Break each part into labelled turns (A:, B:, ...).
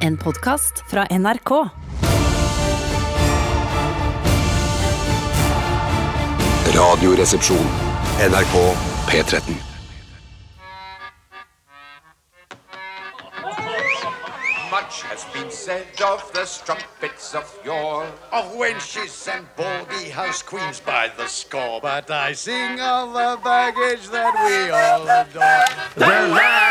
A: en podkast fra NRK.
B: Radioresepsjon. NRK P13.
C: Much has been said of the strumpets of yore.
D: of wenches and baldy house queens by the score. But I sing of the baggage that we all adore.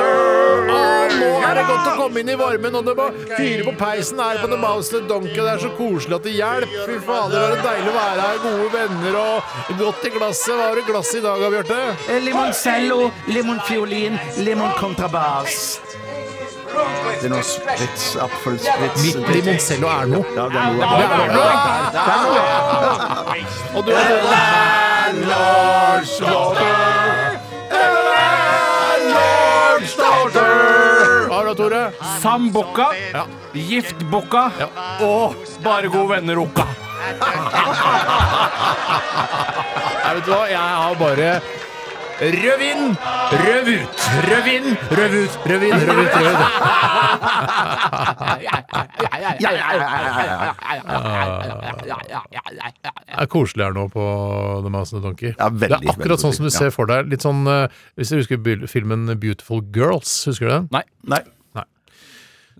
E: Nå er det godt å komme inn i varmen, og det bare fyrer på peisen her på The Mouse the Donkey. og Det er så koselig at det hjelper. Fy fader, det er deilig å være her. Gode venner og godt i glasset. Hva har du i glasset i dag, Bjarte?
F: Limoncello, limonfiolin, limonkontrabass.
D: Det er noe sprits, appelsprits
E: Limoncello er noe.
D: Ja, det er noe.
E: Det er noe. Og du har Hva har du, Tore?
F: Sambukka,
E: Ja.
F: giftbukka og bare gode venner-ukka.
E: Nei, vet du hva? Jeg har bare Røv inn, røv ut, røv inn, røv ut, røv inn, røv ut, røv ut. Det er koselig her nå på The Mouse and the Donkey.
D: Ja, veldig,
E: det er akkurat
D: veldig
E: sånn som du
D: koselig, ja.
E: ser for deg. Litt sånn, eh, Hvis du husker bil- filmen Beautiful Girls, husker du den?
F: Nei.
D: Nei.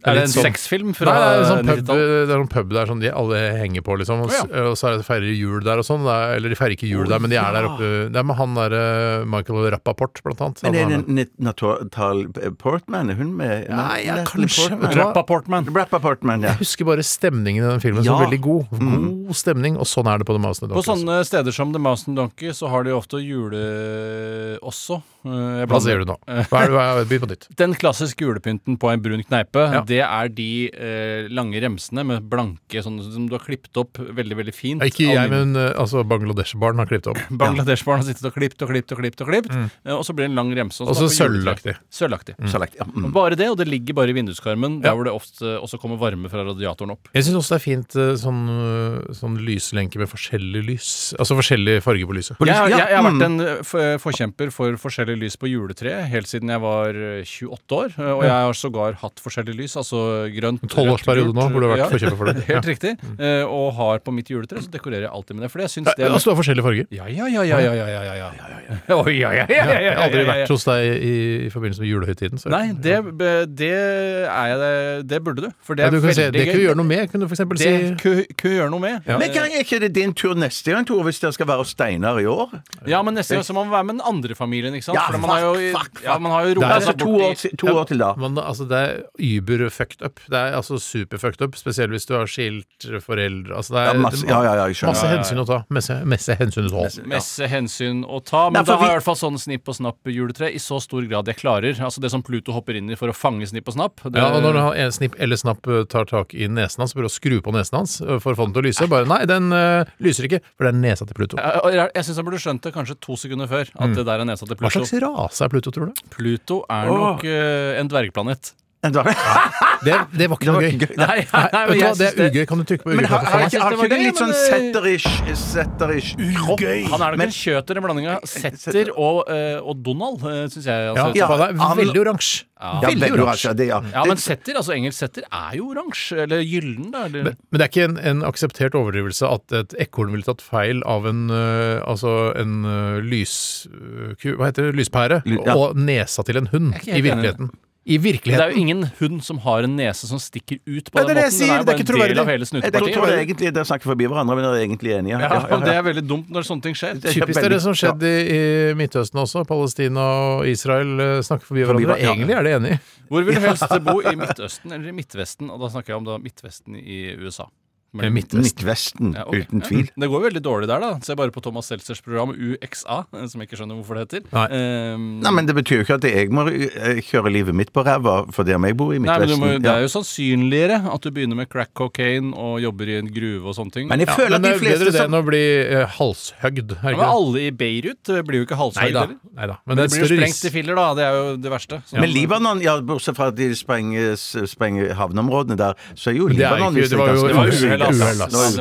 F: Er det
E: litt
F: en
E: sånn-
F: sexfilm
E: Nei,
F: fra
E: det er en sånn pub,
F: 90-tallet?
E: det er en sånn pub der som de alle henger på, liksom. Og, s-
F: Å,
E: og så er det feirer jul der og sånn. Det er- Eller de feirer ikke jul der, men de er der oppe. Det er med han der eh, Michael Rappaport, blant annet.
G: Men
E: Han
G: er
E: er
G: det
E: med.
G: Nat- Natal Portman? Er hun med?
E: Nei, ja,
G: Natalie
E: kanskje,
G: Portman.
E: vet du hva?
F: Rappaportman.
G: Rappa Portman, ja.
E: Jeg husker bare stemningen i den filmen som
F: Ja.
E: veldig god.
D: Mm.
E: God stemning, og sånn er det på The Mouse and the
F: På
E: Donkey. også.
F: sånne steder som The Mountain Donkey så har de ofte jule også. Eh, jeg
E: Hva
F: blander-
E: sier du nå? Hva er det, hva er, begynn på nytt.
F: Den klassiske julepynten på en brun kneipe,
E: Ja.
F: det er de eh, lange remsene med blanke sånne sånn som du har klippet opp veldig, veldig fint.
E: Ikke
F: Av
E: jeg,
F: min-
E: men eh, altså, Bangladesh-barn har klippet opp.
F: Bangladesh-barn har sittet og klippet og klippet og klippet, og klipt, eh, og så blir det en lang remse.
E: Og
F: så
E: så
F: er det på juletre.
E: sølvaktig.
F: Sølvaktig.
G: Select, ja. Mm.
F: Bare det, og det ligger bare i vinduskarmen, der
E: Ja.
F: hvor det ofte også kommer varme fra radiatoren opp.
E: Jeg syns også det er fint eh, sånn, eh, sånn lyslenke med forskjellig lys. Altså forskjellig farge på lyset.
F: Jeg, jeg,
G: ja,
F: jeg har vært
G: mm.
F: en eh, f- forkjemper for forskjellig lys på juletreet helt siden jeg var eh, 28 år. eh, Og jeg har sågar hatt forskjellig lys, altså grønt,
E: Tolvårsperiode nå burde du vært forkjemper for det. Mm.
F: Helt riktig. eh, Og har på mitt juletre, så dekorerer jeg alltid med det. For jeg syns
E: Ja,
F: det er
E: altså, du har forskjellige farger.
F: Ja, ja, ja, ja, ja, ja, ja, ja, ja, ja. Oi, ja, ja, ja, ja,
E: Jeg har aldri
F: ja, ja, ja.
E: vært hos deg i, i forbindelse med julehøytiden. Så.
F: Nei, det, be- det er jeg det- Det burde du. For det
E: Ja,
F: er
E: du kan
F: veldig
E: si, det
F: gøy.
E: kunne du gjøre noe med. Kunne du for eksempel si
F: Det kunne kunne gjøre noe med.
G: Men kan er ikke det din tur neste gang, Tore, hvis dere skal være hos Steinar i år?
F: Ja, men neste gang så må man være med den andre familien, ikke sant?
G: Ja,
F: For man har jo,
G: fuck, fuck,
F: Ja, man har jo
E: Det er
F: roet
G: Altså
F: seg
G: to
F: bort
G: år,
F: i-
G: til- to år til da.
E: men altså, det er über fucked up. Det er altså super fucked up, spesielt hvis du har skilt foreldre altså, det er,
G: Ja, masse, ja, ja, ja, jeg skjønner.
E: masse hensyn å ta. Messe, messe hensyn å ta.
F: Messe hensyn å ta, men
G: Nei, for
F: da har jeg i
G: vi-
F: hvert fall sånn snipp og snapp-juletre i så stor grad jeg klarer. Altså det som Pluto hopper inn i for å fange snipp og snapp. Det,
E: Ja, og når han en snipp eller snapp eh, tar tak i nesen hans, prøver å skru på nesen hans eh, for å få den til å lyse, bare nei, den eh, lyser ikke, for det er nesa til Pluto.
F: jeg jeg, jeg syns han burde skjønt det kanskje to sekunder før, at
E: Mm.
F: det der er nesa til
E: Hva
F: Pluto.
E: slags rase er Pluto, tror du?
F: Pluto er nok eh, en dvergplanet.
G: En dag.
E: Det, det var ikke noe
G: var
E: gøy.
G: gøy.
F: Nei, nei,
E: Nei, vet
F: men
E: du hva,
F: jeg
E: det
F: syns
E: er ugøy. Kan du trykke på
G: Men har, har,
E: ugøy-knappen?
G: ikke,
F: Jeg
G: har
F: synes det var
G: ikke det
F: gøy,
G: litt sånn
F: men det-
G: setterish, setterish kropp?
F: Han er nok
G: Men-
F: en kjøter, en blanding av setter og, eh, og Donald, uh, syns jeg. Altså,
E: Ja,
G: Ja,
E: faen, det er
G: han-
E: veldig oransje.
G: Ja, veldig oransje. Det, ja.
F: Ja, men setter, altså engelsk setter, er jo oransje. Eller gyllen, da. Eller?
E: Men, men det er ikke en, en akseptert overdrivelse at et ekorn ville tatt feil av en, øh, altså en øh, lysku... Hva heter det? Lyspære?
G: Ly- ja.
E: Og nesa til en hund
F: er ikke
E: i
F: helt
E: virkeligheten. I
F: Men det er jo
E: virkeligheten.
F: ingen hund som har en nese som stikker ut på
E: Nei, det er det jeg
F: den måten. Den
E: sier,
F: er
E: det er
F: jo
E: ikke
F: bare en del
E: troverdig.
F: av hele
G: Jeg tror, tror
F: snutepartiet.
G: egentlig dere snakker forbi hverandre, men dere er egentlig enige.
F: Ja, og det er veldig dumt når sånne ting skjer.
G: Det-
E: Typisk det er det som skjedde i, i Midtøsten også. Palestina og Israel øh, snakker forbi
G: Forbi
E: hverandre.
G: hver- ja.
E: Egentlig er de enige.
F: Hvor vil du helst bo? I Midtøsten eller i Midtvesten? Og da snakker jeg om da Midtvesten i USA. Men-
G: Midtvesten,
F: Ja, ok. Mm.
G: uten tvil.
F: Det går veldig dårlig der, da. Se bare på Thomas Seltzers program UXA, eh, som jeg ikke skjønner hvorfor det heter.
E: Nei.
F: Ehm,
G: Nei, men det betyr jo ikke at jeg må eh, kjøre livet mitt på ræva fordi om jeg bor i
F: nei, men du
G: Midtvesten.
F: må, det
G: ja.
F: er jo sannsynligere at du begynner med crack cocaine og jobber i en gruve og sånne ting.
G: Men jeg
E: Ja,
G: føler
E: men
G: at
E: det
G: de
E: er jo
G: fleste
E: bedre det
G: som
E: enn å bli eh, halshøgd. er det
F: Ja,
E: ikke
F: men
E: det?
F: alle i Beirut eh, blir jo ikke halshøyde
E: Neida,
F: heller.
E: neida. Men,
F: Men
E: det
F: de
E: er
F: blir jo
E: større
F: sprengt i
E: risk.
F: filler, da. Det er jo det verste. Så-
G: Men Libanon, ja, bortsett fra at de sprenger, sprenger havneområdene der, så er jo
E: Men det er
G: Libanon
E: ikke- det var jo
G: ganske
F: Det var
G: usikkert.
E: Uhell, ass.
F: uhell, uhell, altså. Ja, Det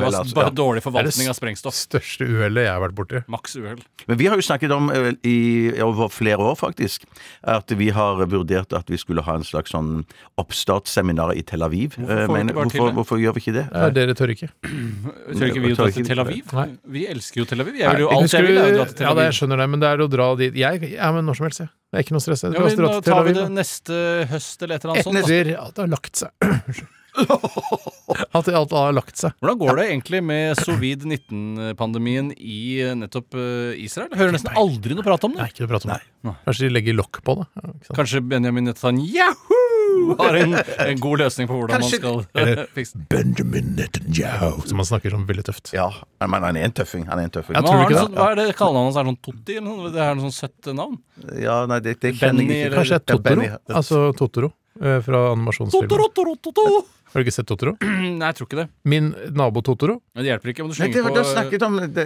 G: Uhell,
F: var
G: ass,
F: bare
G: ja.
F: dårlig
E: Det
F: forvaltning
E: er
F: av sprengstoff.
E: Største uhellet jeg har vært borti.
F: Maks uhell.
G: Men vi har jo snakket om eh, i, over flere år, faktisk, at vi har vurdert at vi skulle ha en slags sånn oppstartsseminar i Tel Aviv. Eh,
F: får vi
G: men
F: ikke bare til
G: hvorfor,
F: det?
G: hvorfor gjør vi ikke det?
E: Nei, dere tør ikke.
F: Tør ikke vi
G: tør
F: å dra
G: ikke
F: til
G: vi-
F: Tel Aviv?
E: Nei.
F: Vi elsker jo Tel Aviv. Jeg vil jo
E: Nei,
F: alt jeg vil, er jo dra til
E: Ja,
F: Tel
E: det, jeg
F: Aviv.
E: skjønner det, men det er å dra dit Jeg ja, men når som helst, jeg. Det er ikke noe stress. Jeg
F: Ja,
E: drar
F: men,
E: dra
F: da
E: til Tel
F: tar vi
E: Aviv,
F: det
E: da.
F: neste høst eller et eller annet sånt. da.
E: Etter at det har lagt seg. Unnskyld. At alt har lagt seg.
F: Hvordan går det egentlig med sovid-19-pandemien i eh, nettopp eh, Israel? Jeg hører nesten aldri noe prat om
E: Nei,
F: det.
E: ikke noe prat om det. Kanskje de legger lokk på det. Ja, ikke sant?
F: Kanskje Benjamin Netanyahu har en, en god løsning på hvordan man skal eh, fikse det.
E: Benjamin Netanyahu. Som han snakker som veldig tøft.
G: Ja, men han er en tøffing. Han er en tøffing.
E: Jeg
F: Men
E: tror
F: har
E: ikke
F: han
E: det.
F: sånn, hva er det kallenavnet hans? Er det sånn Totti? eller noe? Det er noe sånn søtt navn?
G: Ja, nei, det, det kjenner
F: Benny,
G: jeg ikke.
F: eller-
E: Kanskje det er
G: Ja,
E: Totoro?
G: Benny-
E: Altså Totoro eh, fra animasjonsfilmen.
F: Totorotorototo!
E: Har du ikke sett Totoro?
F: Nei, jeg tror ikke det.
E: Min nabo Totoro?
F: Men det hjelper ikke om du
G: Nei, det
F: slenger
G: var
F: på eh,
G: det vi snakket om. Det,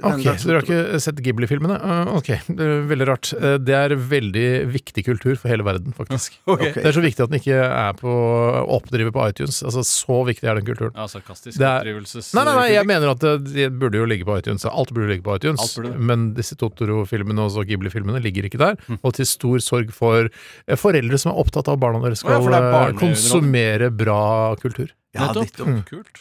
E: Ok, Så dere har ikke sett Ghibli-filmene? Eh, Ok, det er Veldig rart. Eh, Det er veldig viktig kultur for hele verden, faktisk.
F: Ok.
E: Det er så viktig at den ikke er på oppdrivet på iTunes. Altså, Så viktig er den kulturen.
F: Ja, sarkastisk
E: Det er-
F: oppdrivelses...
E: Nei, nei, nei, jeg mener at det- det burde jo ligge på iTunes. Alt burde ligge på iTunes.
F: Alt burde det. Hm.
E: Men disse Totoro-filmene og så Ghibli-filmene ligger ikke der. Og til stor sorg for eh, foreldre som er opptatt av at barna deres
F: Å
E: skal
F: ja, for det er
E: eh,
F: barneunderholdning.
E: konsumere bra kultur.
G: Ja,
F: Nettopp.
G: nettopp.
F: Kult.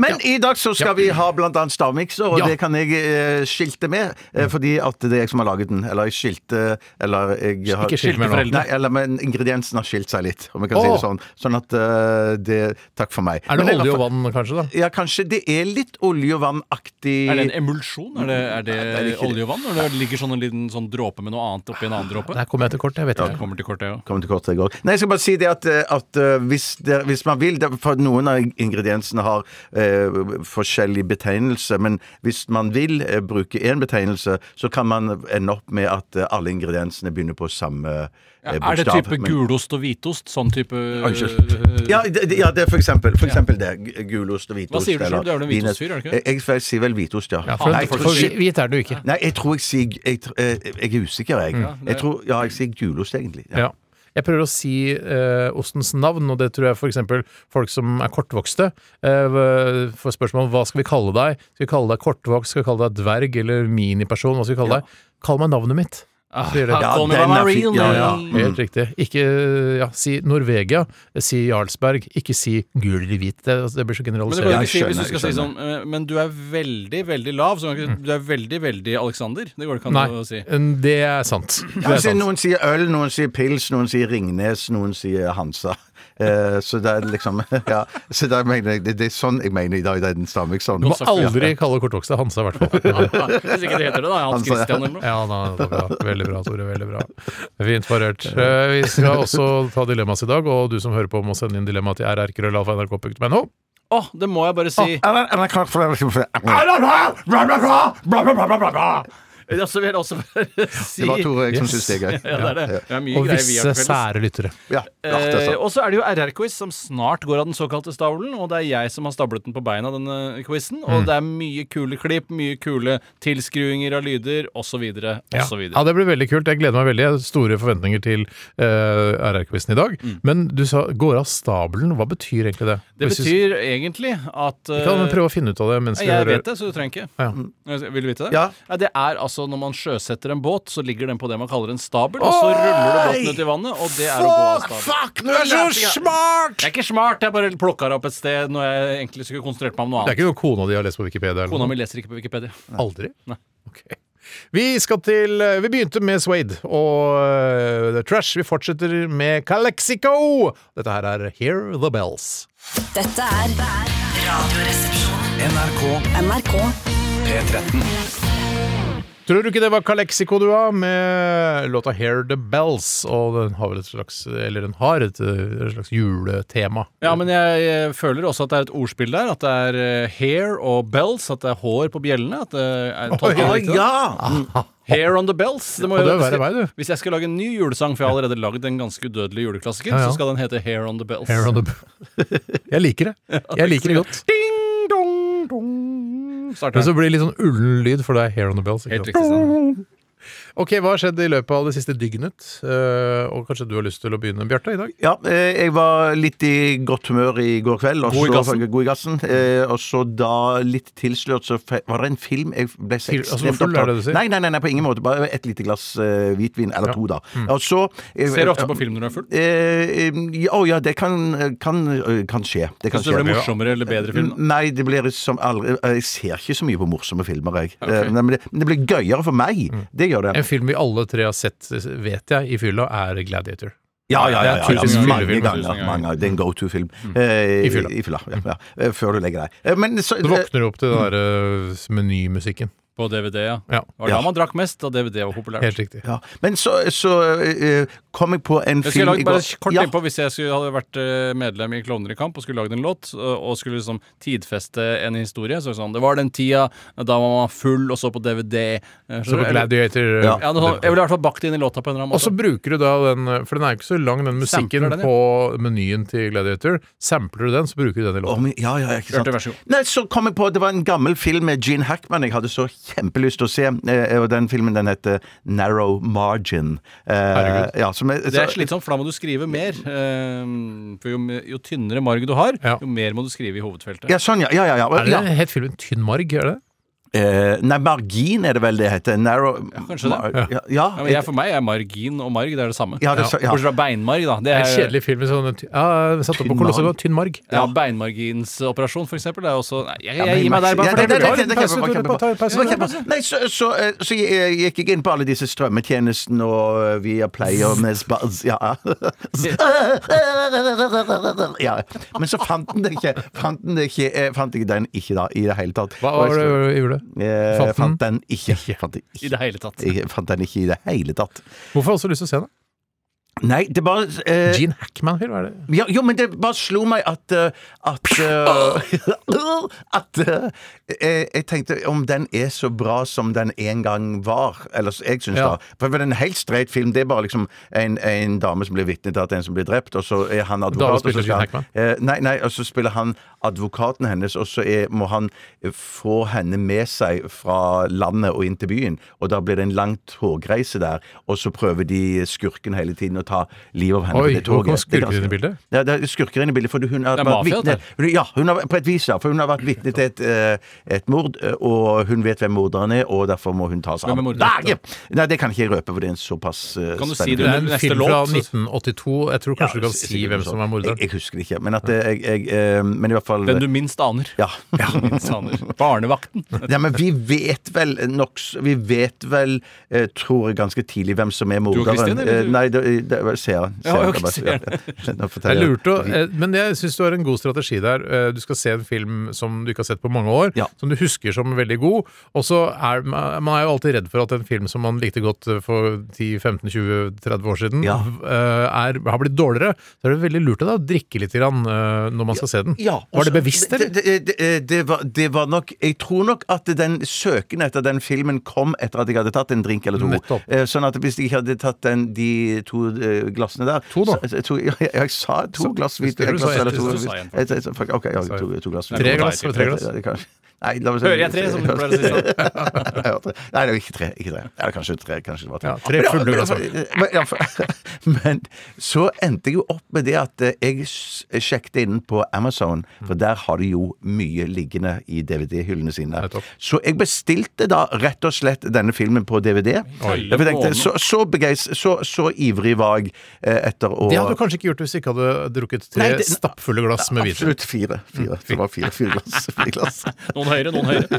G: Men i dag så skal vi ha blant annet stavmikser, og
E: Ja. Mm.
G: det kan jeg eh, skilte med, eh, fordi at det er jeg som har laget den. Eller jeg skilte Eller jeg har
E: Ikke skilt med
F: foreldre.
G: Nei, eller, men ingrediensen har skilt seg litt, om jeg kan si det
E: Å.
G: sånn. Sånn at eh, det Takk for meg.
E: Er det
G: Men i hvert
E: olje og
G: fall-
E: vann, kanskje? da?
G: Ja, kanskje det er litt olje- og vannaktig
F: Er det en emulsjon? Er det, er det,
G: Nei, det er ikke
F: olje og vann? Når det ligger sånn en liten sånn dråpe med noe annet oppi en annen dråpe?
E: Der kom jeg til kort. Jeg vet
F: Det
E: ikke.
F: kommer til kortet, ja.
G: Kommer til kort, jeg også. Nei, jeg skal bare si det at, eh, at eh, hvis, det, hvis man vil det, For noen av ingrediensene har eh, forskjellig betegnelse, men hvis man vil eh, bruke én betegnelse, så kan man ende opp med at eh, alle ingrediensene begynner på samme eh, bokstav.
F: Er det type
G: men-
F: gulost og hvitost? Sånn type eh,
G: unnskyld. Ja, det, det- ja, det er for eksempel, for eksempel det. Gu- Gulost og hvitost.
F: sier du selv?
G: eller
F: Du er vel en
G: vin-
F: hvitostfyr, er du ikke det?
G: Jeg, jeg, jeg sier vel hvitost, ja.
E: Ja, for,
G: Nei, jeg
E: for,
G: tror-
E: for hvit er du ikke.
G: Nei, jeg tror jeg sier Jeg, tr- eh, jeg er usikker, jeg. jeg tror, ja, jeg sier gulost, egentlig. Ja.
E: Ja. Jeg prøver å si eh, ostens navn, og det tror jeg f.eks. folk som er kortvokste, eh, får spørsmål om hva skal vi kalle deg. Skal vi kalle deg kortvokst, skal vi kalle deg dverg eller miniperson? Hva skal vi kalle deg? Kall meg navnet mitt. sier det.
G: Ja,
F: Call me by
G: den
F: my
G: er fin.
F: real
G: Ja, ja.
F: name.
E: Helt riktig. Ikke ja, si Norvegia, si Jarlsberg, ikke si gul eller hvit. Det, altså, det blir så
F: Men du kan
E: generaliserende.
F: ikke si,
G: skjønner,
F: hvis du skal si
G: jeg
F: sånn eh, Men du er veldig, veldig lav. Så kan du ikke, du er veldig, veldig Alexander. Det går det ikke
E: Mm. Nei, Mm,
F: an å si.
E: det er sant.
G: Ja,
E: Det er
G: altså,
E: sant.
G: noen sier øl, noen sier pils, noen sier Ringnes, noen sier Hansa. Eh, så det er liksom ja, så det er, mener jeg, det, det er sånn jeg mener i dag. Det er den
E: Du
G: stammikseren.
E: må aldri kalle kortvokste Hansa, i hvert fall.
F: Ja, Hvis ikke det heter det, da. Hans
G: Altså, ja.
F: Christian eller noe.
E: Ja, da, det var bra. Veldig bra, Tore. Veldig bra. Fint forhørt. Eh, Vi skal også ta dilemmas i dag, og du som hører på må sende inn dilemma til rrkrøllalfa.nrk.no.
F: Å, det må jeg bare si.
G: liksom-
F: Ja, så vil jeg også bare si
G: Det var Tore jeg som
E: Yes.
G: syntes det er gøy.
F: Ja, det er det. Det er mye
E: Og
F: greier vi
E: visse
F: har til felles.
E: sære lyttere.
G: Ja, ja, det er
F: Eh,
G: sant.
F: og så er det jo RR-quiz som snart går av den såkalte stavlen, og det er jeg som har stablet den på beina, denne quizen.
E: Mm.
F: Og det er mye kule klipp, mye kule tilskruinger av lyder, osv.,
E: Ja.
F: osv.
E: ja, det blir veldig kult. Jeg gleder meg veldig. Jeg har store forventninger til eh, RR-quizen i dag. Men du sa 'går av stabelen'. Hva betyr egentlig det?
F: Mm. Det
E: Hvis vi-
F: betyr egentlig at eh,
E: Kan man prøve å finne ut av det mens
F: Nei,
E: vi
F: Jeg
E: hører
F: vet det, Mm. så du trenger ikke.
E: Ja.
F: Jeg- Vil du vite det?
G: Ja.
F: Det er altså når man sjøsetter en båt, så ligger den på det man kaller en stabel, og så ruller du båten ut i vannet, og det er å gå av stabelen.
G: Fuck, du er så smart!
F: Jeg er ikke smart, jeg bare plukka det opp et sted når jeg egentlig skulle konsentrert meg om noe
E: Det er
F: annet.
E: ikke noe kona di har lest på Wikipedia? Eller
F: Kona
E: noe.
F: mi leser ikke på Wikipedia.
E: Aldri?
F: Nei.
E: Ok. Vi skal til eh, Vi begynte med Swade og eh, The Trash. Vi fortsetter med Calexico. Dette her er Hear The Bells.
A: Dette er Radioresepsjonen.
B: NRK
A: NRK.
B: P13.
E: Tror du ikke det var Calexico du var, med låta Hear The Bells? Og den har vel et slags Eller den har et, eh, et slags juletema.
F: Ja, men jeg eh, føler også at det er et ordspill der. At det er eh, hair og bells, at det er hår på bjellene. At det er tolker jeg
G: Å
F: riktig da? Mm.
G: ja!
F: Hair on the bells. Det må
E: Og
F: jo-
E: det er verre vei, du.
F: Hvis jeg skal lage en ny julesang, for jeg har allerede lagd en ganske udødelig juleklassiker,
E: Ja, ja.
F: så skal den hete Hair on the bells.
E: Hair on the Jeg liker det. Jeg liker det godt.
F: Ding dong dong. Starter
E: Men så
F: den.
E: blir det litt sånn ullen lyd, for det er Hair on The Bells.
F: Helt
E: Ikke sant?
F: riktig. Steinar.
E: Ok, Hva har skjedd i løpet av det siste dygnet? Eh, og kanskje du har lyst til å begynne, Bjarte, i dag?
G: Ja, eh, jeg var litt i godt humør i går kveld. og
E: God i
G: så-
E: gassen?
G: God i gassen. Eh, og så da litt tilslørt, så fe- var det en film jeg ble så
E: Til- altså,
G: ekstremt
E: full, er det du sier?
G: Nei, nei, nei, nei, på ingen måte. Bare et lite glass eh, hvitvin, eller to, da. Og så
F: Ser du ofte på film når du er full?
G: Eh, ja, å ja, det kan, kan, eh, kan skje. Det kan
F: Syns du det
G: skje. Mm,
F: blir morsommere eller bedre film?
E: Mm.
F: da?
G: Nei, det blir som aldri eh, Jeg ser ikke så mye på morsomme filmer, jeg. Eh, nei, Men, det, men det blir gøyere for meg. Det gjør det.
E: En film vi alle tre har sett, vet jeg, i fylla, er Gladiator.
G: Ja, ja, ja.
E: Det er
G: ja,
E: tusen
G: ja. Mange
E: fyllefilmer,
G: ganger.
F: tusen ganger.
G: Mange ganger. Det er en go to-film.
F: Mm.
G: Eh,
E: I fylla.
G: I fylla. Ja, ja. Eh, Før du legger deg. Eh, Men så,
E: Du våkner opp til den derre menymusikken.
F: På DVD, ja.
E: Ja.
F: Det var da
G: Ja.
F: man drakk mest, da DVD var populært.
E: Helt riktig.
G: ja. Men så, så eh, kom jeg på en
F: Jeg skulle
G: film
F: lage, bare kort
G: Ja.
F: innpå Hvis jeg skulle, hadde vært eh, medlem i Klovner i kamp og skulle lagd en låt, eh, og skulle liksom tidfeste en historie så er det sånn, Det var den tida da man var full og så på DVD. eh,
E: Så på
F: skjønner du? Eller-
E: Gladiator eh,
G: Ja.
F: Ja, det, sånn, jeg ville i hvert fall bakt det inn i låta på en eller annen
E: Og så
F: måte.
E: bruker du da den For den er jo ikke så lang, den musikken
F: Sampler den, ja.
E: på menyen til Gladiator. Sampler du den, så bruker du den i låten.
G: Om, ja, ja, ikke sant.
F: Bjarte, vær så god.
G: Nei, så kom jeg på, Det var en gammel film med Gene Hackman jeg hadde så kjempelyst til å se. eh, Og den filmen den heter Narrow Margin. Eh,
E: Herregud.
G: Ja, som er,
F: Det er
G: så-
F: slitsomt, for da må du skrive mer. eh, For jo, jo tynnere marg du har,
E: Ja.
F: jo mer må du skrive i hovedfeltet.
G: Ja, sånn, ja. ja, ja, ja.
E: Er det
G: ja.
E: het filmen Tynn marg? Er det?
G: Eh, nei, margin er det vel det heter. Narrow
F: kanskje det.
G: Mar- Ja, ja,
F: Ja, men jeg, for meg er margin og marg det er det samme.
G: Ja, det er så- ja.
F: Bortsett fra beinmarg, da. Det
E: det
F: er,
E: er en kjedelig film. med Sånn, ja, jeg satt opp på
G: Tynn
E: Kolosseum,
G: marg.
E: og Tynn marg.
F: ja, Beinmarginsoperasjon, for eksempel. Det er også Nei, jeg,
G: Ja,
F: jeg
G: men
F: gir meg der, bare
G: Ja,
F: for
G: det-
F: det.
G: det-
F: blir
G: det-
F: bra.
G: det-
E: Pause,
G: kjempebra,
E: Tore,
G: kjempebra.
E: ta en pause.
G: Det var kjempebra. Nei, så, så, eh, så jeg, jeg gikk inn på alle disse strømmetjenestene og eh, via Play og med spaz, ja. ja. Men så fant den det ikke. Fant den det ikke, eh, fant jeg den ikke da, i det hele tatt.
E: Hva var det du gjorde?
G: Eh,
E: fant den?
G: fant den ikke. Fant den
F: I
G: ikke.
F: det hele tatt.
G: Jeg fant den ikke i det hele tatt.
E: Hvorfor har du så lyst til å se den?
G: Nei, det bare eh,
E: Gene Hackman-film, er det?
G: Ja, jo, men det bare slo meg at eh, At, eh, at eh, eh, Jeg tenkte om den er så bra som den en gang var. Eller så- jeg syns
E: Ja.
G: da. For det er en helt streit film. Det er bare liksom en, en dame som blir vitne til at en som blir drept, og så er han
E: Dama
G: advokat. og så
E: spiller
G: skal
E: Gene
G: han- eh, nei, nei, og så spiller han advokaten hennes, og så er, må han eh, få henne med seg fra landet og inn til byen. Og da blir det en lang togreise der, og så prøver de skurken hele tiden å ta livet av henne på
E: Oi,
G: det
E: hvor kom
G: toget. Det er
E: skurken inn i
G: ganske-
E: bildet?
G: ja, det er skurker inne i bildet, for hun har
F: Det er
G: vært
F: mafia,
G: vitne
F: dette
G: hun, Ja, hun har, på et vis, ja. For hun har vært vitne til et, eh, et mord, eh, og hun vet hvem morderen er, og derfor må hun ta seg av
F: Hvem er morderen?
G: Nei, Nei, det kan ikke jeg røpe, for det er en såpass eh,
F: Kan du si
G: spennende
F: det?
E: Det
F: er
E: er en
F: neste
E: film
F: låt,
E: fra
F: så-
E: 1982. Jeg tror kanskje du kan si hvem som er
G: sånn. Jeg,
E: morderen.
G: jeg husker det ikke, men at eh, jeg, jeg eh, Men i hvert fall
F: Den du minst aner.
G: ja.
F: Minst aner. Barnevakten.
G: ja, men vi vet vel nok Vi vet vel, eh, tror jeg, ganske tidlig hvem som er
F: og
G: morderen.
F: Kristin, eller?
G: Eh, Nei, det, det, ser han.
F: Ja, ok, ser
G: ja.
F: han.
G: Nå
E: Jeg
G: forteller
E: lurte, å- eh, men jeg syns du har en god strategi der. Eh, Du skal se en film som du ikke har sett på mange år,
G: Ja.
E: som du husker som veldig god, og så er man man er jo alltid redd for at en film som man likte godt eh, for 10-15-20-30 år siden,
G: Ja.
E: eh, er, har blitt dårligere. Så er det veldig lurt av deg å drikke litt grann, eh, når man skal se den.
G: Ja,
E: var
G: også-
E: det bevisst, eller?
G: Det, det, det, det, var, det var nok Jeg tror nok at den søken etter den filmen kom etter at jeg hadde tatt en drink eller to.
E: Nettopp.
G: Eh, Sånn at hvis jeg ikke hadde tatt den, de to eh, glassene der
E: To, da?
G: så- så- to- ja, jeg, jeg sa to glass hvit
E: du
G: jeg glass,
E: sa ett,
G: eller to,
F: du sa en,
G: et- et- fuck, Ok, ja, to, to glass.
E: Tre glass, var det tre glass?
G: Ja, det kan- Nei, la meg se.
F: Hører jeg tre, som du pleier å si? sånn?
G: Jeg hørte- Nei, det var ikke tre. Ikke tre. Eller kanskje tre. Kanskje det var tre. altså,
E: Ja, tre fulle glass.
G: Men, ja, for- men så endte jeg jo opp med det at eh, jeg s- sjekket inn på Amazon, for der har de jo mye liggende i DVD-hyllene sine.
E: Nettopp.
G: Så jeg bestilte da rett og slett denne filmen på DVD.
F: Oi.
G: Jeg tenkte, så, så, begeist- så, så ivrig var jeg eh, etter å
E: Det hadde du kanskje ikke gjort hvis du ikke hadde drukket tre
G: Nei, det-
E: stappfulle glass med hvitvin.
G: Absolutt fire. fire. Det var fire, fire glass. Fire glass.
F: Noen høyere, noen høyere.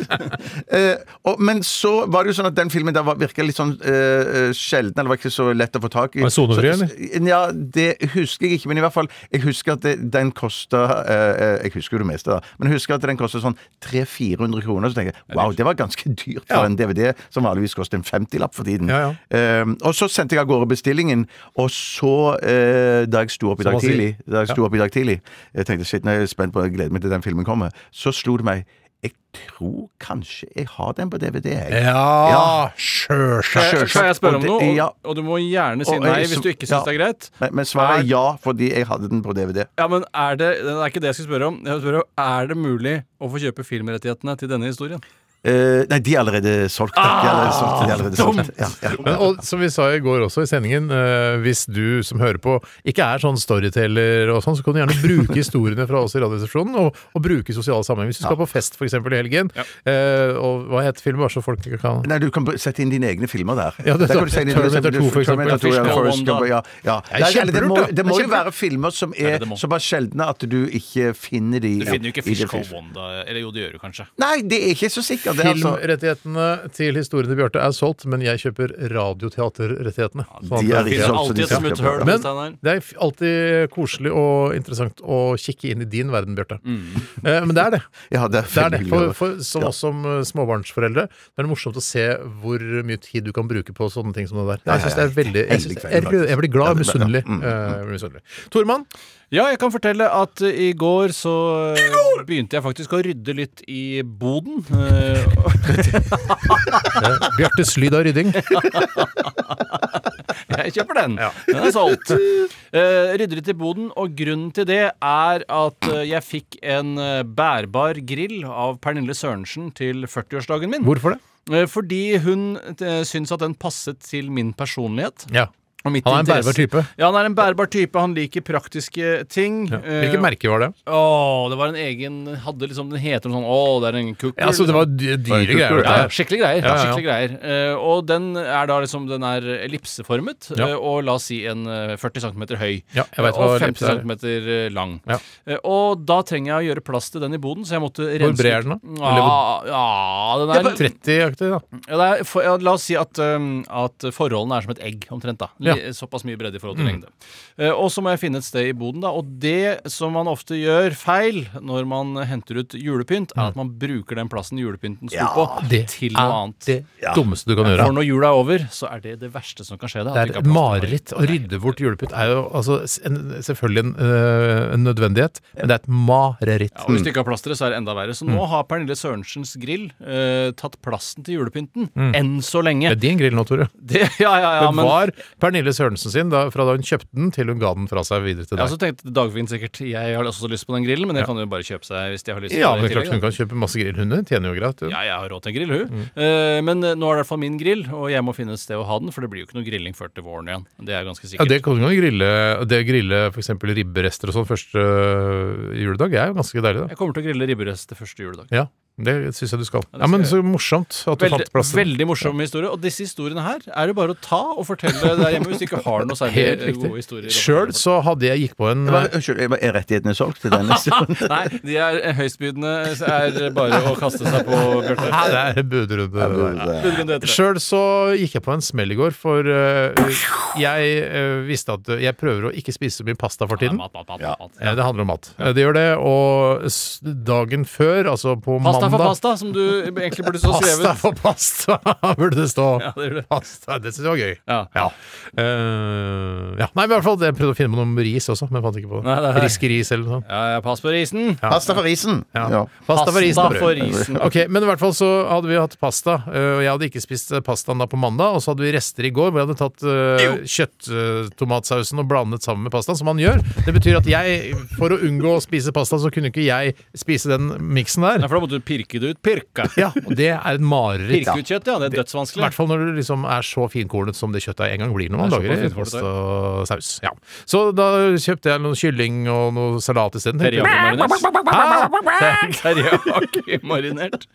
G: Eh, og, men så var det jo sånn at den filmen der var- virka litt sånn eh, eh, sjelden, eller var ikke så lett å få tak i.
E: Var det sonefri,
G: Så- så- Ja, det husker jeg ikke, men i hvert fall Jeg husker at det, den kosta eh, eh, Jeg husker jo det meste, da, men jeg husker at den kosta sånn 300-400 kroner. Så tenker jeg wow, det var ganske dyrt for
E: Ja.
G: en DVD som vanligvis koster en 50-lapp for tiden.
E: Ja,
G: Eh, og så sendte jeg av gårde bestillingen, og så, eh, da jeg sto opp i
E: Som
G: dag
E: man sier.
G: tidlig Da jeg sto opp i dag tidlig, jeg tenkte shit, nå er jeg spent på, jeg gleder meg til den filmen kommer, så slo det meg jeg tror kanskje jeg har den på DVD. Jeg.
E: Ja, sjølsagt.
G: Sjølsagt.
F: Skal jeg spørre om
G: Og det-
F: noe?
G: ja.
F: Og, og du må gjerne si
G: Og, eh,
F: nei hvis
G: så-
F: du ikke
G: ja.
F: syns det er greit.
G: Men, men svaret
F: Er-
G: er ja, fordi jeg hadde den på DVD.
F: Ja, men er det, det er ikke det jeg skal spørre om. Jeg spør om, Er det mulig å få kjøpe filmrettighetene til denne historien?
G: Eh, nei, de er allerede solgt. da.
F: Ah,
G: De er allerede solgt, de er allerede solgt. Ja, ja.
E: Men, og som vi sa i går også i sendingen, eh, hvis du som hører på ikke er sånn storyteller og sånn, så kan du gjerne bruke historiene fra oss i Radioresepsjonen, og, og bruke i sosiale sammenhenger. Hvis du skal på fest for eksempel i helgen, eh, og hva het filmen bare så folk ikke kan
G: Nei, du kan br- sette inn dine egne filmer der.
E: Ja, det-
G: Der kan du sette inn dine-
E: Terminator 2 for eksempel.
G: Terminator 2, ja,
F: Fish
G: Forrest
F: Gump,
G: Gump, ja, ja.
E: er
G: Nei, eller Det må,
E: kjempelurt, da.
G: det må
E: Det er
G: jo
E: kjempelurt.
G: være filmer som
F: Ja,
G: er
F: det må.
G: såpass sjeldne at du ikke finner de
F: Du finner jo ikke
G: i
F: Fish
G: det
F: Call
G: fisk-
F: Wanda Eller jo, det gjør du kanskje.
G: Nei, det er ikke så sikkert. Det, er altså.
E: Filmrettighetene til historiene til Bjarte er solgt, men jeg kjøper radioteaterrettighetene. Sånn
G: de
E: at
G: er
E: det-
G: ikke
F: Finner
G: solgt, så de
F: alltid et
G: skal ikke
F: smutthull.
G: på.
F: Men-
E: Men det er f- alltid koselig og interessant å kikke inn i din verden, Bjarte. Eh, men det er det.
G: Ja, det er
E: Det er det.
G: veldig
E: For,
G: hyggelig.
E: for, som
G: Ja.
E: oss som eh, småbarnsforeldre, det er det morsomt å se hvor mye tid du kan bruke på sånne ting som det der.
G: Ja,
E: Jeg synes det er veldig Jeg, synes,
G: Heldig
E: jeg,
G: kveld,
E: jeg blir glad og
G: faktisk. Ja, mm, det
E: misunnelig.
G: er bra.
E: Eh, jeg blir misunnelig. Tormann,
F: Ja, jeg kan fortelle at eh, i går så eh, begynte jeg faktisk å rydde litt i boden. eh,
E: Bjartes lyd av rydding.
F: Jeg kjøper den. Den er solgt. Uh, rydder litt i boden, og grunnen til det er at eh, jeg fikk en eh, bærbar grill av Pernille Sørensen til 40-årsdagen min.
E: Hvorfor det?
F: Eh, fordi hun uh, syns at den passet til min personlighet.
E: Ja.
F: og mitt
E: Han er en
F: interesse.
E: bærbar type.
F: Ja, han er en bærbar type. Han liker praktiske ting. Eh,
E: Hvilket merke var det?
F: Å, det var en egen Hadde liksom Den heter noe sånn Å, det er en kukkel.
E: Ja, altså, det var dy- dyre
G: Ja,
E: greier.
F: Ja,
E: dette her.
F: skikkelig greier.
E: Ja, ja, ja.
F: Skikkelig greier. Eh, og den er da liksom Den er ellipseformet
E: Ja.
F: eh, og la oss si en eh, 40 cm høy.
E: Ja, jeg vet hva
F: og
E: ellipse
F: 50
E: er.
F: cm lang.
E: Ja.
F: Eh, og da trenger jeg å gjøre plass til den i boden, så jeg måtte rense
E: Hvor bred er den, da? Eller
F: Ja, ja, den er, Mm.
E: 30-aktig, da.
F: ja, det er, for, ja, la oss si at, um, at forholdene er som et egg, omtrent. da Li-
E: Ja. Mm.
F: Såpass mye bredde i forhold til lengde. Eh, og så må jeg finne et sted i boden, da. Og det som man ofte gjør feil når man henter ut julepynt,
E: Mm.
F: er at man bruker den plassen julepynten sto på, til noe annet.
E: det dummeste du kan gjøre.
F: For når jula er over, så er det det verste som kan skje deg.
E: Det
F: at
E: er
F: du
E: et
F: ikke har plass til noe.
E: mareritt å rydde bort julepynt. er jo altså, s- en, selvfølgelig en, øh, en nødvendighet, men det er et mareritt.
F: Ja, og hvis du ikke har plass til det, så er det enda verre.
E: Mm.
F: Så nå har Pernille Sørensens grill eh, tatt plassen til julepynten.
E: Mm.
F: Enn så lenge.
E: Det er din grill nå, Tore.
F: Det, ja, ja, ja,
E: det
F: men
E: var Pernille Sørensen sin da, fra da hun kjøpte den til hun ga den fra seg videre til
F: Ja,
E: deg.
F: så tenkte Dagfinn sikkert Jeg har også lyst på den grillen, men jeg kan jo bare kjøpe seg hvis de har lyst
E: Ja,
F: på
E: men det
F: det. i
E: er klart hun
F: tillegg, da.
E: kan Mm. kjøpe masse grill. Hun tjener jo greit. Hun.
F: Ja, jeg har råd til en grill, hun. Eh, men eh, nå er det i hvert fall min grill, og jeg må finne et sted å ha den, for det blir jo ikke noe grilling før til våren igjen. Det er ganske
E: Ja,
F: sikkert.
E: det kan du jo grille, det å grille f.eks. ribberester og sånn første øh, juledag er jo ganske deilig, da.
F: Jeg kommer til å grille ribberest til første juledag.
E: Ja, det syns jeg du skal.
F: det
E: Ja, Men
F: skal
E: så morsomt at du
F: Veldig,
E: fant plass til den.
F: veldig morsom historie. Og disse historiene her er det bare å ta og fortelle der hjemme hvis du ikke har noe særlig
E: Helt
F: eh, gode
E: riktig.
F: historier.
E: Sjøl så hadde jeg gikk på en
G: Hva- Unnskyld, er rettighetene solgt til denne stunden?
F: Nei, de er eh, høyestbydende. så er bare å kaste seg på, Bjarte.
E: Nei, det er budrunde. det der.
F: Budrunde heter det.
E: Sjøl så gikk jeg på en smell i går, for eh, jeg eh, visste at jeg prøver å ikke spise så mye pasta for
F: Ja,
E: tiden.
F: mat, mat, mat, mat, mat.
E: Eh, Det handler om mat. Eh, Det gjør det. Og s- dagen før, altså på
F: Pasta
E: mandag
F: for pasta, som du egentlig burde stå skrevet.
E: Pasta for pasta, burde det stå.
F: Ja, det gjør det.
E: Pasta, det syns jeg var gøy.
F: Ja.
E: Eh, ja. Nei, men i hvert fall, jeg prøvde å finne på noe med ris også, men fant ikke på det.
F: Nei, nei, nei.
E: Riskeris eller noe sånt.
F: Ja, ja, pass på risen.
G: Pasta for risen! Ja.
E: Pasta for ris. da,
F: Pasta for
E: brød.
F: risen.
E: Ok, Men i hvert fall så hadde vi hatt pasta, øh, og jeg hadde ikke spist øh, pastaen da på mandag. Og så hadde vi rester i går hvor jeg hadde tatt øh, kjøtttomatsausen og blandet sammen med pastaen, som man gjør. Det betyr at jeg, for å unngå å spise pasta, så kunne ikke jeg spise den miksen
F: Nei,
E: der.
F: for da måtte du pirke det ut. Pirke.
E: Ja, Og det er et mareritt.
F: Pirke ut kjøtt, ja. Det er
E: I
F: dødsvanskelig.
E: hvert fall når det liksom er så finkornet som det kjøttet en gang blir når man
F: Det er
E: lager
F: såpass
E: det.
F: finkornet,
E: Pasta og saus. Ja. Så da kjøpte jeg noe kylling og noe salat isteden. tenkte jeg.
F: Teriyaki-marinert. Hæ? Teriyaki-marinert.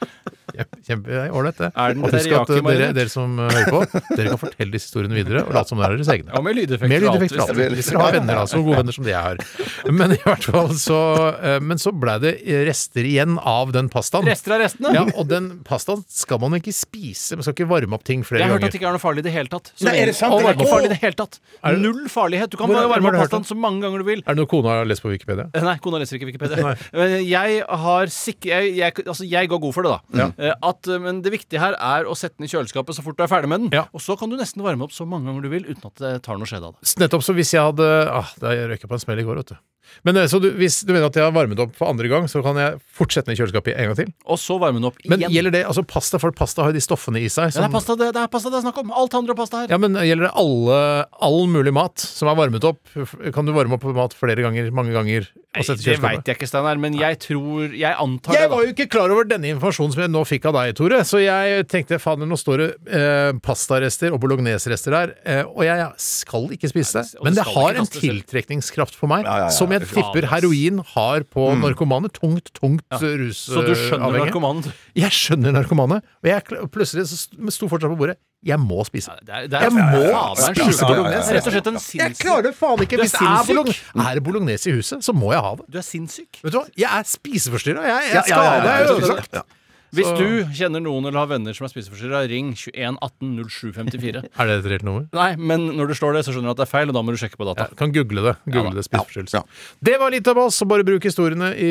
E: Kjempe, det er ålreit, det.
F: Er den
E: Og husk at uh, dere,
F: teriyaki-marinert?
E: dere som uh, hører på, dere kan fortelle disse historiene videre og late som det er deres egne.
F: Og med lydeffekter
E: Mer
F: og alt,
E: lydeffekter og alt.
F: hvis
E: Hvis dere har venner, altså. Gode venner som det jeg har. Men i hvert fall så uh, Men så ble det rester igjen av den pastaen.
F: Rester av restene.
E: Ja, og den pastaen skal man ikke spise. Man skal ikke varme opp ting flere
F: Jeg har hørt at
E: ganger.
F: det ikke er noe farlig i det hele tatt. Så
G: Nei, er det sant?
F: Og
G: Det er
F: varme
G: ikke-
F: farlig i det hele tatt. Null farlighet. Du kan
E: Hvor-
F: bare
E: hvor har
F: varme
E: du
F: opp
E: hørt
F: pastaen
E: det?
F: så mange ganger du vil.
E: Er det noe kona har lest på Wikipedia?
F: Eh, Nei, kona leser ikke Wikipedia.
E: Nei.
F: Men jeg har sikker jeg, jeg, Altså, jeg går god for det, da. Eh, At, eh, men det viktige her er å sette den i kjøleskapet så fort du er ferdig med den.
E: Ja.
F: Og så kan du nesten varme opp så mange ganger du vil uten at det tar noe skjedd av det.
E: S- Nettopp så hvis jeg hadde ah, Da røyk jeg på en smell i går, vet du. Men eh, så du, hvis du mener at jeg har varmet opp for andre gang, så kan jeg fortsette den i kjøleskapet en gang til?
F: Og så varme den opp
E: Men
F: igjen.
E: gjelder det altså pasta? For pasta har jo de stoffene i seg.
F: Ja, det,
E: Som,
F: er pasta, det, det er pasta det er snakk om. Alt handler om pasta her.
E: ja, men eh, gjelder det alle, all mulig mat som er varmet opp? F- Kan du varme opp mat flere ganger, mange ganger å sette
F: det
E: kjøleskapet.
F: veit jeg ikke, Steinar, men jeg tror Jeg antar
E: Jeg
F: det,
E: var jo ikke klar over denne informasjonen som jeg nå fikk av deg, Tore. Så jeg tenkte faen, nå står det eh, pastarester og bolognesrester der, eh, og jeg skal ikke spise det.
F: og
E: Men
F: det
E: det
F: skal
E: har
F: ikke
E: en
F: kastes selv.
E: tiltrekningskraft på meg,
G: ja, ja.
E: som jeg
F: Fy faen,
E: tipper
F: ass.
E: heroin har på narkomane. Tungt, tungt ja.
F: da. Så du skjønner narkomanen?
E: Jeg skjønner narkomane. Og jeg, kl- plutselig så st- sto fortsatt på bordet. Jeg må spise.
F: Det er, det er,
E: Jeg må
F: faen, det er en
E: spise
F: sjuke
E: bolognese.
F: bolognese. Rett og slett en
E: Jeg
F: sinnssyk
E: klarer det faen ikke.
F: Du er
E: Hvis det er,
F: sinnssyk.
E: bolog er det bolognese i huset, så må jeg ha det.
F: Du er sinnssyk.
E: Vet du hva? Jeg er spiseforstyrra. Jeg, jeg
G: Ja,
E: er
G: ja, ja, ja,
E: skada. Jeg
G: ja,
E: er
G: ja.
E: ødelagt.
F: Hvis du kjenner noen eller har venner som er spiseforstyrra, ring 21 18 0754.
E: Er det et reelt nummer?
F: Nei, men når du slår det, så skjønner du at det er feil, og da må du sjekke på
E: Ja,
F: data.
E: kan google det. Google
F: Ja,
E: det spiseforstyrrelse. Det var litt av oss. Bare bruk historiene i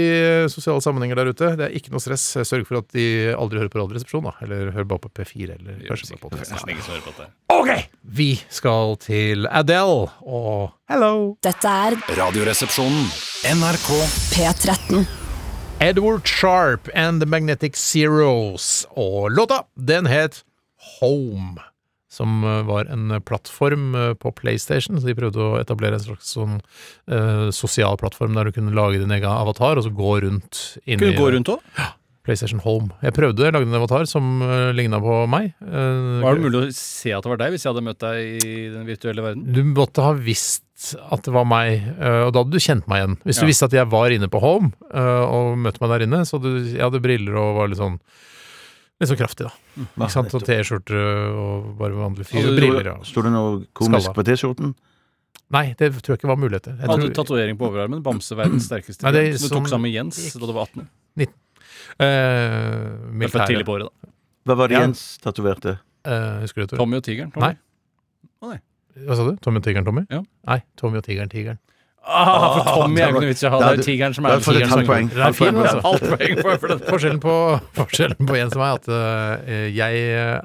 E: sosiale sammenhenger der ute. Det er ikke noe stress. Sørg for at de aldri hører på Radioresepsjonen, da. Eller hører bare på P4, eller kanskje på podcast.
F: Nesten ingen som hører på dette.
E: Vi skal til Adele og Hello!
A: Dette er
H: Radioresepsjonen. NRK
A: P13.
E: Edward Sharp and The Magnetic Zeros. Og låta, den het Home. Som eh, var en plattform eh, på PlayStation, så de prøvde å etablere en slags sånn eh, sosial plattform der du kunne lage din egen avatar, og så gå rundt inn
F: Kunne
E: i
F: du gå rundt òg?
E: PlayStation Home. Jeg prøvde, jeg lagde en avatar som uh, ligna på meg. Eh,
F: Var det mulig å se at det var deg, hvis jeg hadde møtt deg i den virtuelle verden?
E: Du måtte ha visst at det var meg, eh, og da hadde du kjent meg igjen. Hvis du
F: Ja.
E: visste at jeg var inne på Home eh, og møtte meg der inne, så du, jeg hadde briller og var litt sånn Litt sånn kraftig, da. Ikke sant? Og T-skjorte og bare vanlig fyr. Og briller. Ja.
G: Sto det noe komisk
E: Skalla.
G: på T-skjorten?
E: Nei, det tror jeg ikke var muligheter. Jeg
F: Hadde du
E: tror,
F: tatovering på overarmen? Bamse verdens sterkeste.
E: Nei, det er
F: bjørn, som du
E: sånn-
F: tok sammen med Jens da du var 18?
E: eh,
F: Det var
E: militære.
F: tidlig på året, da.
G: Hva var det
E: Ja.
G: Jens tatoverte?
E: Eh, husker du det, Tore?
F: Tommy og tigeren. Tommy.
E: Nei. Hva sa du? Tommy og tigeren, Tommy?
F: Ja.
E: Nei, Tommy og tigeren, tigeren.
F: Ah, for Tommy er jo ikke noe vits i å ha.
G: Da er
F: Det er jo
G: du-
F: tigeren som
G: da
F: er
G: har du fått et
F: tigeren. som-
G: halvt poeng.
F: Det er fint, altså. Halvt poeng for- for det.
E: Forskjellen på, forskjellen på Jens og meg er at eh, jeg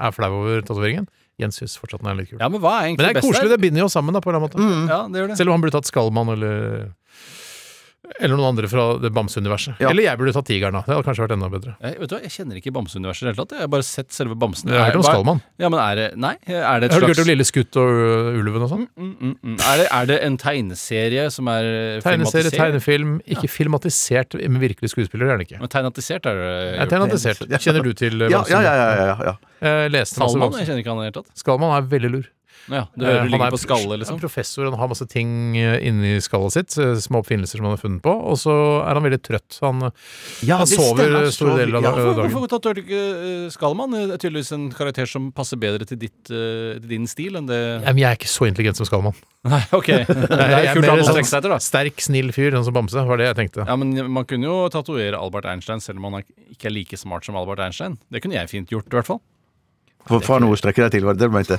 E: er flau over tatoveringen. Jens syns fortsatt den er litt kul.
F: Ja, men hva
E: Men
F: er egentlig
E: det er
F: best
E: koselig,
F: der?
E: det binder jo oss sammen. da, på en eller annen måte.
F: Ja, det gjør det.
E: Selv om han burde tatt Skallmann eller eller noen andre fra det bamseuniverset.
G: Ja.
E: Eller jeg burde tatt Tigeren. da, Det hadde kanskje vært enda bedre.
F: Jeg, vet du hva, jeg kjenner ikke Bamseuniverset i det hele tatt. Jeg har bare sett selve Bamsen.
E: Jeg har hørt om
F: Hva-
E: Skallmann.
F: Ja, men er det Nei, er det et
E: Har du hørt om
F: slags
E: Lille Skutt og ø, Ulven og sånn?
F: Mm, Er det, er det en tegneserie som er eh,
E: Tegneserie,
F: filmatisert?
E: tegnefilm. Ikke filmatisert med virkelige skuespillere, er det ikke.
F: Men tegnatisert er det
E: Jeg er tegnatisert.
G: Ja.
E: Kjenner du til
G: Ja, ja, ja.
E: Bamsen?
G: ja, ja, ja.
E: Jeg leste masse
F: Salman? Jeg
E: Bamsen.
F: kjenner ikke han i det hele tatt.
E: Skallmann er veldig lur.
F: Ja, du
E: Eh,
F: hører
E: han
F: ligger
E: er
F: på skallet,
E: Han
F: liksom.
E: er professor, han har masse ting eh, inni skallet sitt, eh, små oppfinnelser som han har funnet på, og så er han veldig trøtt. Han, han
G: det
E: sover
G: stemmer, han
E: eh, store
G: sover,
E: deler av
G: ja.
E: da-
F: Hvorfor,
E: dagen.
F: hvorfor tatoverte du ikke eh, Skallmann? Det er tydeligvis en karakter som passer bedre til, ditt, eh, til din stil enn det
E: Nei, men jeg er ikke så intelligent som Skallmann.
F: Nei, OK. Det
E: Jeg
F: er
E: er
F: kult å ha
E: mer
F: noe å
E: sånn
F: strekke seg etter, da.
E: Sterk, snill fyr, sånn som Bamse, var det jeg tenkte.
F: Ja, men Man kunne jo tatovere Albert Einstein selv om han er- ikke er like smart som Albert Einstein. Det kunne jeg fint gjort, i hvert fall.
G: For, for noe å strekke deg til, var det det du mente?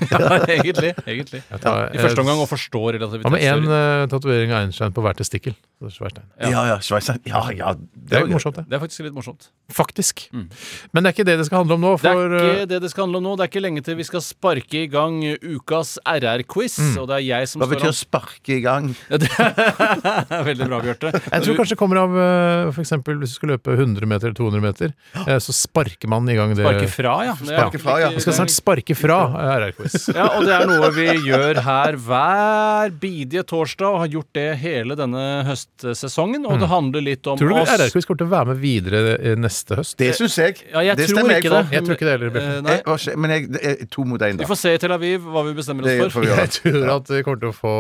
F: egentlig. egentlig.
E: Jeg tar,
F: I første
E: eh,
F: omgang å forstå
E: Han med én
F: relativitetsteori.
E: uh, tatovering av Einstein på hver testikkel. Så det er svært tegn.
G: Ja, ja, sveisen. Ja, ja.
E: Det er jo morsomt, det.
F: Det er faktisk litt morsomt.
E: Faktisk. Men det er ikke det det skal handle om nå.
F: Det
E: For, eh,
F: er ikke det det skal handle om nå. Det er ikke lenge til vi skal sparke i gang ukas RR-quiz.
E: Mm.
F: Og det er jeg som
G: Hva betyr
F: står
G: å sparke i gang?
F: Ja, det er Veldig bra, Bjarte.
E: eh, jeg tror
F: Du
E: kanskje det kommer av eh, for eksempel hvis du skal løpe 100 meter eller 200 meter, eh, så sparker man i gang det
F: Sparker fra, ja. Det er
G: Sparker Eh, fra, ja.
F: ikke-
E: Man skal snart sparke fra eh, RR-quiz.
F: Ja, og det er noe vi gjør her hver bidige torsdag, og har gjort det hele denne høstsesongen. Og det handler litt om
E: Mm. Tror du
F: oss.
E: RR-quiz kommer til å være med videre eh, neste høst?
G: Det syns jeg.
F: Ja, jeg
G: det
F: tror
G: stemmer
F: ikke
G: for.
F: det.
E: Jeg tror ikke det heller, Bjarte.
F: Eh, nei.
G: Jeg- hva skje- Men jeg, det er to mot én, da.
F: Vi får se i Tel Aviv hva vi bestemmer
G: Det får vi
F: oss for.
G: gjøre.
E: Jeg tror at vi kommer til å få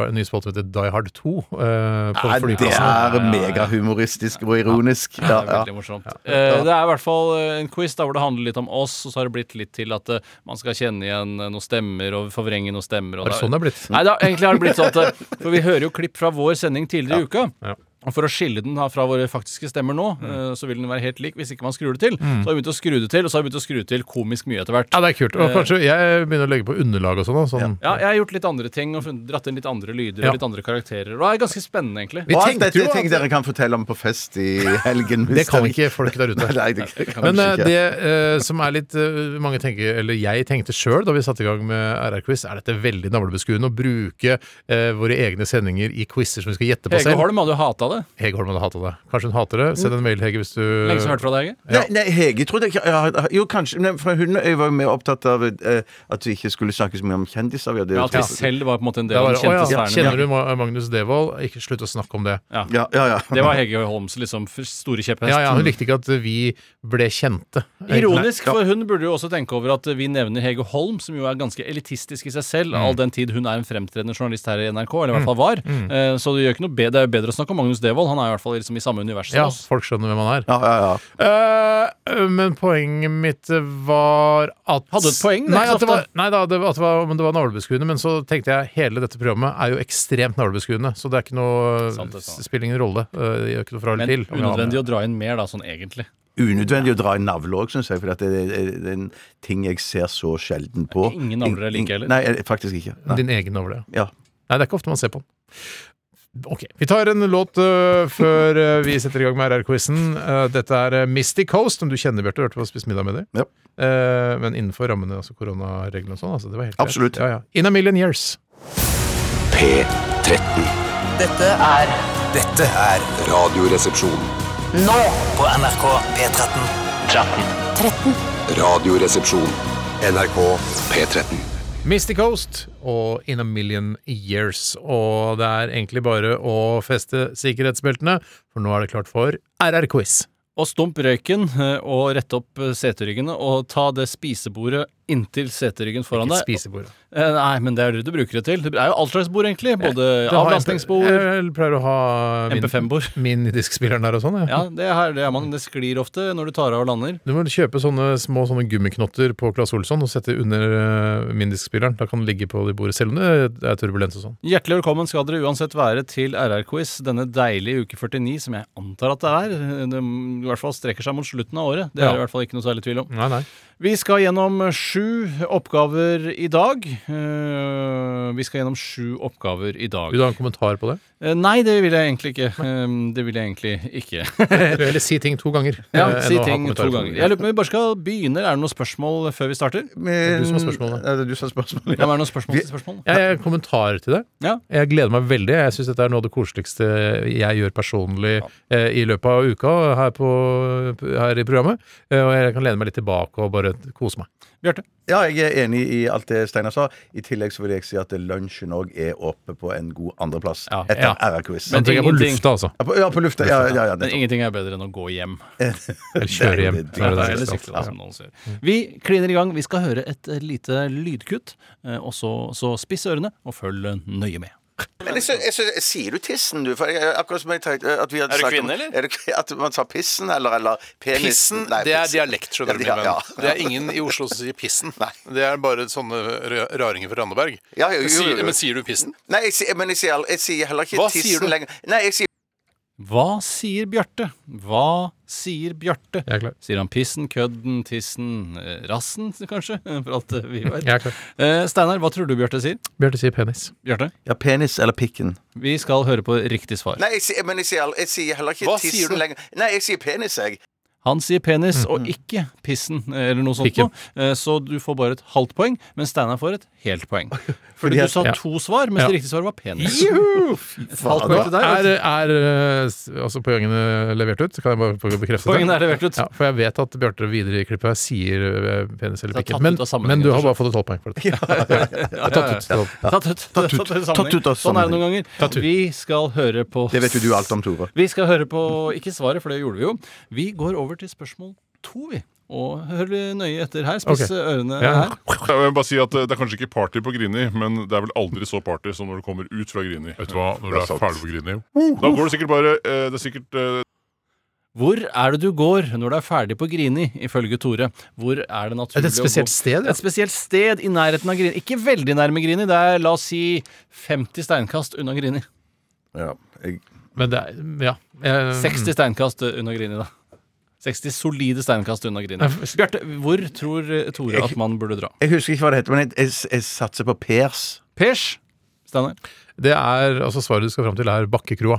E: eh, en ny spalte som heter Die Hard 2 eh, på
G: Nei, det
E: flyplassen.
G: er megahumoristisk og ironisk.
F: Det
G: Ja,
F: er
G: ja.
F: veldig morsomt. Eh, Det er i hvert fall eh, en quiz da hvor det handler litt om oss, og så har det blitt litt til at eh, man skal kjenne igjen eh, noen stemmer og forvrenge noen stemmer. Og
E: Er det sånn det er blitt?
F: Nei, da, egentlig har det blitt sånn at eh, For vi hører jo klipp fra vår sending tidligere i uka.
E: Ja. Mm.
F: Og For å skille den da fra våre faktiske stemmer nå, eh, så vil den være helt lik hvis ikke man skrur det til. Så har vi begynt å skru det til, og så har vi begynt å skru til komisk mye etter hvert.
E: Ja, det er kult. Og kanskje jeg begynner å legge på underlag og sånn. da, sånn.
F: Ja, jeg har gjort litt andre ting og funnet- dratt inn litt andre lyder
E: Ja.
F: og litt andre karakterer. Og det er ganske spennende, egentlig.
E: Vi
G: Og alt
E: tenkte
G: dette
E: jo
G: er ting
E: at-
G: dere kan fortelle om på fest i helgen. hvis
E: Det kan
G: dere-
E: ikke folk der ute.
G: Nei, det kan
E: Men
G: kanskje
E: eh,
G: ikke.
E: det eh, som er litt eh, mange tenker, eller jeg tenkte sjøl da vi satte i gang med RR-quiz, er dette veldig navlebeskuende å bruke eh, våre egne sendinger i quizer som vi skal gjette på
F: Hege
E: selv.
F: Holm hadde jo hata det?
E: Hege Holm hadde hata det. Kanskje hun hater det. Send en mail, Hege, hvis du Eh,
F: Lenge siden jeg hørte fra deg, Hege.
G: Nei, nei, Hege trodde ikke ja, Jo, kanskje. Men for hun jeg var jo mer opptatt av eh, at vi ikke skulle snakke så mye om kjendiser. Vi hadde
F: Ja,
G: jo
F: at vi
G: ja.
F: selv var på en måte en del
E: Det
F: av
E: var,
F: den kjente
E: å, ja.
F: stjernen.
E: Kjenner du Ma- Magnus Devold? Ikke slutt å snakke om det.
G: Ja, ja,
F: Det var Hege Holms liksom f- store kjepphest.
E: Ja, ja, Hun likte ikke at vi ble kjente.
F: Ironisk, for hun burde jo også tenke over at vi nevner Hege Holm, som jo er ganske elitistisk i seg
E: Mm.
F: selv, all den tid hun er en fremtredende journalist her i NRK, eller i hvert fall var.
E: Mm.
F: Eh, Så det gjør ikke noe bedre, det er jo bedre å snakke om Magnus Devold, han er i hvert fall liksom i samme univers som
E: Ja,
F: oss.
E: folk skjønner hvem han er.
G: ja, ja, ja.
E: Eh, men poenget mitt var at
F: Hadde du et poeng? Det er
E: Nei,
F: ikke så
E: at det var,
F: ofte.
E: nei da, det, var- at det var, men det var navlebeskuende. Men så tenkte jeg hele dette programmet er jo ekstremt navlebeskuende. Så det er ikke noe
F: Sant, det er sant.
E: spiller ingen rolle. eh, Det gjør ikke noe fra eller
F: Men
E: til. om jeg har med.
F: unødvendig å dra inn mer, da, sånn egentlig.
G: Unødvendig å dra i navle òg, syns jeg. For at det er- det er en ting jeg ser så sjelden på.
F: Ingen navler er like heller.
G: Nei, eh, faktisk ikke. Nei.
E: Din egen navle.
G: Ja.
E: Nei, det er ikke ofte man ser på den. Ok, Vi tar en låt øh, før øh, vi setter i gang med RR-quizen. dette er øh, Mystic Coast, som du kjenner, Bjarte. Du hørte på å spise middag med dem.
G: Ja.
E: Eh, men innenfor rammene, altså koronareglene og sånn. Altså, det var helt greit.
G: Absolutt.
E: Ja, ja. In a million years.
I: P13.
J: Dette er
I: Dette er
B: Radioresepsjon.
J: nå på NRK P13.
B: Radioresepsjon. NRK P13.
E: Mystic Coast og In a million years. Og det er egentlig bare å feste sikkerhetsbeltene, for nå er det klart for RR-quiz.
F: Og stump røyken, eh, og rette opp eh, seteryggene, og ta det spisebordet inntil seteryggen foran
E: Ikke
F: deg.
E: spisebordet.
F: Eh, Nei, men det er det du bruker det til. Det er jo all slags bord, egentlig. Både
E: Det har
F: avlastningsbord
E: Jeg Eh, jeg pleier å ha min,
F: MP5-bord.
E: min diskspilleren der og sånn. jeg.
F: Ja, det er, det er man. Det sklir ofte når du tar av og lander.
E: Du må kjøpe sånne små sånne gummiknotter på Claes Olsson og sette under uh, mindiskspilleren. Da kan den ligge på det bordet, selv om det er turbulens og sånn.
F: Hjertelig velkommen skal dere uansett være til RR-quiz denne deilige uke 49, som jeg antar at det er. Det i hvert fall strekker seg mot slutten av året. Det er
E: Ja.
F: det i hvert fall ikke noe særlig tvil om.
E: Nei, nei.
F: Vi skal gjennom sju oppgaver i dag. Eh, Vi skal gjennom sju oppgaver i dag.
E: Vil du ha en kommentar på det?
F: Eh, Nei, det vil jeg egentlig ikke. Eh, Det vil jeg egentlig ikke.
E: Eller si ting to ganger.
F: Ja,
E: eh, enn
F: si
E: å ha
F: ting
E: kommentarer
F: to
E: på
F: ganger.
E: det.
F: Jeg lurer på om vi bare skal begynne. Er det noen spørsmål før vi starter?
G: Men,
E: du som har spørsmålet.
G: Ja, det er du som har spørsmålet.
F: Ja, men er det noen spørsmål til spørsmål?
E: Jeg har en kommentar til det.
F: Ja.
E: Jeg gleder meg veldig. Jeg syns dette er noe av det koseligste jeg gjør personlig eh, i løpet av uka her, på, her i programmet. Eh, og jeg kan lene meg litt tilbake og bare kose meg.
F: Bjarte?
G: Ja, jeg er enig i alt det Steinar sa. I tillegg så vil jeg si at lunsjen òg er oppe på en god andreplass
F: Ja.
G: etter
E: Ja.
G: RR-quiz.
E: Men tenker jeg på
F: ingenting-
E: lufta, altså.
G: Ja, på- ja, på lufta. Ja, ja, ja,
F: Men
G: nettopp.
F: ingenting er bedre enn å gå hjem.
E: Eller kjøre hjem.
G: Det er jo det
E: så er
F: Ja,
E: det
F: eller
E: det siste.
F: sykle, da, som noen sier. Vi kliner i gang. Vi skal høre et eh, lite lydkutt, eh, og så, så spiss ørene og følg eh, nøye med.
G: Men jeg sy- jeg sy- sier du tissen, du? For jeg, akkurat som jeg tenkte eh, at vi hadde
K: Er du
G: snakket om-
K: kvinne, eller?
G: Er du, at man sa pissen, eller, eller penisen?
K: Pissen,
G: Nei,
K: det er
G: pissen.
K: dialekt, skjønner du,
G: Ja,
K: min
G: ja.
K: venn. Det er ingen i Oslo som sier pissen. Det er bare sånne rø- raringer fra Randaberg.
G: Ja, jo, jo,
K: Men
G: jo, jo.
K: sier- Men sier du pissen?
G: Nei, jeg, sier- men jeg sier, al- jeg sier heller ikke
K: Hva sier
G: tissen
K: du?
G: lenger. Nei, jeg sier
F: Hva sier Bjarte? Hva sier Bjarte?
E: Jeg er klar.
F: Sier han pissen, kødden, tissen, eh, rassen kanskje? For alt eh, vi vet.
E: Jeg er klar.
F: Eh, Steinar, hva tror du Bjarte sier?
E: Bjarte sier penis.
F: Bjarte?
G: Ja, penis eller pikken.
F: Vi skal høre på riktig svar.
G: Nei, jeg, sier- men jeg sier, al- jeg sier heller ikke
K: Hva sier
G: tissen
K: du?
G: lenger. Nei, jeg sier penis, jeg.
F: Han sier penis og ikke pissen, eh, eller noe sånt
E: Pikken.
F: noe. Eh, Så du får bare et halvt poeng, men Steinar får et helt poeng. Fordi
G: Fordi
F: du
G: at-
F: sa
E: Ja.
F: to svar, mens
E: Ja.
F: det riktige svaret var penis. Et halvt poeng til deg.
E: Er, er eh, s- altså poengene levert ut? Kan jeg bare få bekreftet
F: Poengene er levert ut.
E: Ja, for jeg vet at Bjarte videre i klippet her sier eh, penis eller
F: Det er
E: pikken.
F: tatt
E: Men,
F: ut av sammenhengen,
E: men du har
F: kanskje.
E: bare fått et halvt poeng for det. Jeg har tatt ut, tatt ut.
F: Tatt ut. Tatt ut.
G: Tatt ut av
F: Sånn er det
G: sammenheng.
F: noen ganger.
E: Tatt ut.
F: Vi skal høre på
G: Det vet jo du alt om, Tore.
F: Vi skal høre på Ikke svaret, for det gjorde vi jo. Vi går over til spørsmål to, vi. Og hør nøye etter her. Spiss
E: Ok.
F: ørene
E: Ja.
F: her.
L: Jeg vil bare si at eh, Det er kanskje ikke party på Grini, men det er vel aldri så party som når du kommer ut fra Grini. Vet du hva, når du er ferdig på Grini Da går det sikkert bare eh, Det er sikkert eh,
F: Hvor er det du går når du er ferdig på Grini, ifølge Tore? Hvor er det naturlig
E: Er det et spesielt
F: å gå?
E: sted? Ja?
F: Et spesielt sted i nærheten av Grini. Ikke veldig nærme Grini. Det er la oss si 50 steinkast unna Grini.
G: Ja, jeg,
E: Men det er, ja. Eh,
F: 60 steinkast unna Grini, da. 60 solide steinkast unna Grini. Bjarte, hvor tror eh, Tore at man burde dra?
G: jeg husker ikke hva det heter, men jeg, jeg, jeg satser på pers.
F: Pers? Steinar?
E: Det er, altså Svaret du skal fram til, er Bakkekroa.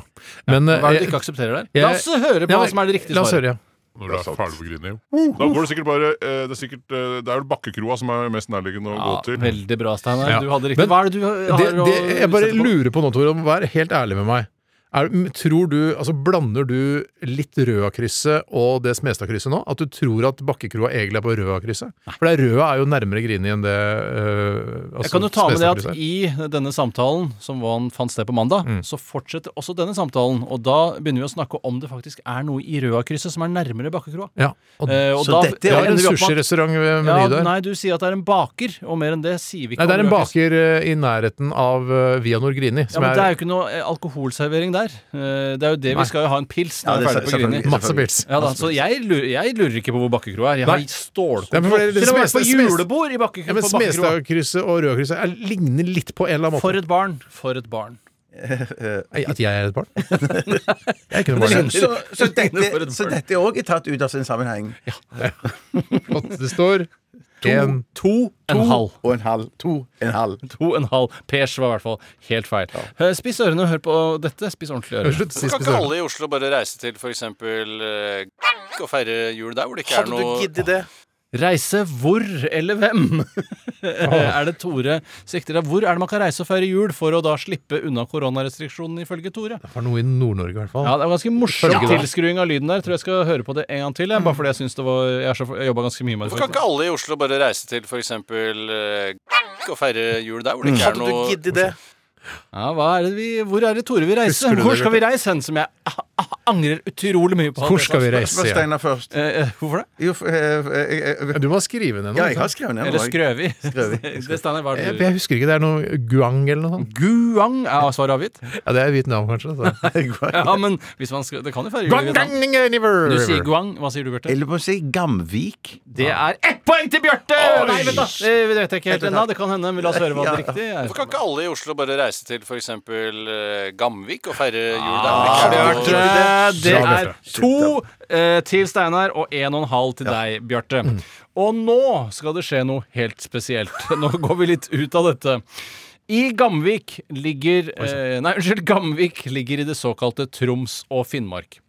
E: Men eh,
F: Hva er det du ikke aksepterer der?
E: jeg-
F: La oss høre på
E: Ja,
F: hva som er det riktige
E: La oss
F: svaret.
E: høre, ja.
L: Når du er ferdig på Grini Da går det sikkert bare eh, Det er sikkert eh, Det er vel Bakkekroa som er mest nærliggende å
F: Ja,
L: gå til.
F: veldig bra, Steinar.
E: Ja.
F: Du hadde riktig.
E: Men
F: Hva er det du har
E: Det, det, jeg bare
F: sette på?
E: lurer på nå, Tore, om vær helt ærlig med meg. Er, m- tror du, altså Blander du litt Røa-krysset og det Smestad-krysset nå? At du tror at Bakkekroa egentlig er på Røa-krysset? For det er Røa er jo nærmere Grini enn det øh,
F: Jeg kan jo ta med det at
E: Smestad-krysset er.
F: i denne samtalen som van- fant sted på mandag,
E: Mm.
F: så fortsetter også denne samtalen. Og da begynner vi å snakke om det faktisk er noe i Røakrysset som er nærmere Bakkekroa.
E: Ja, og-
F: Eh, og
E: Så
F: da-
E: dette er
F: da
E: en
F: ender vi opp med at-
E: sushirestaurant ved meny der.
F: Nei, du sier at det er en baker, og mer enn det sier vi ikke.
E: Nei, det er
F: om
E: en
F: Røakrysset.
E: baker øh, i nærheten av øh, Via Norgrini.
F: Ja, men Det er jo ikke noe eh, alkoholservering der. Eh, Det er jo det
E: Nei.
F: Vi skal jo ha en pils
E: Ja,
F: når vi
E: det
F: er
E: er
F: ferdig på
E: selvfølgelig-
F: Grini.
E: Masse pils.
F: Ja, da, så jeg lurer, jeg lurer ikke på hvor Bakkekroa er. Jeg har
E: Nei.
F: stålkontroll.
E: Ja, men for det- det-
F: Til og med
E: Smestad-
F: på julebord i
E: Ja,
F: Bakkekroa.
E: men
F: på Bakkekroa.
E: Smestadkrysset og Rødkrysset er- ligner litt på en eller annen måte.
F: For et barn. For et barn.
E: Nei, At jeg er et barn? jeg kunne
G: Men det-
E: vært det.
G: Så, så dette, så dette er også tatt ut av sin sammenheng.
E: Flott. Det står
G: To.
E: en,
F: to,
G: To
F: En halv.
G: og en halv. To, en halv.
F: To og en halv. Pers var i hvert fall helt feil. Eh, Spiss ørene og hør på dette. Spiss ordentlig øre.
E: Slutt, si
F: Kan
E: spiss
F: ikke
E: øre.
F: alle i Oslo bare reise til f.eks. og feire jul der hvor det ikke er
K: Hadde
F: noe
K: du giddet det?
F: Reise hvor eller hvem? er det Tore sikter deg? Hvor er det man kan reise og feire jul for å da slippe unna koronarestriksjonene, ifølge Tore?
E: Det var noe i Nord-Norge, i hvert fall.
F: Ja, Det er ganske morsom
E: Ja.
F: tilskruing av lyden der. Tror jeg skal høre på det en gang til. Jeg, bare fordi jeg syns det var Jeg, er så- jeg jobba ganske mye med det.
K: Hvorfor kan ikke alle i Oslo bare reise til f.eks. og feire jul der
E: Mm.
K: hvor det ikke er noe Hadde du giddet det?
F: Ja, hva er det vi, hvor er det Tore vil reise?
E: Husker du det,
F: Hvor skal vi
E: Bjarte?
F: reise hen? Som jeg ah, ah, angrer utrolig mye på.
E: Hvor skal vi reise?
G: Spør Steinar først.
F: Eh, eh, hvorfor det?
G: Jo, for- eh, eh, eh,
E: Du må ha skrevet ned noe.
G: ja, jeg har
E: ikke sant?
G: skrevet ned
F: Eller
G: noe.
F: Skrøvi?
G: Skrøvi.
F: det Steinar, hva er
E: jeg,
F: det
E: jeg husker ikke. Det er noe guang eller noe sånt.
F: du Guang er svaret avgitt.
E: Ja, det er Vietnam, kanskje. altså. Så.
F: Ja, men hvis man skal, det kan jo være
E: Guang,
F: Vietnam.
E: gang, gang, river,
F: Du sier
E: river.
F: Guang. Hva sier du, Bjarte?
G: Eller må jeg si Gamvik.
F: Det er ett poeng til Bjarte! Nei, vent, da. Eh, Det vet jeg ikke helt ennå. Det kan hende. Men la oss høre hva det riktige er.
K: Hvorfor kan ikke alle i Oslo bare reise til f.eks. Gamvik og feire jul der?
F: Ja,
K: hvor det ikke er noe
F: Bjarte. eh, Det
E: Bra,
F: er to eh, til Steinar og en og en halv til deg, Bjarte. Og nå skal det skje noe helt spesielt. Nå går vi litt ut av dette. I Gamvik ligger eh, Nei, unnskyld. Gamvik ligger i det såkalte Troms og Finnmark.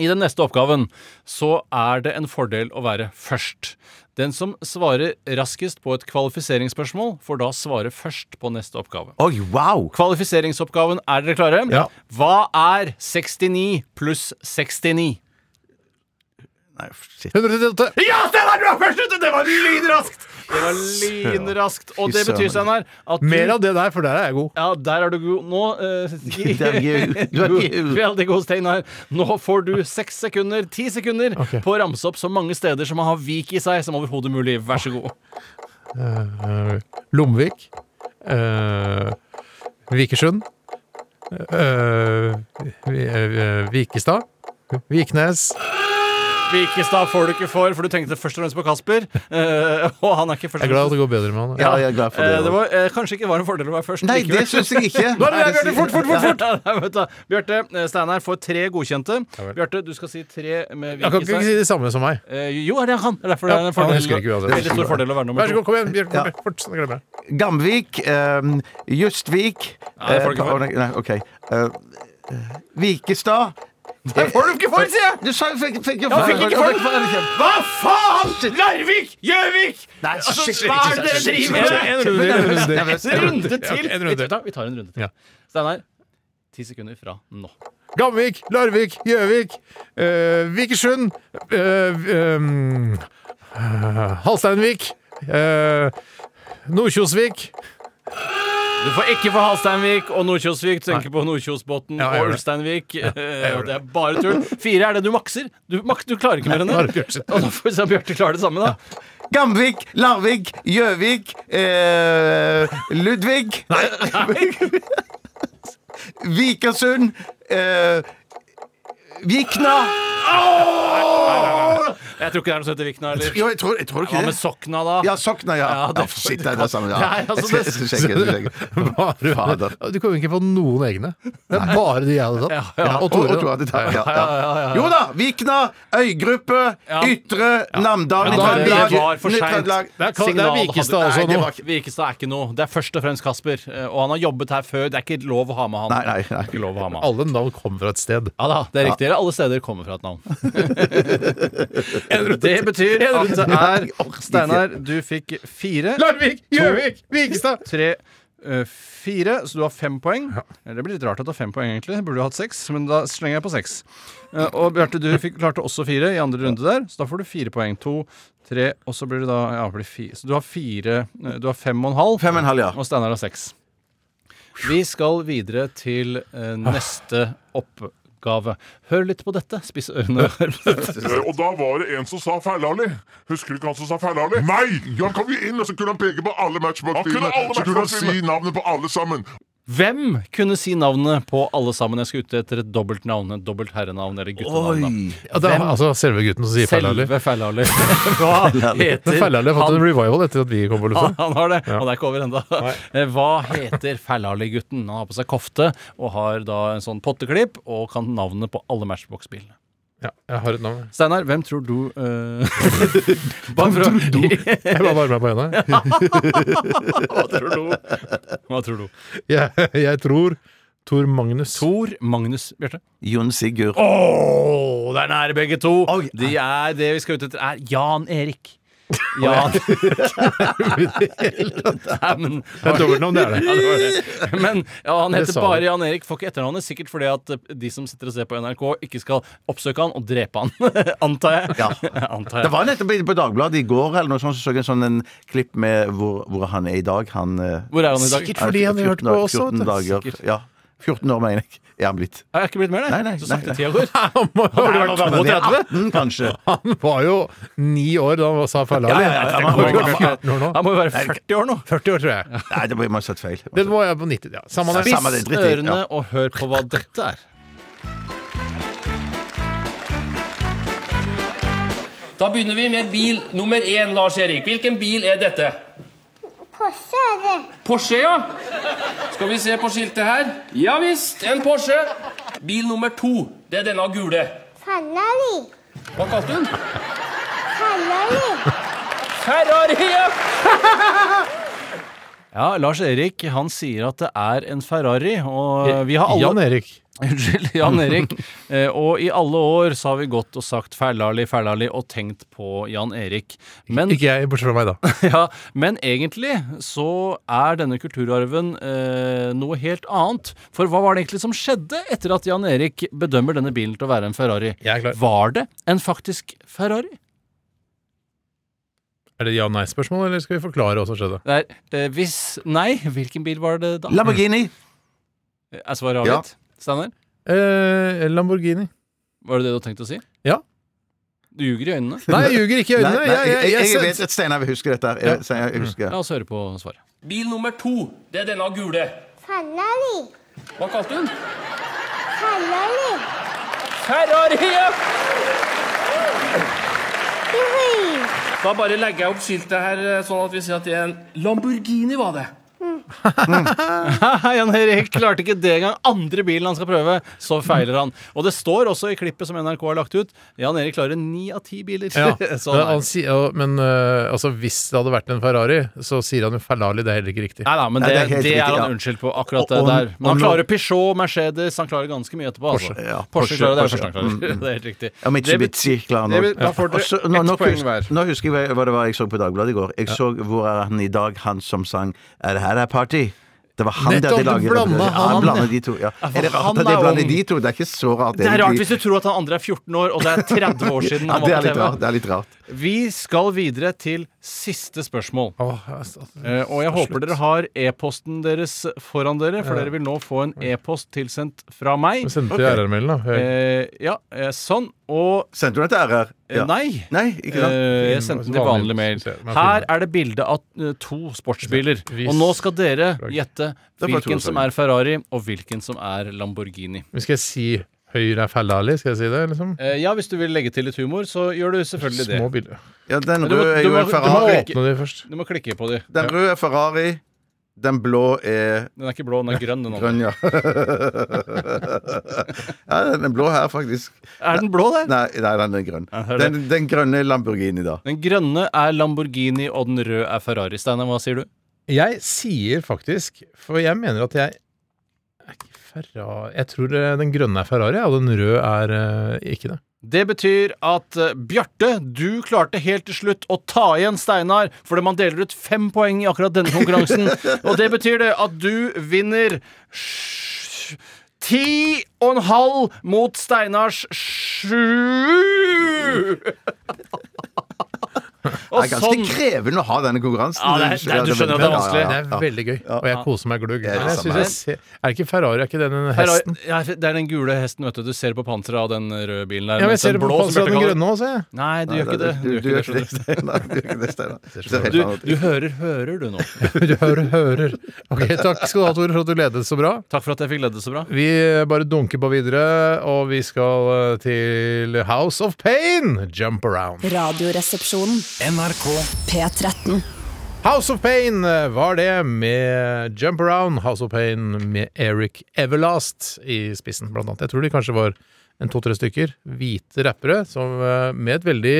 F: I den neste oppgaven så er det en fordel å være først. Den som svarer raskest på et kvalifiseringsspørsmål, får da svare først på neste oppgave.
G: Oi, wow!
F: Kvalifiseringsoppgaven, er dere klare?
E: Ja.
F: Hva er 69 pluss 69?
G: Nei, shit.
E: 138!
F: Ja, Steinar, du er først ute! Det var lynraskt! Det var lynraskt. Og det
G: Fy søren.
F: betyr, Steinar, at du
E: Mer av det der, for der er jeg god.
F: ja, der er du god. Nå eh,
G: Der er du- du er god.
F: Veldig god, Steinar. Nå får du seks sekunder, ti sekunder,
E: Ok.
F: på å ramse opp så mange steder som har Vik i seg som overhodet mulig. Vær så god.
E: Eh, Lomvik. eh, Vikersund. eh, Vi- eh, Vikestad. Viknes.
F: Vikestad får du ikke for, for du tenkte først og fremst på Kasper. eh, og han er ikke først
E: Jeg er
F: og
E: glad at
F: fremst
E: det går bedre med han.
G: Ja, jeg er glad for
F: Eh,
G: det.
F: det var, eh, kanskje ikke var en fordel å være først.
G: Nei,
F: likevel.
G: det syns jeg ikke.
F: Nå er det der,
G: Nei, det
F: Bjarte! Fort, fort,
G: sier-
F: fort! fort. Ja, vent da. Bjarte, eh, Steinar får tre godkjente. Bjarte, du skal si tre med
E: Jeg kan
F: Vik i
E: ikke
F: seg.
E: si det samme som meg.
F: Eh, jo, det er det han kan. Det er derfor det er
E: Ja,
F: en
E: han
F: fordel.
E: husker ikke uansett.
F: Veldig stor fordel å
E: Vær
F: være
E: så
F: nummer to.
E: god, kom igjen. Bjørk, kom
G: Ja.
E: igjen. Fort, så glemmer jeg.
G: Gamvik. ehm, Justvik.
F: Nei, det får du ikke
G: eh,
F: for.
G: Nei, nei, OK. Eh, Vikestad.
F: Nei, får du ikke for, sier jeg!
G: Du sa jo fikk, fikk,
F: Ja, fikk ikke folk. Hva faen?! Larvik! Gjøvik!
G: Nei,
F: Altså,
G: shit,
F: hva er det dere
G: shit,
F: driver med?!
E: En runde, en runde.
F: En runde til!
E: Ja, en
F: Vi
E: runde.
F: tar, vi tar en runde til.
E: Ja.
F: Steinar, ti sekunder fra nå.
E: Gamvik, Larvik, Gjøvik, eh, Vikersund eh, ehm, eh, Halsteinvik eh, Nordkjosvik
F: Du får ikke for Halsteinvik og Nordkjosvik. Du Tenker på Nordkjosbotn
E: Ja, jeg gjør
F: og
E: det.
F: Ulsteinvik. Eh,
E: gjør
F: det er bare tull. Fire er det du makser. Du, mak du klarer ikke mer enn
E: Nei,
F: det.
E: Bjarte, shit.
F: Og da får vi se om Bjarte klarer det samme, da.
G: Gamvik, Larvik, Gjøvik, eh, Ludvig Vikersund eh, Vikna
F: Jeg tror ikke det er noe som heter Vikna heller.
G: Jo, jeg tror, jeg tror
F: Hva
G: ikke
F: med
G: det.
F: Sokna, da?
G: Ja, Sokna, ja.
F: Ja, det-
G: Ah, Shit, det er det samme. Ja.
F: Nei, altså, det-
G: Jeg skal- jeg skal sjekke, jeg skal sjekke.
E: Bare,
G: Fader.
E: Du kommer ikke på noen egne. Det er bare de jeg hadde tatt.
G: Ja,
E: Og Tore. da.
G: hadde tatt, ja, ja. Jo da! Vikna, Øygruppe, Ytre, Namdalen i
F: Men da, det
G: Trøndelag.
F: var for
G: Trøndelag.
F: seint.
E: Det er, det er Vikestad
G: Nei, det
E: også nå.
G: var ikke-
F: Vikestad er ikke noe. Det er først og fremst Kasper. eh, Og han har jobbet her før. Det er ikke lov å ha med han.
G: Nei, nei, nei.
F: Det er Ikke lov å ha med han.
E: Alle navn kommer fra et sted.
F: Ja da, det er riktig. Alle steder kommer fra et navn. det betyr at det er Steinar, du fikk fire.
E: Larvik, Gjøvik, Vikestad
F: Tre eh, fire, så du har fem poeng. Eh, Det blir litt rart at du har fem poeng, egentlig. Burde du hatt seks, men da slenger jeg på seks. Eh, og Bjarte, du fikk, klarte også fire i andre runde der, så da får du fire poeng. To, tre, og så blir det da ja, det blir fire. Så du har fire eh, Du har fem og en halv,
G: Fem og en halv, ja.
F: og Steinar har seks. Vi skal videre til eh, neste oppgave. Hør litt på dette. Spiss ørene. og Hør på dette.
L: Eh, Og da var det en som sa Ferlali. Husker du ikke han som sa Ferlali? Nei! Han kom jo inn, og så kunne han peke på alle matchbox-filmene. Så kunne han si navnet på alle sammen.
F: Hvem kunne si navnet på alle sammen? Jeg skal ute etter et dobbelt navn, et dobbelt herrenavn eller guttenavn.
E: Ja, det er, altså selve gutten som
F: da.
E: sier Feilali.
F: Selve Feilali. Hva
E: Men
F: heter
E: Feilali har fått en
F: han?
E: revival etter at vi kom på
F: Ja,
E: lufta.
F: han har det, og det er ikke over ennå. Hva heter Feilali-gutten? Han har på seg kofte og har da en sånn potteklipp og kan navnet på alle Matchbox-bilene.
E: Ja, jeg har et navn.
F: Steinar, hvem tror du eh, Bare for å
E: Jeg bare varmer meg på henda. jeg.
F: Hva tror du? Hva tror du?
E: Jeg, jeg tror Tor Magnus.
F: Tor Magnus Bjarte.
G: Jon Sigurd.
F: Åh, det er nære begge to. De er det vi skal ut etter, er Jan Erik. Jan Nei, men,
E: Det er dobbeltnavn, det er det.
F: Ja, det var det. Men ja, han
E: Det
F: heter
E: sa
F: bare
E: du.
F: Jan Erik. Får ikke etternavnet. Sikkert fordi at eh, de som sitter og ser på NRK, ikke skal oppsøke han og drepe han. Antar jeg.
G: Ja.
F: Antar
G: Det
F: jeg.
G: var nettopp i- på Dagbladet i går eller noe sånt, så så jeg en sånn en klipp med hvor, hvor han er i dag. Han, eh,
F: Hvor er han i dag?
E: Sikkert fordi han har hørt
G: 14
E: på
G: år-
E: oss
G: 14
E: også.
G: dager. Ja. 14 år, mener jeg. Er han blitt.
F: Jeg er ikke blitt mer, nei.
G: Nei, nei,
F: Så
G: nei,
F: sakte
G: nei.
F: tida går.
E: Han må jo ha vært
G: Han er
E: 32.
G: 18, kanskje.
E: Han var jo ni år da han sa Feilali.
G: Ja, ja, ja, ja, men
E: Han må jo ha
G: han-
E: vært 14 år nå.
F: Han må jo være 40 år nå.
E: 40 år, tror jeg.
G: Nei, det må jeg ha satt feil.
E: Det må jeg på 90. Ja. Samme det.
G: Spiss. Samme det,
F: Biss
G: dritt i,
F: ørene
G: ja.
F: og hør på hva dette er.
M: Da begynner vi med bil nummer én, Lars Erik. Hvilken bil er dette?
N: Porsche er det.
M: Porsche, ja. Skal vi se på skiltet her? Ja visst, en Porsche. Bil nummer to, det er denne gule.
N: Ferrari.
M: Hva kalte du den?
N: Ferrari.
M: Ferrari, ja.
F: Ja, Lars Erik han sier at det er en Ferrari, og eh, vi har alle
E: Eh, Jan Erik.
F: Unnskyld, Jan Erik. Eh, og i alle år så har vi gått og sagt Ferlali, Ferlali og tenkt på Jan Erik. Men,
E: Ikke jeg, bortsett fra meg, da.
F: ja, men egentlig så er denne kulturarven eh, noe helt annet. For hva var det egentlig som skjedde etter at Jan Erik bedømmer denne bilen til å være en Ferrari?
E: Jeg er klar.
F: Var det en faktisk Ferrari?
E: Er det ja-nei-spørsmål, eller skal vi forklare hva som skjedde?
F: Det er, eh, hvis nei, hvilken bil var det da? Eh,
G: Lamborghini.
F: Er svaret
G: Ja.
F: avgitt? Steinar,
E: Eh, Lamborghini.
F: var det det du tenkte å si?
E: Ja.
F: Du ljuger i øynene.
E: Nei, jeg ljuger ikke i
G: Nei,
E: øynene.
G: nei,
E: Jeg, jeg, jeg,
G: jeg, jeg
E: jeg,
G: vet at Steinar vil huske dette. her. Jeg, Steinar, jeg husker.
F: La oss høre på svaret.
M: Bil nummer to, det er denne gule.
N: Ferrari.
M: Hva kalte du den?
N: Ferrari.
M: Ferrari, ja.
N: Juhu.
M: Da bare legger jeg opp skiltet her, eh, sånn at vi ser at det er en Lamborghini, var det.
F: Haha, Jan Erik klarte ikke det engang. Andre bilen han skal prøve, så feiler han. Og det står også i klippet som NRK har lagt ut, Jan Erik klarer ni av ti biler.
E: ja.
F: Så han
E: Men,
F: Sånn er-
E: han sier- ja, men eh, altså, hvis det hadde vært en Ferrari, så sier han jo Ferrari. Det er heller ikke riktig.
F: Nei da, men
G: Nei,
F: det,
G: det er
F: det,
G: helt
F: er
G: riktig,
F: han
G: ja.
F: unnskyld på, akkurat det
G: Og- og-
F: der. Men han
G: og-
F: klarer Peugeot, Mercedes, han klarer ganske mye etterpå. altså.
G: Porsche, ja.
F: Porsche
G: Porsche,
F: klarer det
G: Porsche,
F: første han klarer. Det er helt riktig.
G: Ja, Mitsubishi klarer
F: det
G: nå.
F: vil- da får dere
G: Og så-
F: ett
G: nå,
F: poeng
G: hus-
F: hver.
G: Nå husker jeg hva- hva det var jeg så på Dagbladet i går. Jeg så hvor er han i dag, han som sang 'Er det her er party'? Det var han
E: Nettopp,
G: der de
E: du
G: laget
E: blandet
G: Ja,
E: han.
G: han blander de to. Ja.
F: for
G: Er det
F: han
G: rart at de
F: er
G: blander
F: ung.
G: de to? Det er ikke så rart.
F: Det er rart
G: egentlig.
F: hvis du tror at han andre er 14 år, og det er 30 år siden
G: ja,
F: han
G: det er
F: var
G: litt rart.
F: på TV.
G: Det er litt rart.
F: Vi skal videre til siste spørsmål.
E: Åh, altså,
F: Eh, og jeg håper dere har e-posten deres foran dere, for dere vil nå få en e-post tilsendt fra meg.
E: Send det til RR-mailen, da. Jeg-
F: Eh, ja, eh, sånn. Og
G: Sendte du den til RR?
F: eh,
G: Ja.
F: nei.
G: Nei, ikke sant?
F: Eh, jeg sendte den til vanlig mail. Her er det bilde av eh, to sportsbiler. Og nå skal dere gjette
G: er bare to
F: hvilken som
G: Ferrari.
F: er Ferrari, og hvilken som er Lamborghini.
E: Men Skal jeg si Høyre er Ferrari? Skal jeg si det, liksom?
F: Eh, ja, hvis du vil legge til litt humor, så gjør du selvfølgelig det.
E: Små biler.
G: Ja, den
F: Men du må-
G: røde er
F: du
G: jo
F: må-
G: en
F: du må-
G: Ferrari.
F: Ikke-
E: Åpne de først.
F: Du må klikke på de.
G: Den røde er Ferrari. Den blå er
F: Den er ikke blå, den er grønn. Den andre.
G: grønn, ja. ja, den er blå her, faktisk.
F: er den blå der?
G: Nei, nei den er grønn.
F: Ja, her er det.
G: Den, den grønne Lamborghini, da.
F: Den grønne er Lamborghini, og den røde er Ferrari. Steinar, hva sier du?
E: Jeg sier faktisk, for jeg mener at jeg er ikke Ferrari Jeg tror eh, den grønne er Ferrari, og den røde er eh, ikke det.
F: Det betyr at eh, Bjarte, du klarte helt til slutt å ta igjen Steinar, fordi man deler ut fem poeng i akkurat denne konkurransen. Og det betyr det at du vinner sj- ti og en halv mot Steinars sju.
G: Det er ganske
F: sånn-
G: krevende å ha denne konkurransen.
F: Ja, det er- det er- du skjønner at det er vanskelig.
E: Det er veldig gøy, og jeg koser meg glugg.
G: Det er det
E: Men jeg
G: samme
E: synes jeg ser- er det ikke Ferrari? Er ikke den en hesten?
F: Ferrari- Ja, det er den gule hesten, vet du. Du ser på panseret av den røde bilen der.
E: Ja, men jeg
F: mens
E: ser det på
F: blå, som
E: panseret av den
F: Bjarte kaller-
E: grønne også, jeg.
F: Nei, du gjør ikke det.
G: Du, du gjør ikke det,
F: skjønner du.
G: Steinar. Du gjør ikke det, Steinar. Det er helt
F: Du,
G: annet.
F: du hører, hører du nå.
E: Du hører, hører. Ok, Takk skal du ha, Tore, for at du ledet så bra.
F: Takk for at jeg fikk lede så bra.
E: Vi bare dunker på videre, og vi skal eh, til House of Pain, Jump Around.
A: Radioresepsjonen.
E: NRK.
A: P13.
E: House of Pain eh, var det med Jump Around, House of Pain med Eric Everlast i spissen, blant annet. Jeg tror de kanskje var en to-tre stykker hvite rappere som, eh, med et veldig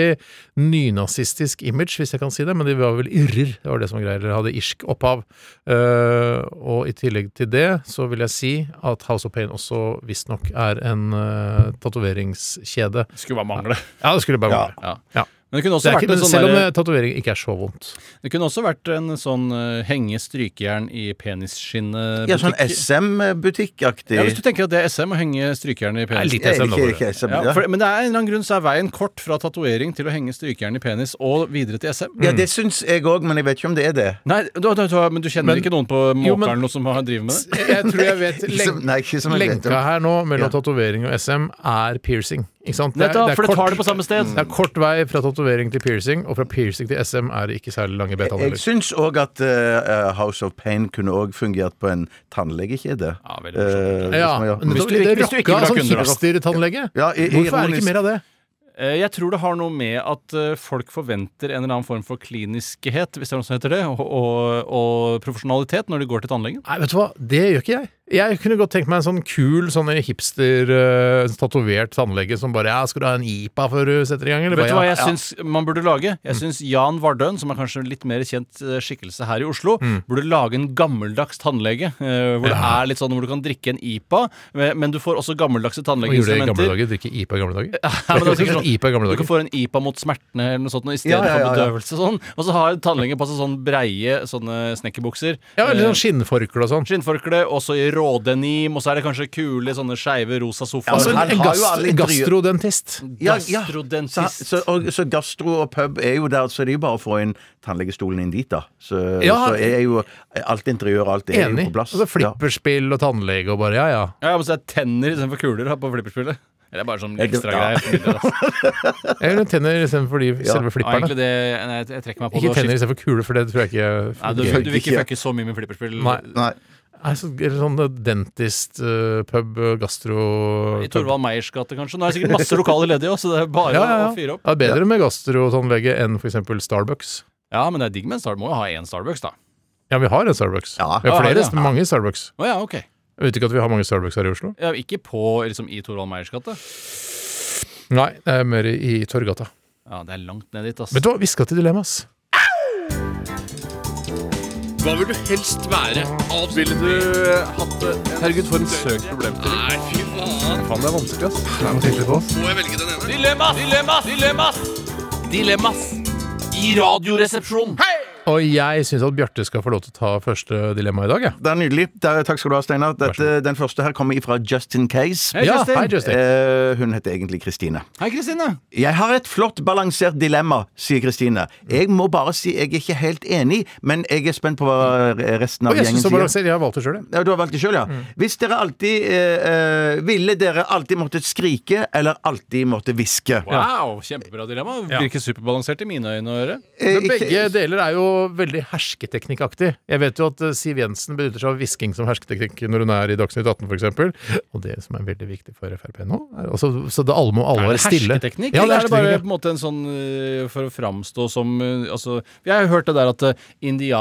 E: nynazistisk image, hvis jeg kan si det, men de var vel irrer, det var det som var greia, eller hadde irsk opphav. Eh, og i tillegg til det så vil jeg si at House of Pain også visstnok er en uh, tatoveringskjede.
F: Skulle bare mangle.
E: Ja, det skulle bare
F: Ja.
E: mangle.
F: Ja.
E: Ja.
F: Men det kunne også
E: er
F: vært
E: ikke,
F: en
E: men
F: sånn
E: Selv om
F: derre-
E: eh, tatovering ikke er så vondt.
F: Det kunne også vært en sånn eh, henge strykejern i penisskinnet
G: Ja, sånn SM-butikkaktig.
F: Ja, Hvis du tenker at det er SM å henge strykejern i penis.
G: Nei, litt SM da, Ikke- bare. ikke SM, ja.
F: ja, for, men det er en eller annen grunn så er veien kort fra tatovering til å henge strykejern i penis og videre til SM.
G: Ja, det syns jeg òg, men jeg vet ikke om det er det.
F: Nei, da- da- da- men du kjenner ikke noen på
G: Jo, men-
F: måkeren noe som har- driver med det?
E: Jeg tror jeg vet
G: Ikke som- nei, ikke som jeg vet om.
E: Lenka her nå
G: Ja.
E: mellom tatovering og SM er piercing. Ikke sant? er-
F: Nettopp,
E: er
F: for det tar
E: kort- Mm.
F: det på samme sted.
E: Det er kort vei fra tatovering til piercing, og fra piercing til SM er det ikke særlig lange
G: Jeg
E: betaen heller.
G: syns òg at eh, House of Pain kunne òg fungert på en tannlegekjede. Eh, Ja,
E: Ja, men hvis du, det rocka sånn hipstertannlege.
G: Ja, i-
E: Hvorfor er det
G: ironisk.
E: ikke mer av det?
F: Eh, Jeg tror det har noe med at eh, folk forventer en eller annen form for kliniskhet, hvis det er noe som heter det, og, og, og profesjonalitet når de går til tannlegen.
E: Nei, vet du hva, det gjør ikke jeg. Jeg kunne godt tenkt meg en sånn kul, sånn hipster-tatovert tannlege som bare ja, 'Skal du ha en IPA før du setter i gang?' eller
F: Vet du
E: bare,
F: hva
E: ja,
F: jeg Mm.
E: ja.
F: syns man burde lage? Jeg syns Jan Vardøen, som er kanskje en litt mer kjent eh, skikkelse her i Oslo, burde lage en gammeldags tannlege. eh, Hvor det er litt sånn hvor du kan drikke en IPA, men men du får også gammeldagse
E: Hva gjorde jeg i gamle
F: tannlegeinstrumenter.
E: dager? Drikke IPA i gamle dager?
F: Ja, men det er sikkert
E: Sikkert IPA i gamle
F: sånn,
E: dager.
F: du kan få en IPA mot smertene eller noe sånt noe, i stedet
E: Ja, ja, ja,
F: for
E: ja.
F: bedøvelse. og Sånn. Og så har tannlegen på seg sånn breie sånne snekkerbukser.
E: Ja, eller
F: Eh,
E: sånn skinnforkle og sånn.
F: Skinnforkle, også i rådenim, og så er det kanskje kule sånne skeive rosa sofaer.
E: Altså, en gast, gastrodentist.
G: Ja, ja.
F: Gastrodentist.
G: Så, så, og, så gastro og pub er jo der, så det er jo bare å få inn tannlegestolen inn dit, da. Så,
E: Ja.
G: så er jo alt interiør og alt er
E: Enig.
G: jo på plass.
E: Altså flipperspill og tannlege og bare ja, ja.
F: Ja, men så er det tenner istedenfor kuler da, på flipperspillet. Eller bare sånn
E: Ja, det-
F: ekstra
E: ja.
F: greier. for midler, altså.
E: Eller tenner istedenfor de selve
F: Ja,
E: flipperne.
F: egentlig det, nei, jeg- jeg trekker meg på
E: Ikke
F: det. og
E: tenner
F: skifter-
E: istedenfor kule, for det tror jeg ikke
F: Nei, du, du vil ikke fucke så mye med flipperspill.
E: Nei. Nei, så, eller sånn dentist, eh, pub, eh, gastro
F: I Torvald Meyers gate, kanskje. Nå er det sikkert masse lokaler ledige, også, så det er bare
E: ja, ja, ja.
F: å fyre opp.
E: Det er bedre med gastrotannlege enn for eksempel Starbucks.
F: Ja, men det er digg med en Starbucks. Må jo ha én Starbucks, da.
E: Ja, vi har en Starbucks. Vi
F: Ja,
E: har flere,
F: ja.
E: men mange Starbucks.
F: Å ja, ok.
E: Jeg vet ikke at vi har mange Starbucks her i Oslo.
F: Ja, ikke på, liksom, i Torvald Meyers gate.
E: Nei, det er mer i Torgata.
F: Ja, det er langt ned dit, ass.
E: Vet du hva, vi skal til dilemmas.
M: Hva vil du helst være? Ville du eh, hatt det? Herregud, for en søk problemstilling. Nei, fy faen.
E: Faen, det er vanskelig, ass.
M: Må jeg velge den ene? Dilemmas! Dilemmas! Dilemmas! Dilemmas i Radioresepsjonen. Hei!
E: Og jeg syns at Bjarte skal få lov til å ta første dilemma i dag, jeg.
G: Det er nydelig. Der, takk skal du ha, Steinar. Dette- Den første her kommer ifra Justin Case.
F: Hei, Ja, Justin. hei, Justin.
G: Eh, hun heter egentlig Kristine.
F: Hei, Kristine.
G: Jeg har et flott balansert dilemma, sier Kristine. Jeg må bare si jeg er ikke helt enig, men jeg er spent på hva resten av
E: Og jeg
G: gjengen
E: synes det var
G: sier.
E: balansert. Jeg har valgt det sjøl, jeg.
G: Ja, du har valgt det sjøl, ja.
E: Mm.
G: Hvis dere alltid eh, eh, Ville dere alltid måttet skrike eller alltid måtte hviske?
F: Wow, kjempebra dilemma. Virker superbalansert i mine øyne å gjøre.
G: Eh,
E: Men begge deler er jo veldig hersketeknikkaktig. Jeg vet jo at eh, Siv Jensen benytter seg av hvisking som hersketeknikk når hun er i Dagsnytt 18 f.eks. Og det som er veldig viktig for Frp nå, er også, så det alle må alle
F: Er
E: være
F: det
E: stille.
F: hersketeknikk,
E: Ja, det
F: eller er det bare
E: hersketeknikk.
F: på en måte en sånn øh, for å framstå som øh, altså, Jeg har jo hørt det der at øh,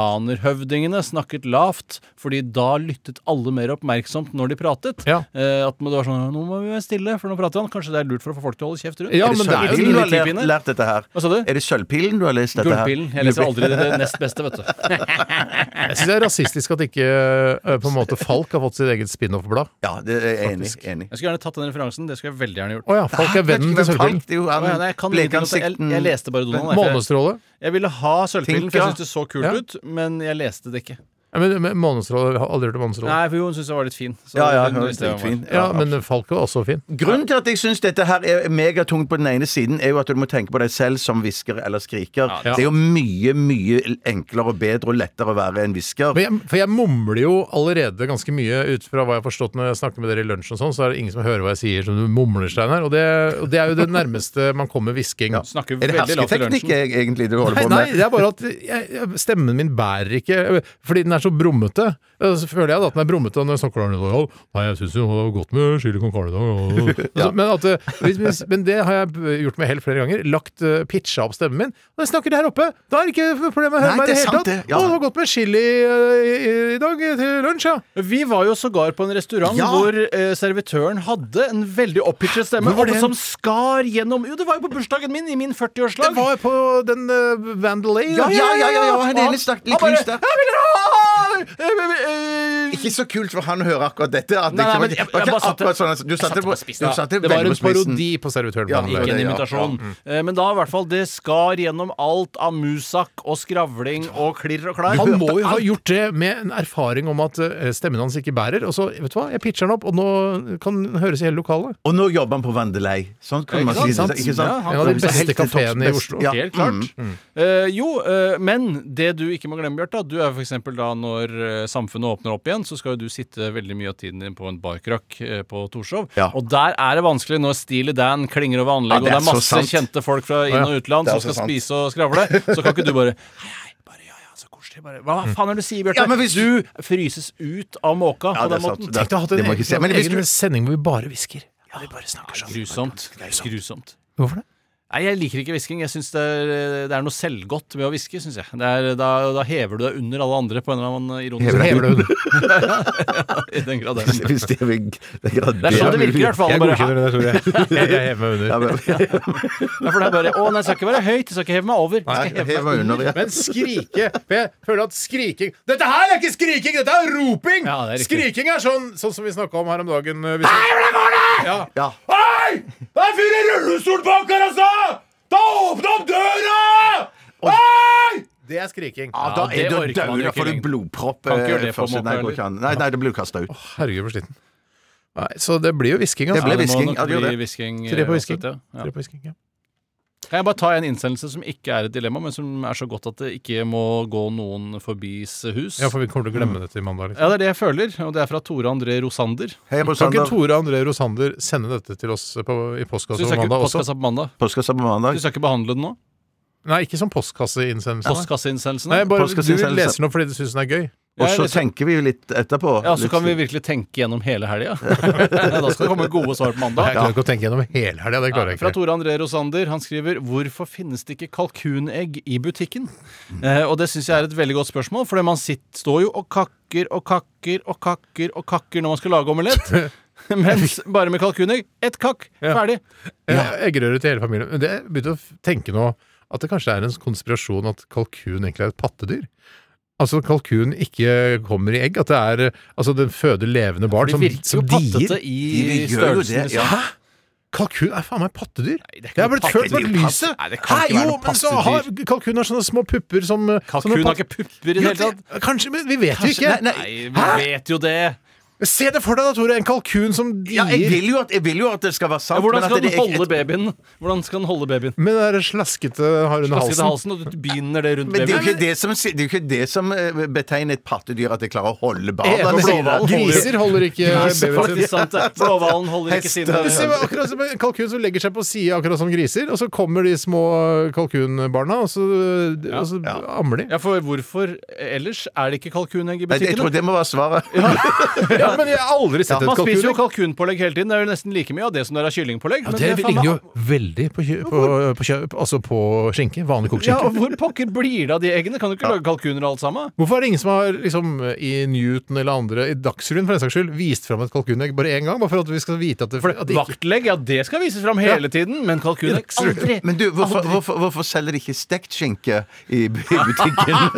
F: indianerhøvdingene snakket lavt, fordi da lyttet alle mer oppmerksomt når de pratet. Eh, at det var sånn Nå må vi være stille, for nå prater han. Kanskje det er lurt for å få folk til å holde kjeft rundt?
G: er det sølvpilen du har lært, lært dette her?
F: Hva sa du?
G: Er det sølvpilen du har lest dette her?
F: Gullpillen. Jeg leser aldri det, det nest beste, vet du.
E: Jeg syns det er rasistisk at ikke eh, på en måte Falk har fått sitt eget spin-off-blad.
G: Ja, det er jeg enig,
F: Faktisk.
G: enig. Ah,
F: Jeg skulle gjerne tatt den referansen. Det skulle jeg veldig gjerne gjort.
E: Å ja, Falk er vennen til Sølvpilen.
F: Å ja, nei, jeg, kan ingenting om det. jeg, jeg leste bare Donald. jeg.
E: Månestråle?
F: Jeg ville ha Sølvpilen, for
E: Tinka.
F: jeg syntes det så kult
E: Ja.
F: ut, men jeg leste det ikke.
E: Ja, men, men Månestråle, jeg har aldri hørt om Månestråle.
F: Nei, for hun syntes jeg var litt fin. så
G: Ja, ja,
F: hun
G: hun er
F: visste jeg
G: dritfin.
F: var.
E: Ja, men Falk var også fin.
G: Grunnen til at jeg syns dette her er megatungt på den ene siden, er jo at du må tenke på deg selv som hvisker eller skriker.
E: Ja.
G: Det er jo mye, mye enklere og bedre og lettere å være en hvisker.
E: Men jeg, for jeg mumler jo allerede ganske mye ut fra hva jeg har forstått når jeg snakker med dere i lunsjen og sånn, så er det ingen som hører hva jeg sier som du mumler, Steinar. Og, det- og det er jo det nærmeste man kommer hvisking.
F: Snakker
G: Er det
F: veldig lavt i
G: hersketeknikk
F: lunsjen.
G: eh, egentlig du holder
E: Nei,
G: på med?
E: nei, det er bare at jeg, jeg, stemmen min bærer ikke Fordi den er så brummete. Eh, Så føler jeg da at den er brummete når jeg snakker om det. Nei, jeg syns jo det var godt med chili con carne i dag. og- Altså, Men, at, eh, hvis- hvis- men det har jeg b- gjort med hell flere ganger. Lagt eh, pitcha opp stemmen min. Og når jeg snakker her oppe, da er det ikke problem å høre
G: Nei,
E: meg i
G: det er
E: det hele
G: sant,
E: tatt.
G: det, ja.
E: Å, det var godt med chili eh, i, i dag eh, til lunsj, ja.
F: Vi var jo sågar på en restaurant
E: Ja.
F: hvor eh, servitøren hadde en veldig opphitchet stemme.
E: Hvor var
F: og
E: det
F: som skar gjennom Jo, det var jo på bursdagen min! I min
E: Det
F: 40-årslag.
E: var på den uh, Vandalay.
G: Ja, ja, ja, ja, ja, han ene snakket litt lyst der. Ikke så kult for han å høre akkurat dette. At det
F: Nei, nei,
G: ikke
F: men
G: var- var
F: jeg- jeg
G: ikke
F: bare satte-
G: akkurat sånn, altså, du satte det på
F: spissen.
G: du satte
E: Det var
G: veldig
E: en
G: på spissen.
E: parodi på servitøren.
G: Ja,
E: Van
G: ikke
F: Ikke
E: Delay.
F: en
G: det, ja.
F: imitasjon. Eh, Men da i hvert fall det skar gjennom alt av musak og skravling og klirr og klær.
E: Han må jo ha gjort det med en erfaring om at eh, stemmen hans ikke bærer. Og så, vet du hva, jeg pitcher den opp, og nå kan den høres i hele lokalet.
G: Og nå jobber han på Vandelei. Sånn kan man
E: Ikke
G: si
E: sant?
G: det. Ikke sant?
E: Ja, han- En av de beste
G: Helt til topps
E: kaféene i
G: best.
E: Oslo.
G: Ja.
F: Helt klart.
G: Mm.
F: Eh, jo, eh, men det du ikke må glemme, Bjarte, at du er for eksempel da når eh, samfunnet åpner opp igjen, så skal jo du sitte veldig mye av tiden din på en barkrakk eh, på Torshov. Og der er det vanskelig når Steely Dan klinger over
G: Ja,
F: anlegg,
G: det er
F: og det er
G: så
F: masse
G: sant.
F: kjente folk fra inn- og
G: Ja,
F: utland
G: det er
F: som skal
G: så sant.
F: spise og skravle. Så kan ikke du bare Hei, hei, bare ja, ja, så koselig, bare Hva
G: Mm.
F: faen er det du sier, Bjarte?
G: Ja, men hvis-
F: Du fryses ut av måka
G: Ja, det
F: på den
G: er sant.
F: måten.
G: Det-
E: Tenk deg å ha hatt
G: det
E: en
G: må jeg ikke si. Men
E: egen,
G: hvis
E: egen
G: du-
E: sending hvor vi bare hvisker.
F: Ja, vi bare snakker sånn. Grusomt. Grusomt.
E: Hvorfor det?
F: Nei, Jeg liker ikke hvisking. Jeg synes det, er- det er noe selvgodt ved å hviske. synes jeg det er, da, da hever du deg under alle andre på en eller annen ironisk
G: Hever deg under.
F: I den grad det er.
G: Hvis det er vegg- det er
F: Det er sånn det virker, i hvert fall. Bare,
E: det, tror jeg. Jeg jeg hever meg under.
G: Ja, men-
F: Ja, for det er bare, Å, nei, jeg skal ikke være høyt. Jeg skal ikke heve meg over. Jeg
G: Nei,
F: skal heve
G: hev
F: meg
G: meg under. Ja.
E: Men skrike For jeg føler at skriking Dette her er ikke skriking, dette er roping!
F: Ja, det er riktig.
E: skriking er sånn, sånn som vi snakka om her om dagen. eh, hvis- Ja. Hei! Det er en fyr i rullestol bak her, altså! Da åpna opp døra! Hei! Det er skriking.
G: Ja, da
F: det
G: er du
F: orker man
G: død,
F: jo
G: da får
F: ikke
G: du
F: lenger.
G: blodpropp.
F: Kan ikke gjøre
G: eh,
F: det på
G: først.
F: måker,
G: Nei, det går ikke an. Nei, nei, det blir kasta ut.
E: Herregud, for sliten. Nei, så det blir jo hvisking, altså.
G: Det ble
F: Ja, det må
G: hvisking.
F: nok
G: Ja, det gjør
F: bli
G: det.
F: hvisking,
E: Tre på
F: eh,
E: hvisking.
F: uansett, ja. Ja.
E: Tre på hvisking, ja.
F: Kan jeg bare ta en innsendelse som ikke er et dilemma, men som er så godt at det ikke må gå noen forbis hus?
E: ja, for vi kommer til å glemme det til mandag. Liksom.
F: Ja, det er det jeg føler, og det er fra Tore André Rosander.
G: Hei,
E: Kan ikke
G: Rosander.
E: Tore André Rosander sende dette til oss på, i
F: Så
E: postkassa
F: du
E: på
F: skal ikke
E: mandag også?
F: postkassa på mandag?
G: Postkassa på
F: Du
G: mandag.
F: skal ikke behandle den nå?
E: Nei, ikke som postkasseinnsendelse. Nei,
F: Postkasseinnsendelsene?
E: bare du
G: Postkasseutsendelser.
E: leser den opp fordi du syns den er gøy.
G: Og
F: Ja,
G: så
F: liksom-
G: tenker vi jo litt etterpå.
F: Ja, så
G: Litt- sånn-
F: kan
E: sånn.
F: vi virkelig tenke gjennom hele helga. da skal det komme gode svar på
E: Jeg
F: mandag.
E: klarer ikke å tenke gjennom hele helga. Det klarer
F: Ja,
E: jeg
F: fra
E: ikke.
F: Tore André Rosander. Han skriver 'Hvorfor finnes det ikke kalkunegg i butikken?' Eh, og det syns jeg er et veldig godt spørsmål, for man sitter, står jo og kakker og kakker og kakker og kakker når man skal lage omelett. Mens bare med kalkunegg ett kakk,
E: Ja.
F: ferdig.
E: Ja. Eggerøre til hele familien. Men det jeg begynte å f- tenke nå at det kanskje er en konspirasjon at kalkun egentlig er et pattedyr. Altså kalkun ikke kommer i egg. At det er eh, Altså den føder levende barn
F: Det
E: som,
F: virker jo
E: som dier.
F: pattete i
G: De gjør jo
F: størrelsen. liksom.
G: det. Ja.
E: Kalkun er faen meg pattedyr!
F: det er
E: jeg
F: ikke
E: har
F: noe
E: blitt ført
F: pattedyr.
E: bak lyset!
F: Nei, det kan ikke være
E: jo,
F: noe
E: men så har kalkun har sånne små pupper som eh, sånne
F: Kalkun har
E: pat-
F: ikke pupper i det hele
E: Jo,
F: tatt.
E: Kanskje, men vi vet jo ikke.
G: Nei,
F: Nei, vi
E: Hæ?
F: vet jo det.
E: Se det for deg da, Tore. En kalkun som dier.
G: Ja, jeg vil, jo at, jeg vil jo at det skal være sant.
F: Ja, hvordan
G: men at
F: skal
G: det
F: den
G: er-
F: holde babyen? Hvordan skal den holde babyen?
E: Med det der slaskete har hun
F: Skal
E: halsen.
F: sitte halsen, og du binder det rundt
G: Men det er jo
F: babyen.
G: ikke det som, det er jo ikke det som eh, betegner et pattedyr, at det klarer å holde
F: Eve
G: barna
F: Blåhval holder jo-
E: Griser holder ikke babyen sin.
F: Faktisk sant det. Blåhvalen holder ikke sine
E: Du ser jo akkurat som en kalkun som legger seg på sida, akkurat som griser. Og så kommer de små kalkunbarna, og så, og så ammer de.
F: Ja, for hvorfor ellers er det ikke kalkunegg i
G: Nei, jeg tror
F: butikkene?
G: det må være svaret.
F: Ja, Ja, men jeg har aldri sett
E: Ja,
F: et
E: man spiser jo
F: kalkun. jo kalkunpålegg hele tiden. Det er jo nesten like mye av det som det er av kyllingpålegg.
E: Ja, det ligner jo veldig på, kjø, på, på, kjø, altså på skinke. Vanlig kokt
F: Ja, og
E: skinke.
F: hvor pokker blir det av de eggene? Kan du ikke
E: Ja.
F: lage kalkuner og alt sammen?
E: Hvorfor er det ingen som har liksom, i Newton eller andre, i Dagsrevyen for den saks skyld, vist fram et kalkunegg bare én gang? Bare for at vi skal vite at det, at det ikke
F: Vaktlegg, ja, det skal vises fram hele tiden, men kalkun er aldri
G: Men du, hvorfor, hvorfor, hvorfor selger de ikke stekt skinke i, i butikken?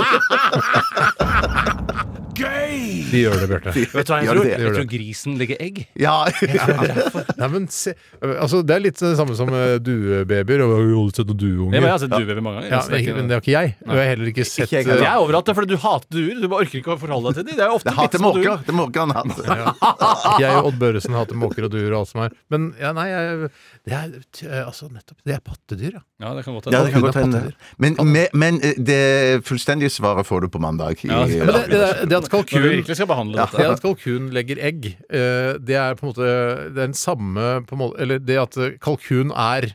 E: Gøy! De gjør det, Bjarte.
F: Vet du hva jeg
E: Gjør
F: tror?
E: det,
F: Jeg
E: gjør
F: tror
E: det.
F: grisen legger egg.
G: Ja.
E: Nei, men se, altså, det er litt det samme som eh, duebabyer. Og, jo, har du sett noen dueunger?
F: Ja, men jeg har sett duebaby mange ganger,
E: Ja,
F: så det er
E: men,
F: ikke-
E: ikke- men det har ikke jeg. Og jeg har heller ikke sett
F: jeg
E: eh,
F: er over at det, fordi du hater duer. Du bare orker ikke å forholde deg til dem. Det er jo ofte bitte små duer.
G: Det måker han hatt.
E: Jeg og Odd Børresen hater måker og duer og alt som er. Men ja, nei, jeg, det er eh, altså nettopp Det er pattedyr, ja.
F: Ja, det kan godt
G: Ja, det kan
E: Kalkun er
G: godt hende.
E: pattedyr.
G: Men, men, men eh, det fullstendige svaret får du på mandag. i-
E: Ja, men det, det, er- det at kalkun
F: Når vi virkelig skal behandle
E: ja,
F: dette.
E: Det at kalkun legger egg, eh, det er på en måte det er den samme på en måte, Eller det at eh, kalkun er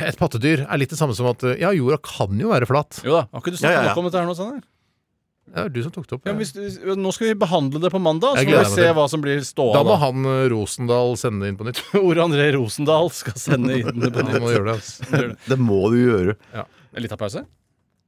E: et pattedyr, er litt det samme som at eh, ja, jorda kan jo være flat.
F: Jo da, har ikke du snakket nok om dette her nå, Sander?
E: Det er du som tok det opp.
F: Ja, men hvis, hvis- nå skal vi behandle det på mandag, så
E: Jeg
F: må
E: gleder
F: vi
E: meg
F: se
E: til.
F: hva som blir ståa
E: Da må han eh, Rosendal sende det inn på nytt.
F: Ole André Rosendal skal sende inn det på
E: Han må
F: nytt.
E: gjøre det, altså.
G: Det må du gjøre.
E: Ja.
F: En liten pause?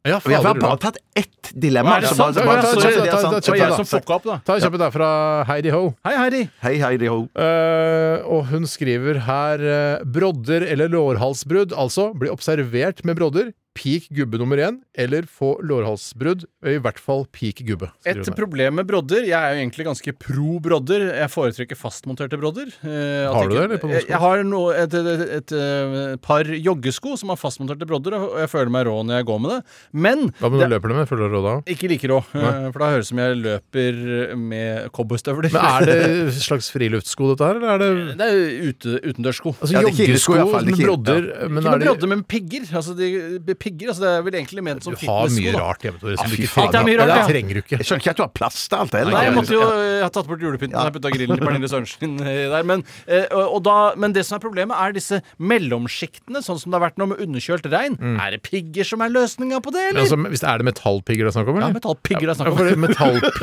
E: Ja,
G: Vi har
E: fader,
G: bare
E: Rudolf.
G: tatt ett dilemma.
E: Er det
G: så
E: sant?
G: bare-
E: Ja,
G: bare-
E: ja,
G: så-
E: sorry,
G: det er
E: ta- ta-
G: sant.
E: ta-
G: Det er
E: ta-
G: sant.
E: ta- Ta en kjapp en der fra Heidi Ho.
F: Hei, Heidi.
G: Hei, Heidi Ho.
E: Eh, og hun skriver her eh, brodder eller lårhalsbrudd, altså bli observert med brodder, peak gubbe nummer én, eller få lårhalsbrudd, eh, i hvert fall peak gubbe.
F: Et
E: skriver hun her.
F: problem med brodder Jeg er jo egentlig ganske pro brodder. Jeg foretrekker fastmonterte brodder. Eh, at
E: Har du
F: ikke-
E: det, eller på noen
F: jeg,
E: sko?
F: jeg har no, et, et, et, et, eh, par joggesko som har fastmonterte brodder, og jeg føler meg rå når jeg går med det. Men
E: Hva med
F: det-
E: du løper du med? Følger du råd av?
F: Ikke like rå,
E: Nei.
F: eh, for da høres det ut som jeg løper med cowboystøvler.
E: Men er det et slags friluftssko, dette her, eller er det
F: Det er jo ute, utendørssko.
E: Altså, Ja, det er joggesko, joggesko i hvert fall, det er med ikke- brodder, ja. men er
F: ikke med
E: det-
F: brodder, men pigger. Altså, de, de pigger altså, det er vel egentlig ment som
E: Du har
F: fitness-sko.
E: mye
F: da.
E: rart hjemme, Tore, som
F: Ja,
E: du
F: fy
E: ikke
F: faen,
E: trenger.
F: det er mye rart, ja.
E: det trenger du ikke.
G: Jeg skjønner ikke at du har plass til alt heller.
F: Nei, jeg måtte jo eh, Jeg har tatt bort julepynten
G: Ja.
F: Jeg har putta grillen til Pernille Sørensen eh, der. Men, eh, og og da, men det som er problemet, er disse mellomsjiktene, sånn som det har vært nå med underkjølt regn.
E: Mm.
F: Er det pigger som er løsninga på det,
E: Men
F: eller?
E: altså, hvis det er det metallpigger det er snakk om? eller?
F: Ja, metallpigger det er snakk om.
E: Ja, for det-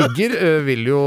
E: metallpigger eh, vil jo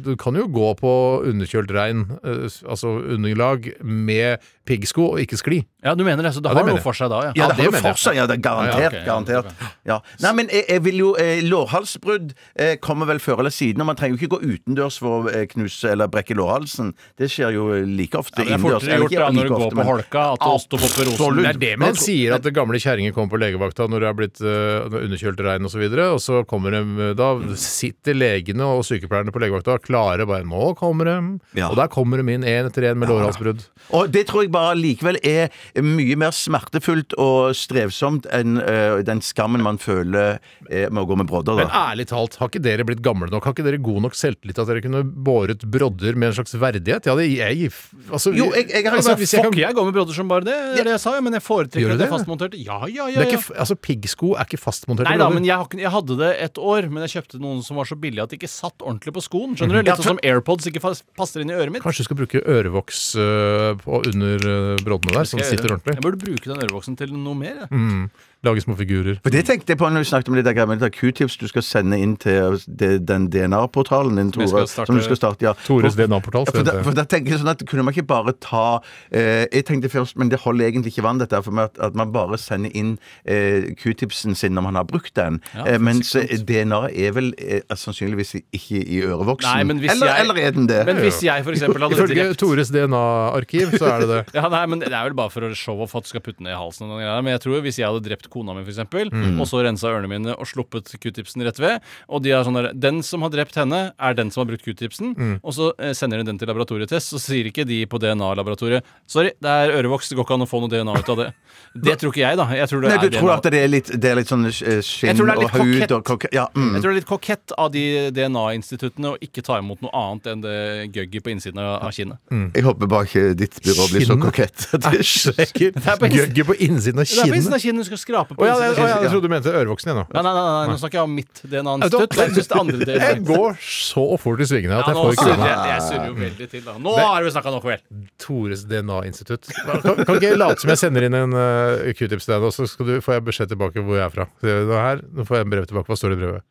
E: Du kan jo gå på underkjølt regn, eh, altså underlag, med piggsko og ikke skli.
F: Ja, du mener det, så det
E: Ja, det
F: har
E: mener
F: noe
E: jeg.
F: for seg da, ja.
G: Ja, det har
E: mener
G: du
E: jeg.
G: for seg. Ja, det er
E: Ja, ja,
G: garantert.
E: ok, ja,
G: garantert. Ja. Nei, men jeg, jeg vil jo eh, Lårhalsbrudd eh, kommer vel før eller siden, og man trenger jo ikke gå utendørs for å eh, knuse eller brekke lårhalsen. Det skjer jo eh, like ofte
F: Ja, det er
G: innendørs.
F: fortere
G: Eller
F: gjort
G: ikke
F: da når
G: like
F: du går
G: ofte,
F: på
G: men-
F: holka at det osteopopper rosen
G: Absolutt.
E: Det er det man sier, at det gamle kjerringer kommer på legevakta når det er blitt eh, underkjølt regn osv., og, så videre, og så kommer de Da sitter legene og sykepleierne på legevakta klare bare Nå kommer de! Og der kommer de inn én etter én med lårhalsbrudd.
G: Og det tror jeg bare likevel er mye mer smertefullt og strevsomt enn eh, den skammen man føler eh, med å gå med brodder,
E: Men
G: da.
E: ærlig talt, har ikke dere blitt gamle nok? Har ikke dere god nok selvtillit at dere kunne båret brodder med en slags verdighet? Ja, det jeg altså,
G: Jo, jeg- jeg har-
E: altså, hvis jeg
F: Fuck,
E: kan,
F: jeg går med brodder som bare det, det er det jeg sa, ja, men jeg
E: Gjør
F: foretrekker
E: du
F: at det
E: det?
F: er fastmontert. Ja, ja,
E: det
F: ja.
E: er
F: ja.
E: ikke, f- altså, piggsko er ikke fastmonterte
F: Nei da,
E: brodder.
F: men jeg, har ikke- jeg hadde det et år, men jeg kjøpte noen som var så billige at de ikke satt ordentlig på skoen. Skjønner du?
E: Ja,
F: Litt
E: for-
F: sånn som AirPods ikke fas- passer inn i øret mitt.
E: Kanskje du skal bruke ørevoks øh, på, under øh, broddene der, så
F: Skal
E: den
F: jeg gjøre
E: sitter
F: det? Jeg
E: ordentlig.
F: burde bruke den ørevoksen til noe mer. jeg.
E: Mm, lage små figurer.
G: For Det tenkte jeg på når vi snakket om det der greia med det der Q-tips du skal sende inn til altså, det, den DNA-portalen din,
E: jeg
G: Tore.
E: skal starte-
G: Som du skal starte, ja.
E: Tores DNA-portal.
G: Ja, for, da, for da tenker jeg sånn at Kunne man ikke bare ta eh, Jeg tenkte først, men det holder egentlig ikke vann, dette her, for meg, at, at man bare sender inn eh, Q-tipsen sin når man har brukt den.
F: Ja,
G: eh, mens
F: sikkert.
G: eh, DNA er vel eh, sannsynligvis ikke i ørevoksen.
F: Nei, men hvis
G: eller,
F: jeg-
G: eller er den det?
F: Men hvis jeg for eksempel hadde
E: Ifølge
F: direkte
E: Tores DNA-arkiv så er det det.
F: ja, nei, men Det er vel bare for å show off at du skal putte den ned i halsen. Og den greia der. men jeg tror hvis jeg hadde drept kona mi, for eksempel,
G: Mm.
F: og så rensa ørene mine og sluppet q-tipsen rett ved Og de er sånn der, Den som har drept henne, er den som har brukt q-tipsen.
G: Mm.
F: Og så eh, sender de den til laboratorietest, så sier ikke de på DNA-laboratoriet Sorry, det er ørevoks, det går ikke an å få noe DNA ut av det. Det tror ikke jeg, da. Jeg tror det
G: Nei, du
F: er
G: tror
F: DNA.
G: at det er litt, det er litt sånn eh, skinn
F: Jeg tror det er
G: og
F: litt
G: hud
F: kokett.
G: og kokke... Ja, mm.
F: Jeg tror det er litt kokett av de DNA-instituttene å ikke ta imot noe annet enn det gøgget på innsiden av av kinnet.
G: Jeg håper bare ikke ditt byrå blir så
E: Skinnet?
G: kokett.
E: Æsj, det er ikke gøgge på innsiden av
F: Det er på
E: kinnet.
F: innsiden av kinnet du skal skrape på.
E: Å ja, jeg,
F: innsiden av
E: å, ja,
F: kinnet.
E: jeg trodde du mente ørevoksen igjen nå.
F: Nei, nei, nei, nei, nå snakker jeg om mitt
E: Vet du hva?
F: DNA-institutt. Jeg synes det andre DNA
E: Jeg går så fort i svingene
F: ja,
E: at jeg
F: nå
E: får ikke
F: surrer
E: det.
F: jeg, jeg surrer jo veldig til, da. Nå
E: Det-
F: har vi snakka nok, vel.
E: Tores DNA-institutt. Kan, kan ikke jeg late som jeg sender inn en eh, q-tips til deg, nå, så skal du, får jeg beskjed tilbake hvor jeg er fra. Se, nå her, nå får jeg en brev tilbake. Hva står det i brevet?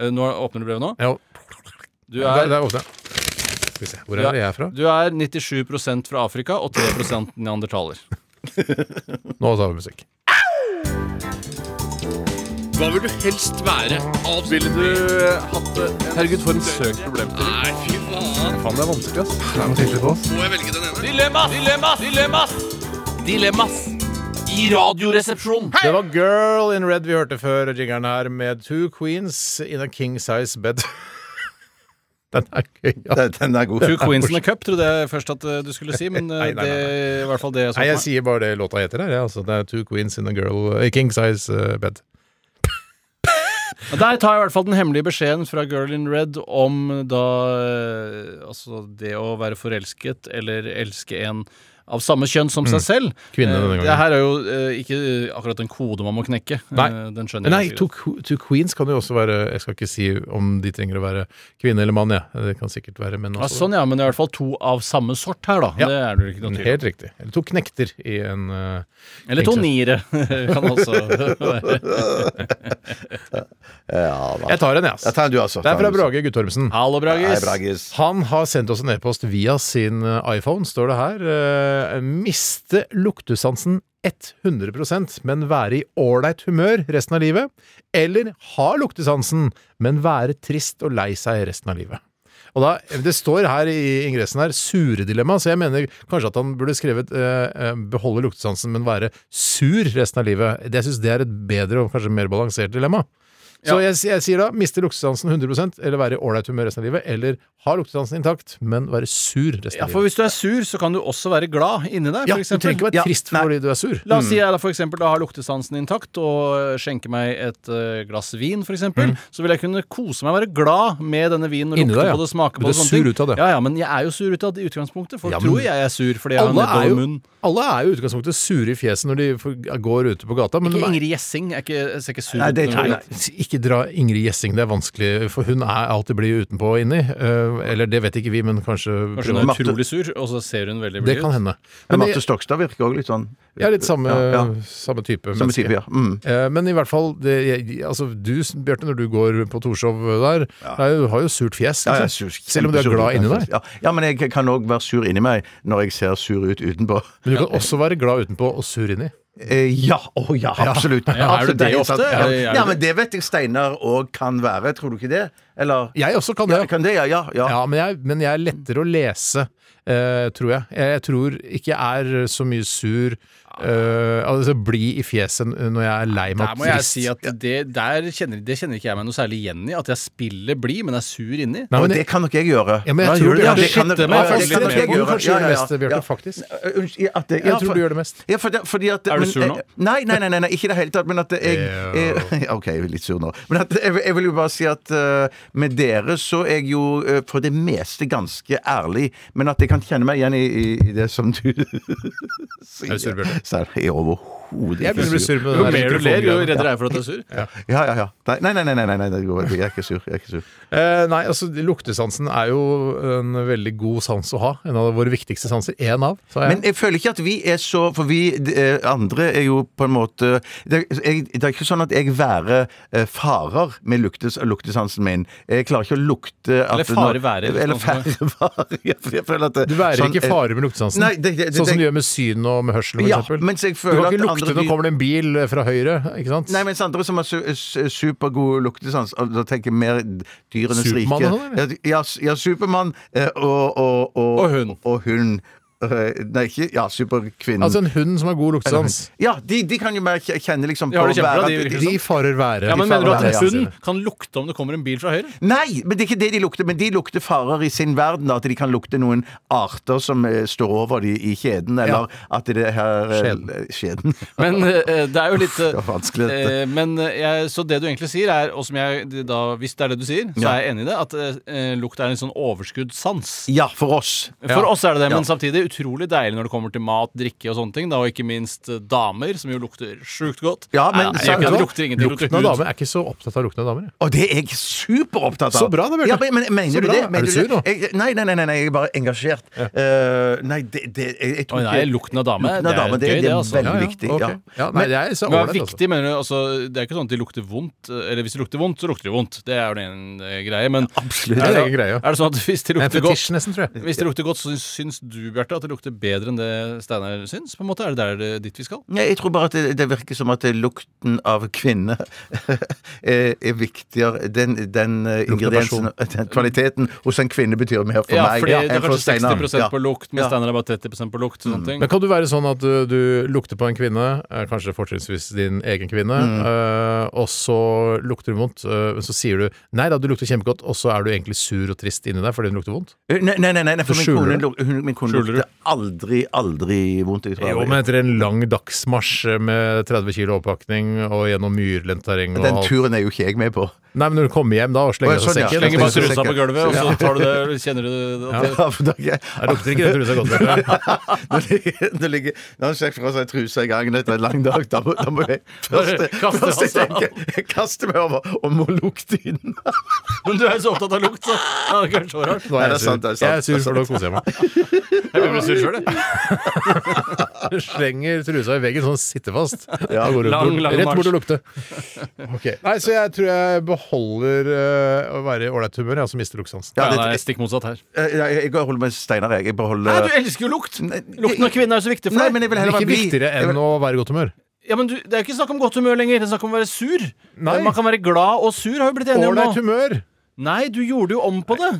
F: Eh, Nå åpner du brevet nå.
E: Ja,
F: Du
E: der,
F: er
E: der åpner jeg. Skal vi se. Hvor er det jeg er fra?
F: Du er 97 fra Afrika og 3 neandertaler.
E: Nå tar vi musikk.
O: Hva vil du helst være? Ville du hatt det? Herregud, for en søk problemstilling. Nei, fy faen.
E: Faen, det er vanskelig, ass. Det er noe tydelig på oss.
O: Må jeg velge den ene? Dilemmas! Dilemmas! Dilemmas! Dilemmas i Radioresepsjonen.
E: Det var Girl in Red vi hørte før jingeren her, med Two Queens in a King Size Bed. Den er gøy. altså.
G: Den, er god.
F: Two Queens in a Cup trodde jeg først at eh, du skulle si, men eh,
E: Nei, nei, nei,
F: det er i hvert fall det jeg så
E: Nei, jeg
F: for meg.
E: sier bare det låta heter her. ja, Altså, det er Two Queens in a girl, eh, King Size eh, Bed.
F: Men Der tar jeg i hvert fall den hemmelige beskjeden fra Girl in Red om da eh, Altså det å være forelsket eller elske en av samme kjønn som seg
E: Mm.
F: selv.
E: Kvinne denne
F: Eh,
E: gangen.
F: Det her er jo eh, ikke akkurat en kode man må knekke. Eh,
E: Nei.
F: Den skjønner
E: Nei,
F: jeg
E: two, Qu- two Queens kan jo også være Jeg skal ikke si om de trenger å være kvinne eller mann, jeg. Det kan sikkert være menn
F: Ja,
E: også.
F: sånn, ja, men det er i hvert fall to av samme sort her, da. Det er det jo ikke noe tvil om.
E: Helt riktig. Eller to knekter i en eh,
F: Eller to
E: King Size.
F: niere kan også være.
E: Jeg tar en, jeg, ass.
G: Jeg tar en, du, altså.
E: Det er
G: Tar
E: fra
G: en, du, altså.
E: Brage Guttormsen.
F: Hallo, Bragis.
G: Hei, Bragis.
E: Han har sendt oss en e-post via sin eh, iPhone, står det her. Eh, Miste luktesansen 100 men være i ålreit humør resten av livet. Eller ha luktesansen, men være trist og lei seg resten av livet. Og da, Det står her i ingressen her 'sure dilemma', så jeg mener kanskje at han burde skrevet eh, eh, 'beholde luktesansen, men være sur resten av livet'. Det- Jeg syns det er et bedre og kanskje mer balansert dilemma. Så jeg, jeg sier da miste luktesansen 100 eller være i ålreit humør resten av livet, eller ha luktesansen intakt, men være sur resten av
F: Ja, for
E: livet.
F: hvis du er sur, så kan du også være glad inni deg,
E: Ja,
F: for
E: du
F: eksempel.
E: trenger ikke være trist fordi du er sur.
F: La oss
E: Mm.
F: si jeg da for eksempel da har luktesansen intakt og eh, skjenker meg et eh, glass vin, for eksempel. Så vil jeg kunne kose meg og være glad med denne vinen og
E: Mm. Inni
F: lukte
E: deg, ja.
F: på det, smake
E: Men du
F: på det.
E: er
F: sånne
E: sur
F: ting.
E: ut av det.
F: Ja, ja, men jeg er jo sur ut av det i utgangspunktet. Folk
E: Ja, men
F: tror jeg er sur fordi jeg har
E: Alle er
F: nedover
E: jo,
F: munn.
E: alle er jo i utgangspunktet sure i fjeset når de får- går ute på gata. Men
F: Ikke
E: de er-
F: Ingrid Gjessing. Jeg, er ikke, jeg ser ikke sur
E: Nei, det,
F: ut.
E: nei,
F: når jeg-
E: nei, ikke dra Ingrid Gjessing, det er vanskelig, for hun er alltid blid utenpå og inni. Eh, eller det vet ikke vi, men kanskje
F: Kanskje hun er utrolig sur, og så ser hun veldig blid ut.
E: Det kan hende.
G: Men
E: jeg-
G: Marte Stokstad virker òg litt sånn
E: ja, litt samme,
G: Ja, ja.
E: samme type
G: Samme type, ja. Mm.
E: Eh, Men i hvert fall, det, jeg- altså, du Bjarte, når du går på Torshov der, det er jo- du har jo surt fjes.
G: Ja, jeg er
E: liksom.
G: sur-
E: Selv om du er
G: kjempesur
E: glad inni
G: utenfor.
E: deg.
G: Ja, ja, men jeg kan òg være sur inni meg når jeg ser sur ut utenpå.
E: Men du kan også være glad utenpå og sur inni.
G: Eh, ja, å ja, absolutt.
E: Ja, er du
G: Absolutt,
E: det
G: er helt
E: ofte,
G: sant.
E: eller er
G: Ja.
E: du-
G: ja, men det vet jeg Steinar òg kan være, tror du ikke det? Eller?
E: Jeg også kan det.
G: Ja, kan det, ja, ja, ja.
E: Ja, men jeg, men jeg er lettere å lese, eh, tror jeg. jeg. Jeg tror ikke jeg er så mye sur, eh, altså blid i fjeset når jeg er lei meg.
F: Der må jeg si at det, der kjenner, det kjenner ikke jeg meg noe særlig igjen i. At jeg spiller blid, men er sur inni.
G: Nei, men det kan nok jeg gjøre.
F: Ja, men jeg tror Bjarte
G: det kan-
F: Shit, det må jeg
G: Ja,
F: faktisk
G: kan nok
F: litt mer
G: jeg
F: på.
G: gjøre.
F: Kanskje gjør det mest, Bjarte,
G: Ja.
E: faktisk.
G: Eh, Unnskyld, at det,
E: Jeg tror du gjør det mest.
G: Ja, for det, fordi at,
E: Er du
G: men-
E: sur nå?
G: eh, Nei, nei, nei, nei, nei, ikke i det hele tatt. Men at jeg, jeg OK, jeg er litt sur nå. Men at, jeg, jeg vil jo bare si at eh, med dere så er jeg jo eh, for det meste ganske ærlig. Men at jeg kan kjenne meg igjen i, i, i det som du sier.
E: Er du sur, Bjarte?
G: Så er jeg overhodet
E: Jeg begynner å bli sur på det
G: Jo mer
E: der
G: du
E: mikrofongreiene.
G: ler, jo reddere er jeg
F: for at du er sur.
G: Ja, ja, ja. ja. Nei, nei, nei, nei, nei, nei, det går veldig- jeg er ikke sur. Jeg er ikke sur.
E: Eh, nei, altså luktesansen er jo en veldig god sans å ha. En av våre viktigste sanser. Én av, sa jeg.
G: Men jeg føler ikke at vi er så For vi eh, andre er jo på en måte Det, er- jeg, det er ikke sånn at jeg værer eh, farer med luktes, luktesansen min. Jeg klarer ikke å lukte at
F: Eller fare
G: når-
F: være, eller
G: Eller
F: sånn.
G: fare være. Jeg, jeg føler at det,
E: du værer
G: sånn,
E: ikke
G: eh,
E: farer med luktesansen,
G: Nei, det, det, det,
E: sånn som du gjør med syn og med hørsel. For
G: Ja,
E: eksempel.
G: mens jeg
E: du
G: føler
E: kan
G: at
E: ikke lukte
G: andre
E: når
G: dyr-
E: kommer det en bil fra høyre, ikke sant?
G: Nei, mens andre som har su eh, su- supergod luktesans, og da tenker jeg mer dyrenes
E: Supermann
G: rike
E: og sånn, eller?
G: Ja, s- ja, Supermann eh, og, og, og
E: Og hund.
G: Og hund. Eh, Nei, ikke Ja, superkvinnen.
E: Altså en hund som har god luktesans.
G: Ja, de, de kan jo mer kje- kjenne liksom
F: De har
G: på
F: det kjempebra,
G: været
F: de,
G: at-
F: virker
E: De liksom. farer være.
F: Ja, men
E: De
F: Mener du
E: farer
F: at
E: være,
F: hunden
E: ja.
F: kan lukte om det kommer en bil fra høyre?
G: Nei, men det er ikke det de lukter. Men de lukter farer i sin verden. da, At de kan lukte noen arter som eh, står over de i kjeden, eller at det her eh, Skjeden.
F: Men eh, det er jo litt eh,
G: Det var vanskelig, dette.
F: eh, men jeg, Så det du egentlig sier, er og som jeg, da, Hvis det er det eh, du sier, så
G: Ja.
F: er jeg enig i det, at eh, lukt er en sånn overskuddssans.
G: Ja, for oss.
F: For oss er det det, men samtidig, er utrolig deilig når det kommer til mat, drikke og sånne ting. Da, og ikke minst eh, damer, som jo lukter sjukt godt.
G: Ja, men-
F: Nei, det, gjør ikke det, det lukter ingenting. det
E: Lukten
F: lukter
E: av
F: hud.
E: damer er ikke så opptatt av lukten av damer. jeg.
G: Og det er jeg superopptatt av.
E: Så bra da, Bjarte.
G: Ja, men, men, mener
E: Så
G: du
E: bra.
G: det?
E: Er
G: Mener
E: du sur nå?
G: Jeg, nei, nei, nei, nei, jeg er bare engasjert. Eh, nei, det, det jeg, jeg tror
F: Å, nei, lukten av dame,
G: Lukten av
F: det er
G: dame, det,
F: gøy,
G: det
F: det,
G: er
F: altså.
G: veldig
F: Ja, ja,
G: viktig.
F: ok.
G: Ja.
F: Ja,
E: nei, det er så
F: Men
E: ålreit, altså.
F: viktig, mener du, altså, det er ikke sånn at de lukter vondt. Eller hvis de lukter vondt, så lukter de vondt. Det er jo en eh, greie. Men
E: Det
F: Er,
E: er en
F: det,
E: egen greie, ja.
F: er det sånn at hvis de
E: En
F: lukter
E: fetisj
F: godt
E: nesten, tror jeg.
F: Hvis det lukter godt, så syns- syns du, Bjarte, at det lukter bedre enn det Steinar syns? På en måte, Er det der det- dit vi skal?
G: Nei, jeg tror bare at det, det virker som at det, lukten av kvinne er, er viktigere. Den, den eh, ingrediensen, den kvaliteten hos en kvinne betyr mer for
F: ja,
G: meg
F: fordi det
G: enn
F: er
G: for
F: kanskje
G: Steinar.
F: 60
G: Ja.
F: på lukt, mens
G: Ja.
F: Steinar er bare 30 på lukt. Sånne ting.
E: Men kan du være sånn at du, du lukter på en kvinne, eh, kanskje fortrinnsvis din egen kvinne,
F: Mm.
E: eh, og så lukter hun vondt, eh, men så sier du nei da, du lukter kjempegodt, og så er du egentlig sur og trist inni deg fordi hun lukter vondt?
G: Eh, Nei, nei, nei, nei, for
E: Så
G: min
E: skjuler
G: kone,
E: du.
G: luk- hun, min kone
E: Skjuler du?
G: lukter aldri, aldri vondt. Jeg tror
E: Jo,
G: aldri.
E: men etter en lang dagsmarsj med 30 kilo oppakning og gjennom myrlendt terreng og
G: Den
E: alt.
G: turen er jo ikke jeg med på.
E: Nei, men når du kommer hjem da og slenger
G: Å,
E: deg til
G: sånn, ja.
E: sekken
G: Slenger
F: bare trusa på gulvet, og så tar du det, kjenner du
E: Ja.
F: at det
G: for da-
E: Jeg lukter ikke den trusa godt. Bjarte.
G: Når det- når det ligger- Når han ser fra seg trusa i gangen etter en lang dag, da må, da må jeg først,
F: Kaste,
G: først jeg
F: altså.
G: tenker Jeg kaster meg over og må lukte i den.
F: Men du er jo så opptatt av lukt, så ja, det er kanskje så rart.
E: Nå
G: Nei, det er
E: er jeg
G: sant, det er
E: sur.
G: sant,
E: Jeg er sur,
G: det er
E: for da
G: sant.
E: koser jeg meg.
F: Jeg blir sur sjøl, jeg.
E: Du slenger trusa i veggen sånn sitter fast.
F: Ja.
E: Da går du
F: Lang,
E: bort-
F: lang
E: rett bort og
F: marsj.
E: lukte. Ok. Nei, så jeg tror jeg beholder eh, å være i ålreit humør, jeg, og så mister luktesansen.
G: Ja, det-
F: Nei, stikk motsatt her.
G: Jeg, jeg, jeg holder med Steinar, jeg. Jeg beholder
F: Nei, du elsker jo lukt! Lukten av kvinne er jo så viktig for
G: Nei,
F: deg.
G: men jeg vil heller
E: Ikke
G: være blid.
E: viktigere enn å være i godt humør.
F: Ja, men du, Det er ikke snakk om godt humør lenger. Det er snakk om å være sur.
E: Nei.
F: Man kan være glad og sur, har vi blitt enige om
E: Ålreit
F: nå.
E: humør.
F: Nei, du gjorde jo om på det.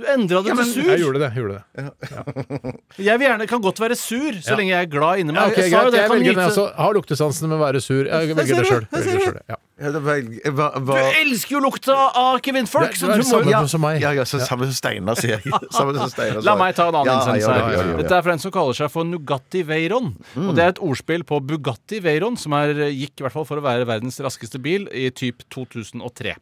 F: Du endra det
E: Ja, men-
F: til
E: Jeg
F: sur.
E: gjorde det. Jeg gjorde det.
F: Jeg vil gjerne, kan godt være sur, så
E: Ja.
F: lenge jeg er glad inni
E: Ja,
F: meg.
E: ok,
F: jeg sa jo
E: greit.
F: det,
E: Jeg
F: kan
E: velger den,
F: nyte-
E: altså. Har luktesansen, men være sur. Jeg velger det sjøl. Ja.
G: Ja, det velger- jeg var-
F: Du
G: var-
F: elsker jo lukta av kvinnfolk, så
E: Det er
F: du
E: det
F: må
E: samme
F: jo
E: som meg.
G: Ja, ja, så samme som Steinar, sier jeg. Samme som Steinar, sa
F: La
G: jeg.
F: meg ta en annen
G: Ja,
F: innsendelse
G: ja,
F: her.
G: ja, ja, ja.
F: Dette er fra en som kaller seg for Nugatti Veyron. Og det er et ordspill på Bugatti Veyron, som er, gikk i hvert fall for å være verdens raskeste bil i typ 2003.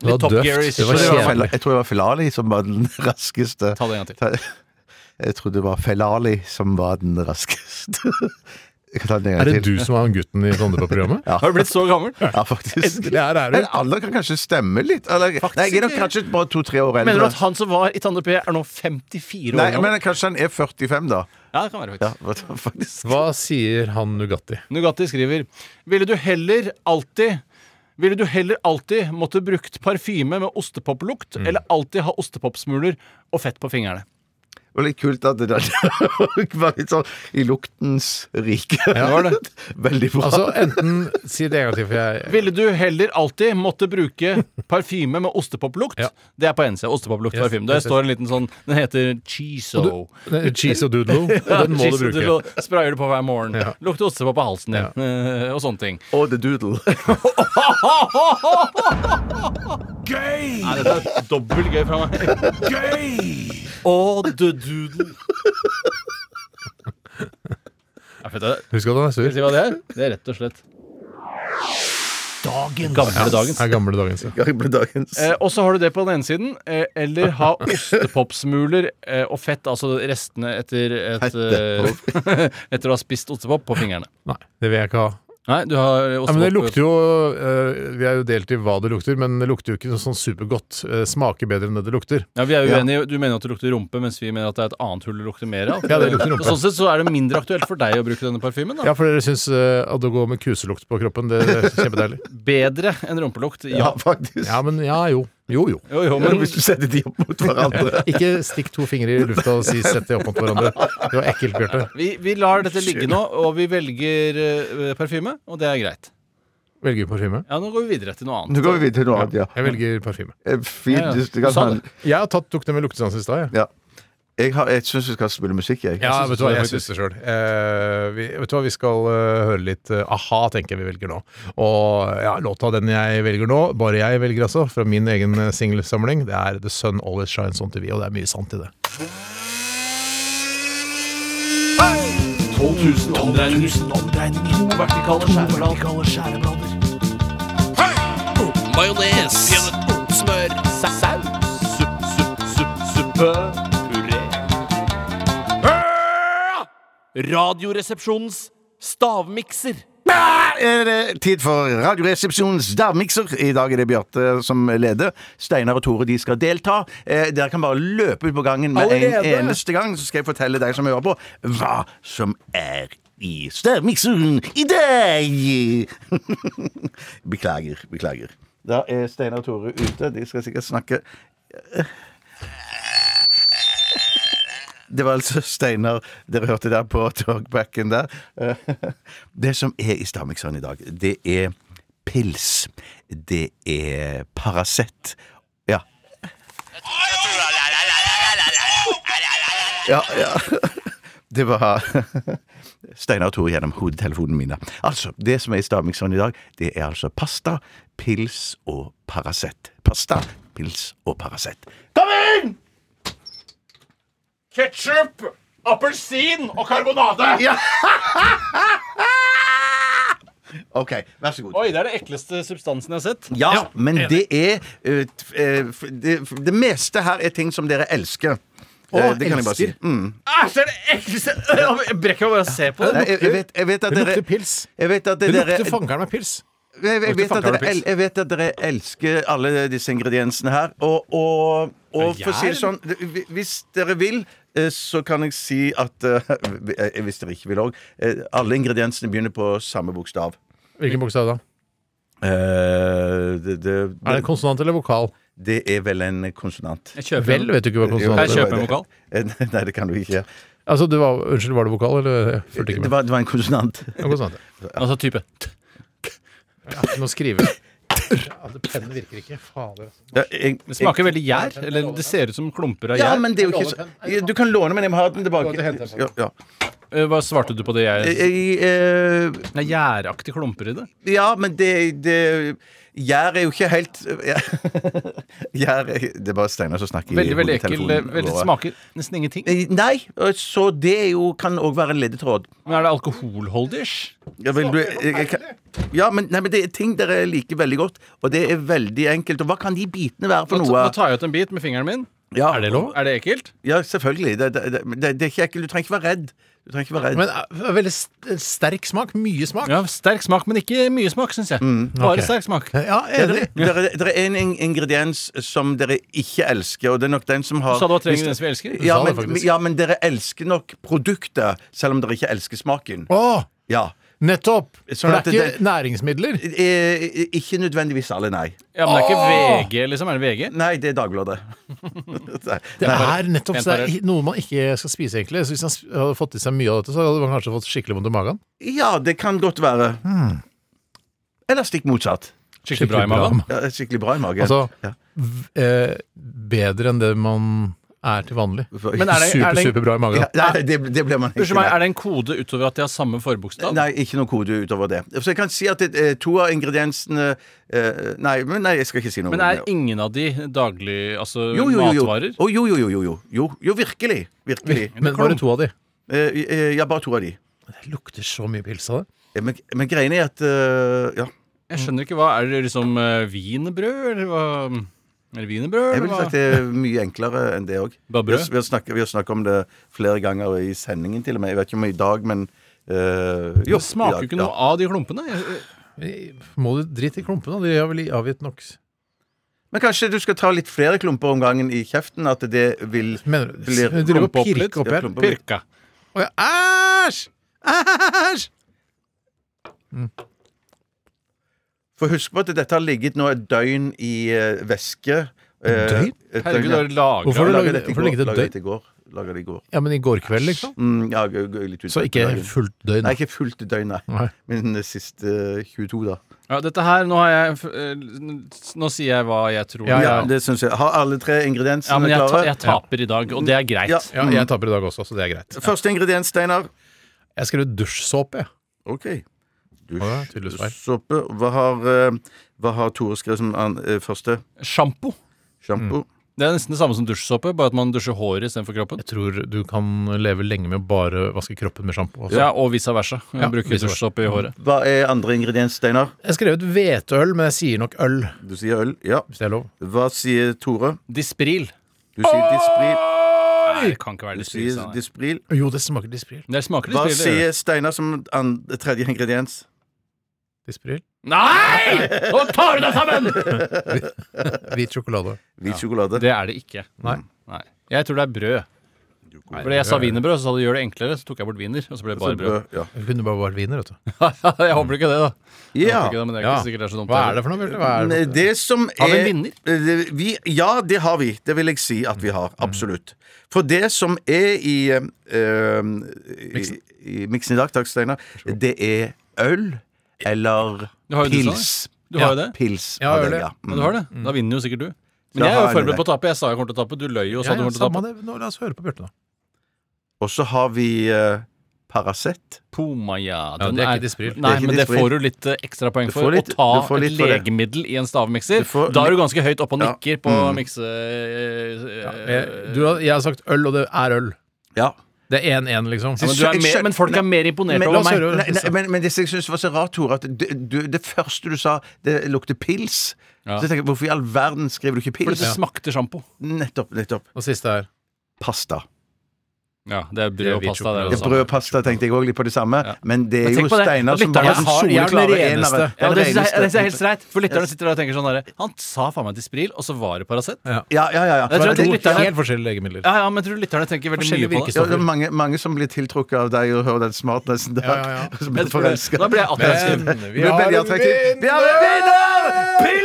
E: Det var
F: Litt Top
E: døvt.
F: Gear-ish.
E: Det var
G: Jeg tror det var
E: kjedelig.
G: Fel- Jeg tror det var Felali som var den raskeste.
F: Ta det en gang til.
G: Ta- Jeg trodde det var Felali som var den raskeste. Jeg kan ta den en gang
E: Er det
G: til.
E: du som er han gutten i Sondre på programmet?
G: Ja.
F: Har du blitt så gammel?
G: Ja, faktisk.
E: Endelig er det
G: Men
E: her.
G: alder kan kanskje stemme litt. Eller, nei, jeg er nok kanskje bare to-tre år
F: Mener du at
G: eldre.
F: han som var i Tande P, er nå 54 år
G: Nei,
F: gammel?
G: men kanskje han er 45, da.
F: Ja, det kan være
G: Ja,
F: faktisk.
G: faktisk.
E: Hva sier han Nugatti?
F: Nugatti skriver Ville du heller alltid ville du heller alltid måtte brukt parfyme med ostepoplukt,
E: Mm.
F: eller alltid ha ostepopsmuler og fett på fingrene?
G: Det var litt kult at det der var litt sånn i luktens rike.
F: var det.
G: Veldig bra.
E: Altså, enten Si det en gang til, for jeg
F: Ville du heller alltid måtte bruke parfyme med ostepoplukt?
E: Ja.
F: Det er på en side. Ostepoplukt
E: Yes,
F: parfyme. Der
E: yes, yes.
F: står en liten sånn Den heter Cheeso.
E: Den Cheese og doodlo, og den må du
F: Cheeso
E: bruke.
F: til å- Sprayer du på hver morgen. Lukter ostepop på halsen din. eh, Og sånne ting.
G: Og the doodle.
F: Gøy! Nei, dette er dobbelt gøy fra meg. Og the doodle. Jeg vet det.
E: Husk at han er
F: Skal vi
E: sur.
F: si hva det er? Det er rett og slett Dagens. Gamle dagens.
E: Er gamle dagens. ja.
G: Gamle dagens.
F: Eh, og så har du det på den ene siden. Eh, eller ha ostepopsmuler eh, og fett, altså restene etter et, eh, Etter å ha spist ostepop på fingrene.
E: Nei, det vil jeg ikke ha.
F: Nei, du har
E: Ja,
F: ostepop
E: men det lukter jo eh, Vi er jo delt i hva det lukter, men det lukter jo ikke noe sånn supergodt. Eh, Smaker bedre enn det det lukter.
F: ja, Vi er uenige. Du mener at det lukter rumpe, mens vi mener at det er et annet hull det lukter mer av.
E: Ja, det lukter rumpe.
F: Sånn sett så er det mindre aktuelt for deg å bruke denne parfymen. da
E: Ja, for dere syns eh, at det går med kuselukt på kroppen, det er kjempedeilig.
F: Bedre enn rumpelukt.
G: Ja,
F: Ja.
G: faktisk.
E: Ja, men ja, jo. Jo, jo.
F: Jo, jo, men
G: Hvis du setter de opp mot hverandre.
E: Ikke stikk to fingre i lufta og si 'sett det opp mot hverandre'. Det var ekkelt, Bjarte.
F: vi, vi lar dette ligge nå, og vi velger eh, parfyme, og det er greit.
E: Velger du parfyme?
F: Ja, Nå går vi videre til noe annet.
G: Nå går vi videre til noe annet, ja.
E: Jeg velger parfyme.
G: Eh, Fint.
F: Ja, Sånn. ja.
G: hvis du
F: Du
G: kan
F: sa
G: ha en-
F: det.
E: Jeg har tatt, tok det med luktesans i stad. jeg.
G: Ja. Jeg, har- jeg syns vi skal spille musikk, jeg.
E: Ja, vet du hva, jeg
G: synes-
E: syns det sjøl. Eh, vi- vet du hva, vi skal eh, høre litt eh, a-ha, tenker jeg vi velger nå. Og ja, låta den jeg velger nå, bare jeg velger altså, fra min egen eh, singelsamling, det er The Sun Always Shines On TV, og det er mye sant i det.
O: 12 000 omdreininger. To vertikale skjæreblader. Majones. Smør. Saus. Suppe. Puré. Radioresepsjonens stavmikser.
G: er det tid for Radioresepsjonens stavmikser. I dag er det Bjarte som leder. Steinar og Tore de skal delta. Eh, dere kan bare løpe ut på gangen med en
P: Allerede?
G: eneste gang, så skal jeg fortelle deg som hører på, hva som er i stavmikseren i dag. beklager, beklager. Da er Steinar og Tore ute. De skal sikkert snakke Det var altså Steinar dere hørte der på talkbacken der. Eh, Det som er i Stamikson i dag, det er pils. Det er Paracet. Ja. Ja, ja. Det var Steinar og Tore gjennom hodetelefonene mine. Altså, Det som er i Stamikson i dag, det er altså pasta, pils og Paracet. Pasta, pils og Paracet. Kom inn!
O: Ketsjup, appelsin og karbonade.
G: OK, vær så god.
F: Oi, det er den ekleste substansen jeg har sett.
G: Ja, men det er eh, t- eh, f- det, f- det meste her er ting som dere elsker.
F: Å,
G: Eh, det kan jeg bare si.
F: elsker.
G: Mm.
F: Æsj, det er det ekleste Jeg brekker bare å se på
G: Nei, jeg, jeg, vet, jeg vet at
F: Det
G: dere
F: lukter
G: pils. Jeg vet at
F: Det
G: dere,
F: lukter
E: fangeren med pils.
G: Jeg, jeg,
E: Det lukter
G: vet at
E: fangeren
G: dere,
E: med pils.
G: el- jeg vet at dere elsker alle disse ingrediensene her. Og, og, og for å si det sånn det- hvi- Hvis dere vil, eh, så kan jeg si at eh, eh, Hvis dere ikke vil òg Alle ingrediensene begynner på samme bokstav.
E: Hvilken bokstav da?
G: Eh, det, det,
E: Er det konsonant eller vokal?
G: Det er vel en konsonant.
E: Jeg kjøper Vel, en- vet du ikke hva
G: Jo,
E: konsonant er. Kan jeg
G: det-
E: kjøpe en vokal?
G: Eh, Nei, det kan du ikke.
E: Altså, det var, Unnskyld, var det vokal? Eller? Jeg fulgte ikke
G: Det
E: med.
G: var, det var en konsonant.
E: En konsonant,
F: Altså type.
E: Ja, nå skriver ja, det- Pennen virker ikke. Fader. altså.
F: Det smaker veldig gjær. Eller det ser ut som klumper av gjær.
G: Ja, men det er jo ikke så Du kan låne, men jeg må ha den tilbake. Ja, ja.
F: Eh, Hva svarte du på det jeg
G: Jeg, eh,
F: Det er gjæraktige klumper i det.
G: ja, men det, det Gjær er jo ikke helt Gjær er Det er bare Steinar som snakker i
F: Veldig veldig ekkel.
G: hodetelefonen
F: eh, Veldig
G: vår.
F: Smaker nesten ingenting.
G: Eh, Nei, eh, så det er jo, kan òg være en ledetråd.
F: Men er det alkoholholdig-ish?
G: Ja, vil du, jeg, jeg, kan- ja men, nei, men det er ting dere liker veldig godt, og det er veldig enkelt. Og hva kan de bitene være for
F: Nå,
G: noe?
F: ta- nå tar jeg ut en bit med fingeren min.
G: Ja.
F: Er det lov? Er det ekkelt?
G: Ja, selvfølgelig. Det, det, det, det det er ikke ekkelt. Du trenger ikke være redd. Du trenger ikke være redd.
E: Men eh, veldig st- sterk smak. Mye smak.
F: Ja, Sterk smak, men ikke mye smak, syns jeg. Bare
G: Mm, Ok.
F: sterk smak.
E: Ja,
G: Ja, det, det, det er en in- ingrediens som dere ikke elsker, og det er nok den som har
F: Du sa det var tre
G: hvis-
F: ingredienser vi elsker. Du
G: Ja
F: sa det
G: men,
F: faktisk.
G: ja, men dere elsker nok produktet, selv om dere ikke elsker smaken.
E: Åh,
G: Ja.
E: Nettopp!
G: Sånn
E: For det er
G: at
E: ikke næringsmidler?
G: Eh, Ikke nødvendigvis alle, nei.
F: Ja, men det er ikke VG, liksom? Er det VG?
G: Nei, det er Dagbladet. Nei.
E: Det
G: Nei.
E: er nettopp så det er i- noe man ikke skal spise, egentlig. Så Hvis han s- hadde fått i seg mye av dette, så hadde man kanskje fått skikkelig vondt i magen.
G: Ja, det kan godt være.
F: Hmm.
G: Eller stikk motsatt.
E: Skikkelig bra i magen?
G: Ja, skikkelig bra i magen.
E: Altså,
G: ja.
E: v- eh, bedre enn det man er til vanlig.
F: Men er det- er
E: super,
F: det-
E: superbra i magen.
G: Ja, nei, det, det ble man ikke
F: Unnskyld meg, er det en kode utover at de har samme forbokstav?
G: Nei, ikke noen kode utover det. Så jeg kan si at eh, to av ingrediensene eh, Nei, men nei, jeg skal ikke si noe.
F: Men er ingen av de daglig Altså
G: jo, jo, jo, jo.
F: matvarer?
G: Å, jo, jo, jo, jo, jo. Jo, jo virkelig. virkelig.
E: Men bare to av de.
G: Eh, eh, ja, bare to av de.
E: Det lukter så mye pils av det.
G: Eh, Men, men greien er at eh, Ja.
F: Jeg skjønner ikke hva Er det liksom eh, wienerbrød, eller hva Eller wienerbrød,
G: Jeg
F: eller
G: ville
F: hva?
G: sagt det er mye enklere enn det òg. Vi,
F: Bare brød?
G: har- vi har snakket- vi har snakket om det flere ganger i sendingen, til og med. Jeg vet ikke om i dag, men eh, jo,
F: det smaker
G: i
F: jo
G: dag,
F: ikke noe
G: ja.
F: av de klumpene. Jeg- jeg-
E: Må du drite i klumpene? De har vel avgitt nok
G: Men kanskje du skal ta litt flere klumper om gangen i kjeften? At det vil
E: Mener du- du driver og pirker opp her?
G: Pirka.
E: Å ja, æsj! Æsj!
G: For husk på at dette har ligget nå et døgn i eh, væske. Eh,
E: Døgn?
G: et ja.
E: Herregud, det er lagret. Hvorfor har du laget-
G: Laget dette i
E: hvorfor
G: går,
E: ligget det et
G: laget
E: døgn?
G: dette i går. Laget det i går.
E: Ja, men i går kveld, liksom?
G: Mm, ja, g- g- litt ut
E: Så ikke
G: dagen.
E: fullt døgn?
G: Nei, ikke fullt døgn, nei.
E: Nei.
G: Men eh, siste eh, 22, da.
F: Ja, dette her, nå har jeg f- eh, Nå sier jeg hva jeg tror.
G: Ja, det synes jeg. Har alle tre ingrediensene
F: Ja, men jeg, ta,
G: klare?
F: jeg taper i dag, og det er greit.
G: Ja.
E: Ja, jeg taper i dag også, så det er greit.
G: Første ingrediens, Steinar.
E: Jeg skrev dusjsåpe, jeg.
G: OK.
E: Ja, tydeligvis feil.
G: Såpe. Hva har, eh, hva har Tore skrevet som an, eh, første?
F: Sjampo.
G: Sjampo.
F: Det er nesten det samme som dusjsåpe, bare at man dusjer håret istedenfor kroppen.
E: Jeg tror du kan leve lenge med å bare vaske kroppen med sjampo. altså.
F: Ja, og vice versa. Jeg
E: Ja,
F: bruker
E: vice versa.
F: dusjsåpe i håret.
G: Hva er andre ingrediens, Steinar?
E: Jeg skrev ut hveteøl, men jeg sier nok øl.
G: Du sier øl. Ja.
E: Hvis det er lov.
G: Hva sier Tore?
F: Dispril.
G: Du sier dispril.
F: Nei, det kan ikke være
G: Du
F: Dispril, sa
G: sier
F: han.
G: Dispril.
E: Jo, det smaker Dispril.
F: Det smaker
G: Hva
F: Dispril, det gjør
G: sier Steinar som an- tredje ingrediens?
E: Dispril?
F: Nei! Nå tar du deg sammen!
E: Hvit sjokolade.
G: Hvit sjokolade.
F: Det er det ikke.
E: Nei.
F: Jeg tror det er brød. Fordi jeg sa wienerbrød, så sa du gjør det enklere, så tok jeg bort wiener, og så ble det bare brød.
E: Det kunne bare vært wiener, vet du.
F: jeg håper ikke det, da. Jeg
G: Ja.
F: håper ikke det, men det er
E: Ja.
F: ikke sikkert det er så dumt.
E: Hva er
F: heller.
E: det for noe, Bjarte? Hva er
G: Nei, eh, Det som er eh,
F: Har vi en vinner?
G: det- Vi, ja, det har vi. Det vil jeg si at vi har.
F: Mm.
G: Absolutt. For det som er i eh, i- i miksen i dag, takk Steinar, det er øl eller
F: Du har jo du sa det.
G: pils.
F: Du har jo det.
G: Pils.
F: Ja,
G: av
F: øl,
G: den,
F: ja.
G: Mm.
F: Men du har det. Da vinner jo sikkert du.
G: Da
F: Men jeg er
G: har
F: jo
G: jeg
F: forberedt
G: det.
F: på å tappe. Jeg sa jeg kommer til å tappe. Du løy jo og
E: Ja,
F: sa du
E: ja,
F: kommer til å
E: samme
F: tappe.
E: det. Nå, la oss høre på Bjarte, da.
G: Og så har vi eh, Paracet.
F: Pomaja.
E: Ja,
F: den
E: det er ikke Dispril.
F: Nei,
G: Det er ikke
F: men det
G: Dispril.
F: får du litt eh, ekstra poeng
G: Du
F: for.
G: får litt-
F: å ta
G: du får
F: et
G: litt for det.
F: legemiddel i en stavmikser.
G: får
F: Da er du
G: litt-
F: ganske høyt oppe og
G: Ja.
F: nikker på
G: Mm.
F: mikse... eh,
E: Jeg, du, har- jeg har sagt øl, og det er øl.
G: Ja.
E: Det er 1-1, liksom.
F: Ja, men, du er
G: Jeg
F: mer,
G: skjønner-
F: men folk er mer imponert
G: Men,
F: over
E: la oss
F: meg.
E: høre.
G: nei, nei, men, men det som jeg syns var så rart, Tore, at du, du, det første du sa, det lukter pils.
F: Ja.
G: Så jeg tenker, Hvorfor i all verden skriver du ikke
F: For
G: pils?
F: det smakte sjampo.
G: Nettopp, nettopp.
E: Og siste er
G: Pasta.
F: Ja, det er
E: Det
F: brød
E: er
F: og
E: hvit
F: pasta. Det
E: sjokolade.
F: er
G: Ja,
F: det
G: brød
F: samme.
G: og pasta tenkte jeg òg litt på det samme, men det er
F: Men tenk
G: jo
F: på det.
G: Steinar som
F: Lytterne
G: har den
F: har- jeg er
G: soleklare
F: den
G: eneren. Den
F: reneste. Ja, det synes jeg- det synes jeg er helt
G: reneste.
F: greit. For lytterne sitter der og tenker sånn derre Han sa faen meg Dispril, og så var det Paracet. Ja.
G: Ja, ja, ja. ja.
F: Jeg tror
E: To
F: det lytterne-
E: helt forskjellige legemidler.
F: ja, men jeg tror lytterne tenker veldig mye
E: Forskjellige
F: på
G: Ja, det
F: det.
E: virkestoffer.
G: er mange, mange som blir tiltrukket av deg og hører den smartnessen der.
E: Ja, ja, ja.
G: Som
F: Jeg
G: blir
F: tror det-
G: forelska.
F: Da ble jeg attraktiv.
E: Men
G: Vi
E: vi har
G: veldig
E: en
G: attraktive.
E: vinner!
G: Vi har en vinner!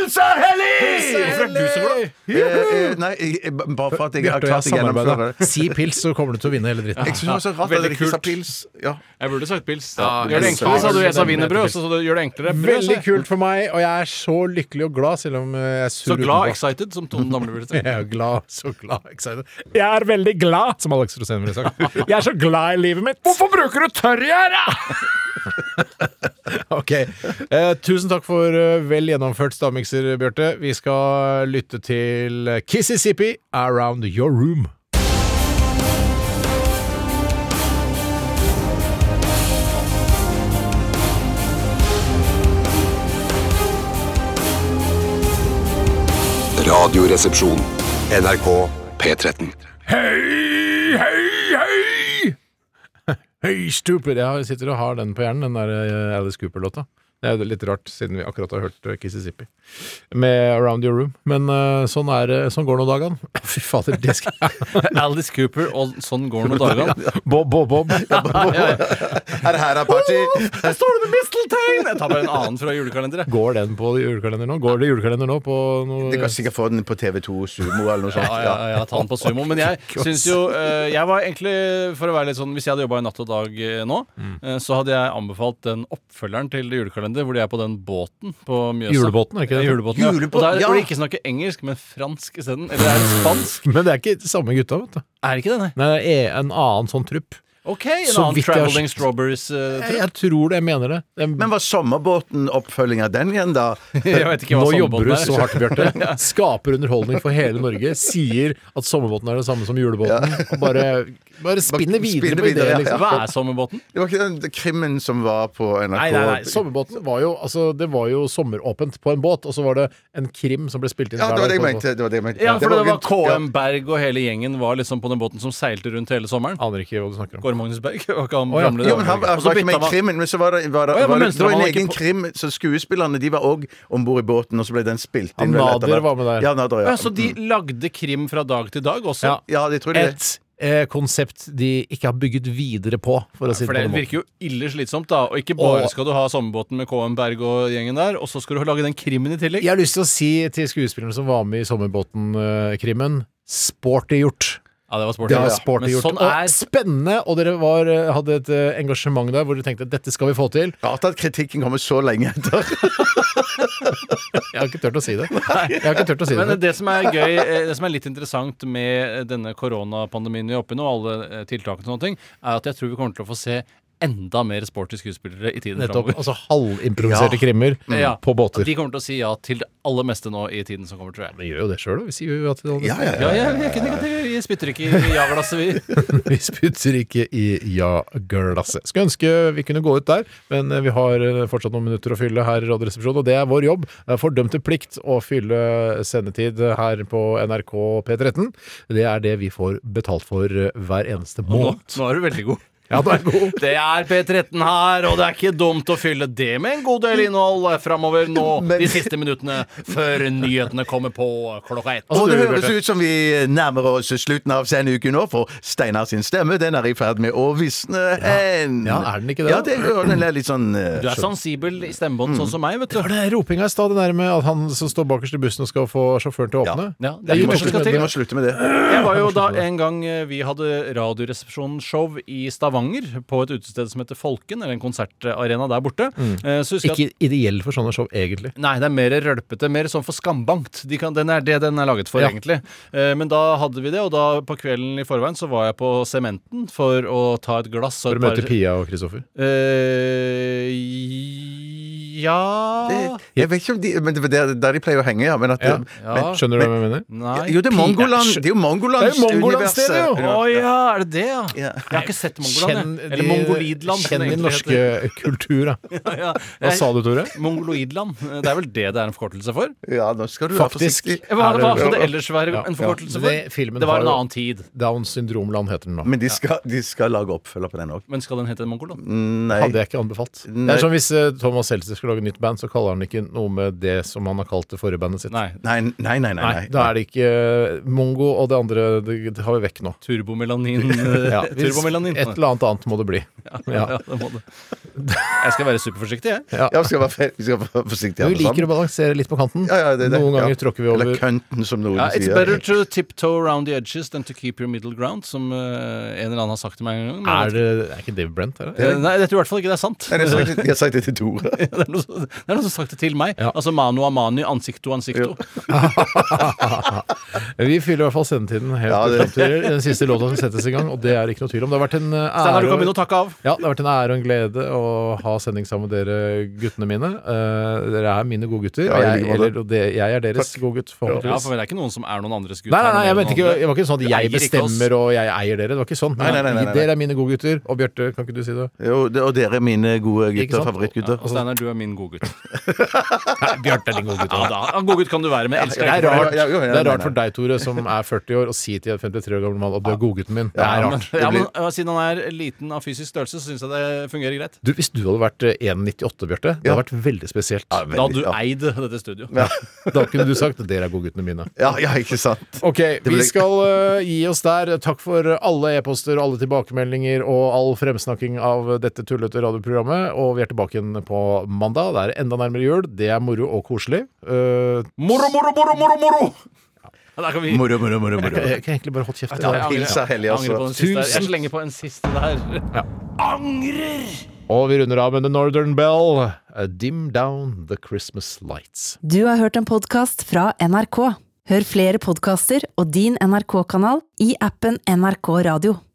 G: Pils er hellig!
F: Hvorfor er du så glad?
G: Eh, eh, Nei, jeg- jeg- bare for at jeg har
E: Bjarte og
G: klart
E: jeg
G: å gjennomføre
E: samarbeider.
G: det.
E: Si pils, så kommer du til å vinne hele dritten.
G: Jeg synes det var så rart at
F: Veldig
G: jeg ikke sa
F: kult.
G: pils. Ja.
F: Jeg burde sagt pils.
E: Ja,
F: gjør det
E: jeg
F: enklere,
E: sa
F: sa du. Jeg sa
E: det.
F: wienerbrød, så sa du gjør det enklere. Brød, sa
E: Veldig
F: jeg.
E: kult for meg, og jeg er så lykkelig og glad, selv om eh, jeg er sur
F: Så glad,
E: utenpå.
F: excited, som Tone Damli ville
E: Jeg
F: sagt.
E: er glad, så glad, excited. Jeg er veldig glad, som Alex Rosén ville sagt. Jeg er så glad i livet mitt. Hvorfor bruker du tørrgjær, da?! ok. Eh, tusen takk for eh, vel gjennomført stavmikser, Bjarte. Vi skal lytte til Kississippi, Around Your Room.
B: Radioresepsjon. NRK P13.
E: Hei, hei, hei! Hei, stupid! Jeg har- sitter og har den på hjernen, den der eh, Alice Cooper-låta. Det er jo litt rart, siden vi akkurat har hørt eh, Kississippi med Around Your Room. Men eh, sånn, er, det- sånn går nå dagene. Fy fader, det skal jeg
F: Alice Cooper og Sånn går nå dagene.
E: Bob, Bob, Bob.
G: Er det her er party?
F: Der står det med misteltein! Jeg tar bare en annen fra julekalenderen. jeg.
E: Går den på julekalender nå? Går det julekalender nå på noe
G: De kan sikkert få den på TV2 Sumo eller noe sånt.
F: Ja, ja, ja, ja, ta den på sumo. Men jeg syns jo eh, Jeg var egentlig, for å være litt sånn Hvis jeg hadde jobba i Natt og Dag eh, nå,
E: Mm.
F: eh, så hadde jeg anbefalt den oppfølgeren til julekalender, hvor de er på den båten på Mjøsa.
E: Julebåten, er ikke det?
F: Ja, Julebåten, ja.
G: Julebåt,
F: Og der
G: ja.
F: hvor de ikke snakker engelsk, men fransk isteden. Eller er det spansk?
E: Men det er ikke samme gutta, vet du.
F: Er det ikke det, nei?
E: Nei, det er en annen sånn trupp.
F: OK, en
E: Så
F: annen
E: vidt jeg har
F: Traveling
E: skjønt.
F: Strawberries eh,
E: Jeg, jeg tror det, jeg mener det. det er
G: Men var sommerbåten oppfølging av den igjen, da?
F: Jeg vet ikke hva
E: Nå jobber
F: sandbåten
E: du
F: er.
E: så hardt, Bjarte. Skaper underholdning for hele Norge. Sier at sommerbåten er det samme som julebåten. Og bare, bare spinner videre
G: spinner
E: på
G: videre,
E: ideer,
G: ja,
E: liksom.
F: Hva er sommerbåten?
G: Det var ikke den krimmen som var på NRK?
E: Nei, nei, nei. Sommerbåten var jo altså, Det var jo sommeråpent på en båt, og så var det en krim som ble spilt inn
G: Ja, det var det jeg
E: på en båt.
G: mente. Det var det jeg mente.
F: Ja, for det var
G: ja.
F: KM Berg og hele gjengen var liksom på den båten som seilte rundt hele sommeren.
E: Aner ikke hva du snakker om.
F: Kåre Magnus Berg var ikke han
E: Å, ja.
F: programleder?
G: Jo, men han
F: Og
G: altså,
F: så
G: var ikke med
F: bytta
G: i
F: man-
G: krimmen, men så var det, var det,
F: Å, ja, men
G: var det, det
F: Mønsteren
G: var en
F: var
G: egen
F: ikke på-
G: krim, så skuespillerne de var òg om bord i båten, og så ble den spilt inn.
E: Ja,
G: vel,
E: Nader
G: etter hvert.
E: var med der.
G: Ja, Nader, ja.
F: Ja, mm. så de lagde krim fra dag til dag også?
E: Ja.
G: ja det tror jeg det.
E: Et eh, konsept de ikke har bygget videre på, for å si det
F: For
E: på
F: det
E: den måten.
F: virker jo ille slitsomt, da. Og ikke bare
E: Og-
F: skal du ha sommerbåten med KM Berg og gjengen der, og så skal du lage den krimmen i tillegg.
E: Jeg har lyst til å si til skuespillerne som var med i Sommerbåten-krimmen Sporty gjort.
F: Ja, det var sporty.
E: Det var
F: Ja.
E: sporty
F: men
E: gjort.
F: sånn
E: Og
F: er
E: spennende, og dere var, eh, hadde et eh, engasjement der hvor dere tenkte dette skal vi få til.
G: Rart at kritikken kommer så lenge etter.
E: Jeg har ikke turt å si det. Jeg har ikke tørt å si
F: Men
E: det.
F: det som er gøy, eh, det som er litt interessant med denne koronapandemien vi er oppe i nå, og alle eh, tiltakene og sånne ting, er at jeg tror vi kommer til å få se enda mer sporty skuespillere i tiden
E: Nettopp.
F: framover.
E: Altså halvimproviserte krimmer på båter.
F: De kommer til å si ja til det aller meste nå i tiden som kommer, tror jeg.
E: Vi gjør jo det sjøl, vi sier jo at det
F: Ja, ja, ja, vi er ikke negative. Vi spytter ikke i ja-glasset, vi.
E: vi spytter ikke i ja-glasset. Skulle ønske vi kunne gå ut der, men vi har eh, fortsatt noen minutter å fylle her i Radioresepsjonen, og det er vår jobb. Det er fordømte plikt å fylle sendetid her på NRK P13. Det er det vi får betalt for eh, hver eneste
F: Og Nå,
E: måned.
F: nå er du veldig god.
E: Ja, du er god.
F: Det er P13 her, og det er ikke dumt å fylle det med en god del innhold framover nå de siste minuttene før nyhetene kommer på klokka ett.
G: Og det høres ut som vi nærmer oss slutten av sendeuken nå, for Steinar sin stemme den er i ferd med å visne hen.
E: Ja, er den ikke det?
G: Ja, det, den er litt sånn eh,
F: Du er sensibel i stemmebånd, sånn som meg, vet du.
E: Det er ropinga i stad, det der med at han som står bakerst i bussen og skal få sjåføren til å åpne.
F: Ja, det er
E: gir
F: ikke noe som
E: morsomt
F: skal
E: med
F: til.
E: det.
F: Jeg var jo da en gang eh, vi hadde Radioresepsjonsshow i Stavanger, på et utested som heter Folken, eller en konsertarena der borte. Eh, så husker jeg at-
E: Ikke ideell for sånne show, egentlig.
F: Nei, det er mer rølpete, mer sånn for skambankt. De kan, den er det den er laget for,
E: Ja.
F: egentlig. Eh, men da hadde vi det, og da på kvelden i forveien så var jeg på Sementen for å ta et glass.
E: For
F: og
E: å
F: et
E: møte
F: par-
E: Pia og Kristoffer.
F: Eh, ja
G: Jeg vet ikke om de Men det er der- der de pleier å henge, ja. Men at,
E: Ja.
G: Men,
E: Skjønner du hva jeg mener?
F: Nei.
G: Jo, det er Mongoland. Det er jo Mongoland.
E: Det er jo Mongoland-stedet, jo!
F: Å ja, er det det, ja? Jeg har ikke sett Mongoland, jeg.
E: Kjenn
F: Eller
E: de-
F: Mongolidland. som
E: Kjenn
F: det
E: din
F: egentlig
E: norske
F: heter.
E: kultur, da.
F: Ja, ja.
E: Hva sa du, Tore?
F: Mongoloidland. Det er vel det det er en forkortelse for?
G: Ja, nå skal du
E: Faktisk.
F: Hva
E: er
F: hva skal det
E: Ja.
F: ellers være
E: Ja.
F: en forkortelse for?
E: Det, filmen
F: det var en
E: har jo
F: annen tid.
E: Downs syndromland heter den nå.
G: Men de skal, de skal lage oppfølger på den òg.
F: Men skal den hete Mongoland?
G: Nei.
E: Hadde jeg ikke anbefalt. Det
G: Nei.
E: er som hvis eh, Thomas Seltzer skulle lage nytt band, så kaller han ikke noe med det som han har kalt det forrige bandet sitt.
F: Nei.
G: Nei, nei, nei. nei, nei.
E: Da er det ikke eh, Mongo og det andre det, det har vi vekk nå.
F: Turbomelanin.
E: Ja,
F: ja,
E: hvis-
F: turbomelanin.
E: Et eller annet annet må det bli.
F: Ja,
E: Ja.
F: det må du. Jeg skal være superforsiktig, jeg.
E: Ja.
G: Ja, vi skal være, fe- vi skal være forsiktige.
E: Du
G: alle
E: liker å
G: sammen.
E: balansere litt på kanten.
G: Ja, ja, det er det.
E: Noen ganger
G: Ja.
E: tråkker vi over.
G: Eller kønten, som noen
F: Ja, it's
G: sier.
F: better to tiptoe around the edges than to keep your middle ground, som eh, en eller annen har sagt til meg en gang. men jeg
E: Er,
F: vet ikke.
E: det, er ikke Dave Brent? Er det?
F: Eh, Nei, jeg tror i hvert fall ikke det er sant.
G: Nei, jeg har sagt- jeg har sagt det til Tore.
F: det er noen som det er noen som har sagt det til meg. Altså mano a mani, ansikto ansikto.
E: Vi fyller i hvert fall sendetiden helt
F: Ja,
E: til
F: det-
E: frem til den siste låta som settes i gang, og det er ikke noe tvil om. Det har vært en eh,
F: Steinar, du
E: ære
F: kan begynne å takke av.
E: Ja, det har vært en ære og en glede å ha sending sammen med dere guttene mine. Eh, dere er mine gode gutter,
F: Ja,
E: og
F: i
E: jeg,
F: like måte.
E: eller, og det, jeg er deres gode gutt,
F: Ja, for
E: forhåpentligvis.
F: det er ikke noen som er noen andres gutt.
E: Nei, nei,
F: her,
E: nei,
F: noen
E: jeg mente
F: andre.
E: ikke, det var ikke sånn at
F: Du
E: jeg
F: eier ikke oss.
E: bestemmer og jeg eier dere. Det var ikke sånn.
G: Nei, nei, nei, nei, nei.
E: Dere er mine gode gutter, og Bjarte, kan ikke du si det?
G: Jo, det, og dere er mine gode
E: Ikke
G: gutter.
E: sant? altså,
G: Favorittgutter.
F: Og Steinar, du er min godgutt.
E: Bjarte er din godgutt.
F: Ja, da. Ja, Godgutt kan du være, men jeg
E: Det
F: elsker
E: er
F: deg ikke for
E: rart,
F: det.
E: det er rart for deg, Tore, som er 40 år, å si til en 53 år gammel mann at du er godgutten min. Det er
F: Ja, men,
E: rart.
F: ja, men eh, Siden han er liten av fysisk størrelse, så syns jeg det fungerer greit.
E: Du, Hvis du hadde vært eh, 1,98, Bjarte, det hadde vært veldig spesielt.
F: Da hadde du eid dette studioet.
E: Da kunne du sagt 'dere er godguttene mine'.
G: Ja, ja, ikke sant.
E: Ok, vi
G: ble-
E: skal eh, gi oss der. Takk for alle e-poster, alle tilbakemeldinger og all fremsnakking av dette tullete radioprogrammet. Og vi er tilbake igjen på mandag. Det er enda nærmere jul. Det er moro og koselig. Eh,
F: moro, moro, moro, moro, moro!
G: Moro, moro, moro.
E: Jeg,
G: moro.
E: kan- jeg kan egentlig bare holde kjeft.
F: Jeg angrer-
G: Pils er hellig,
F: jeg
G: altså.
F: angrer på den siste der. Jeg
G: Tusen-
F: slenger på en siste der. Angrer!
E: Og vi runder av med The Northern Bell. eh, Dim down the Christmas lights.
A: Du har hørt en podkast fra NRK. Hør flere podkaster og din NRK-kanal i appen NRK Radio.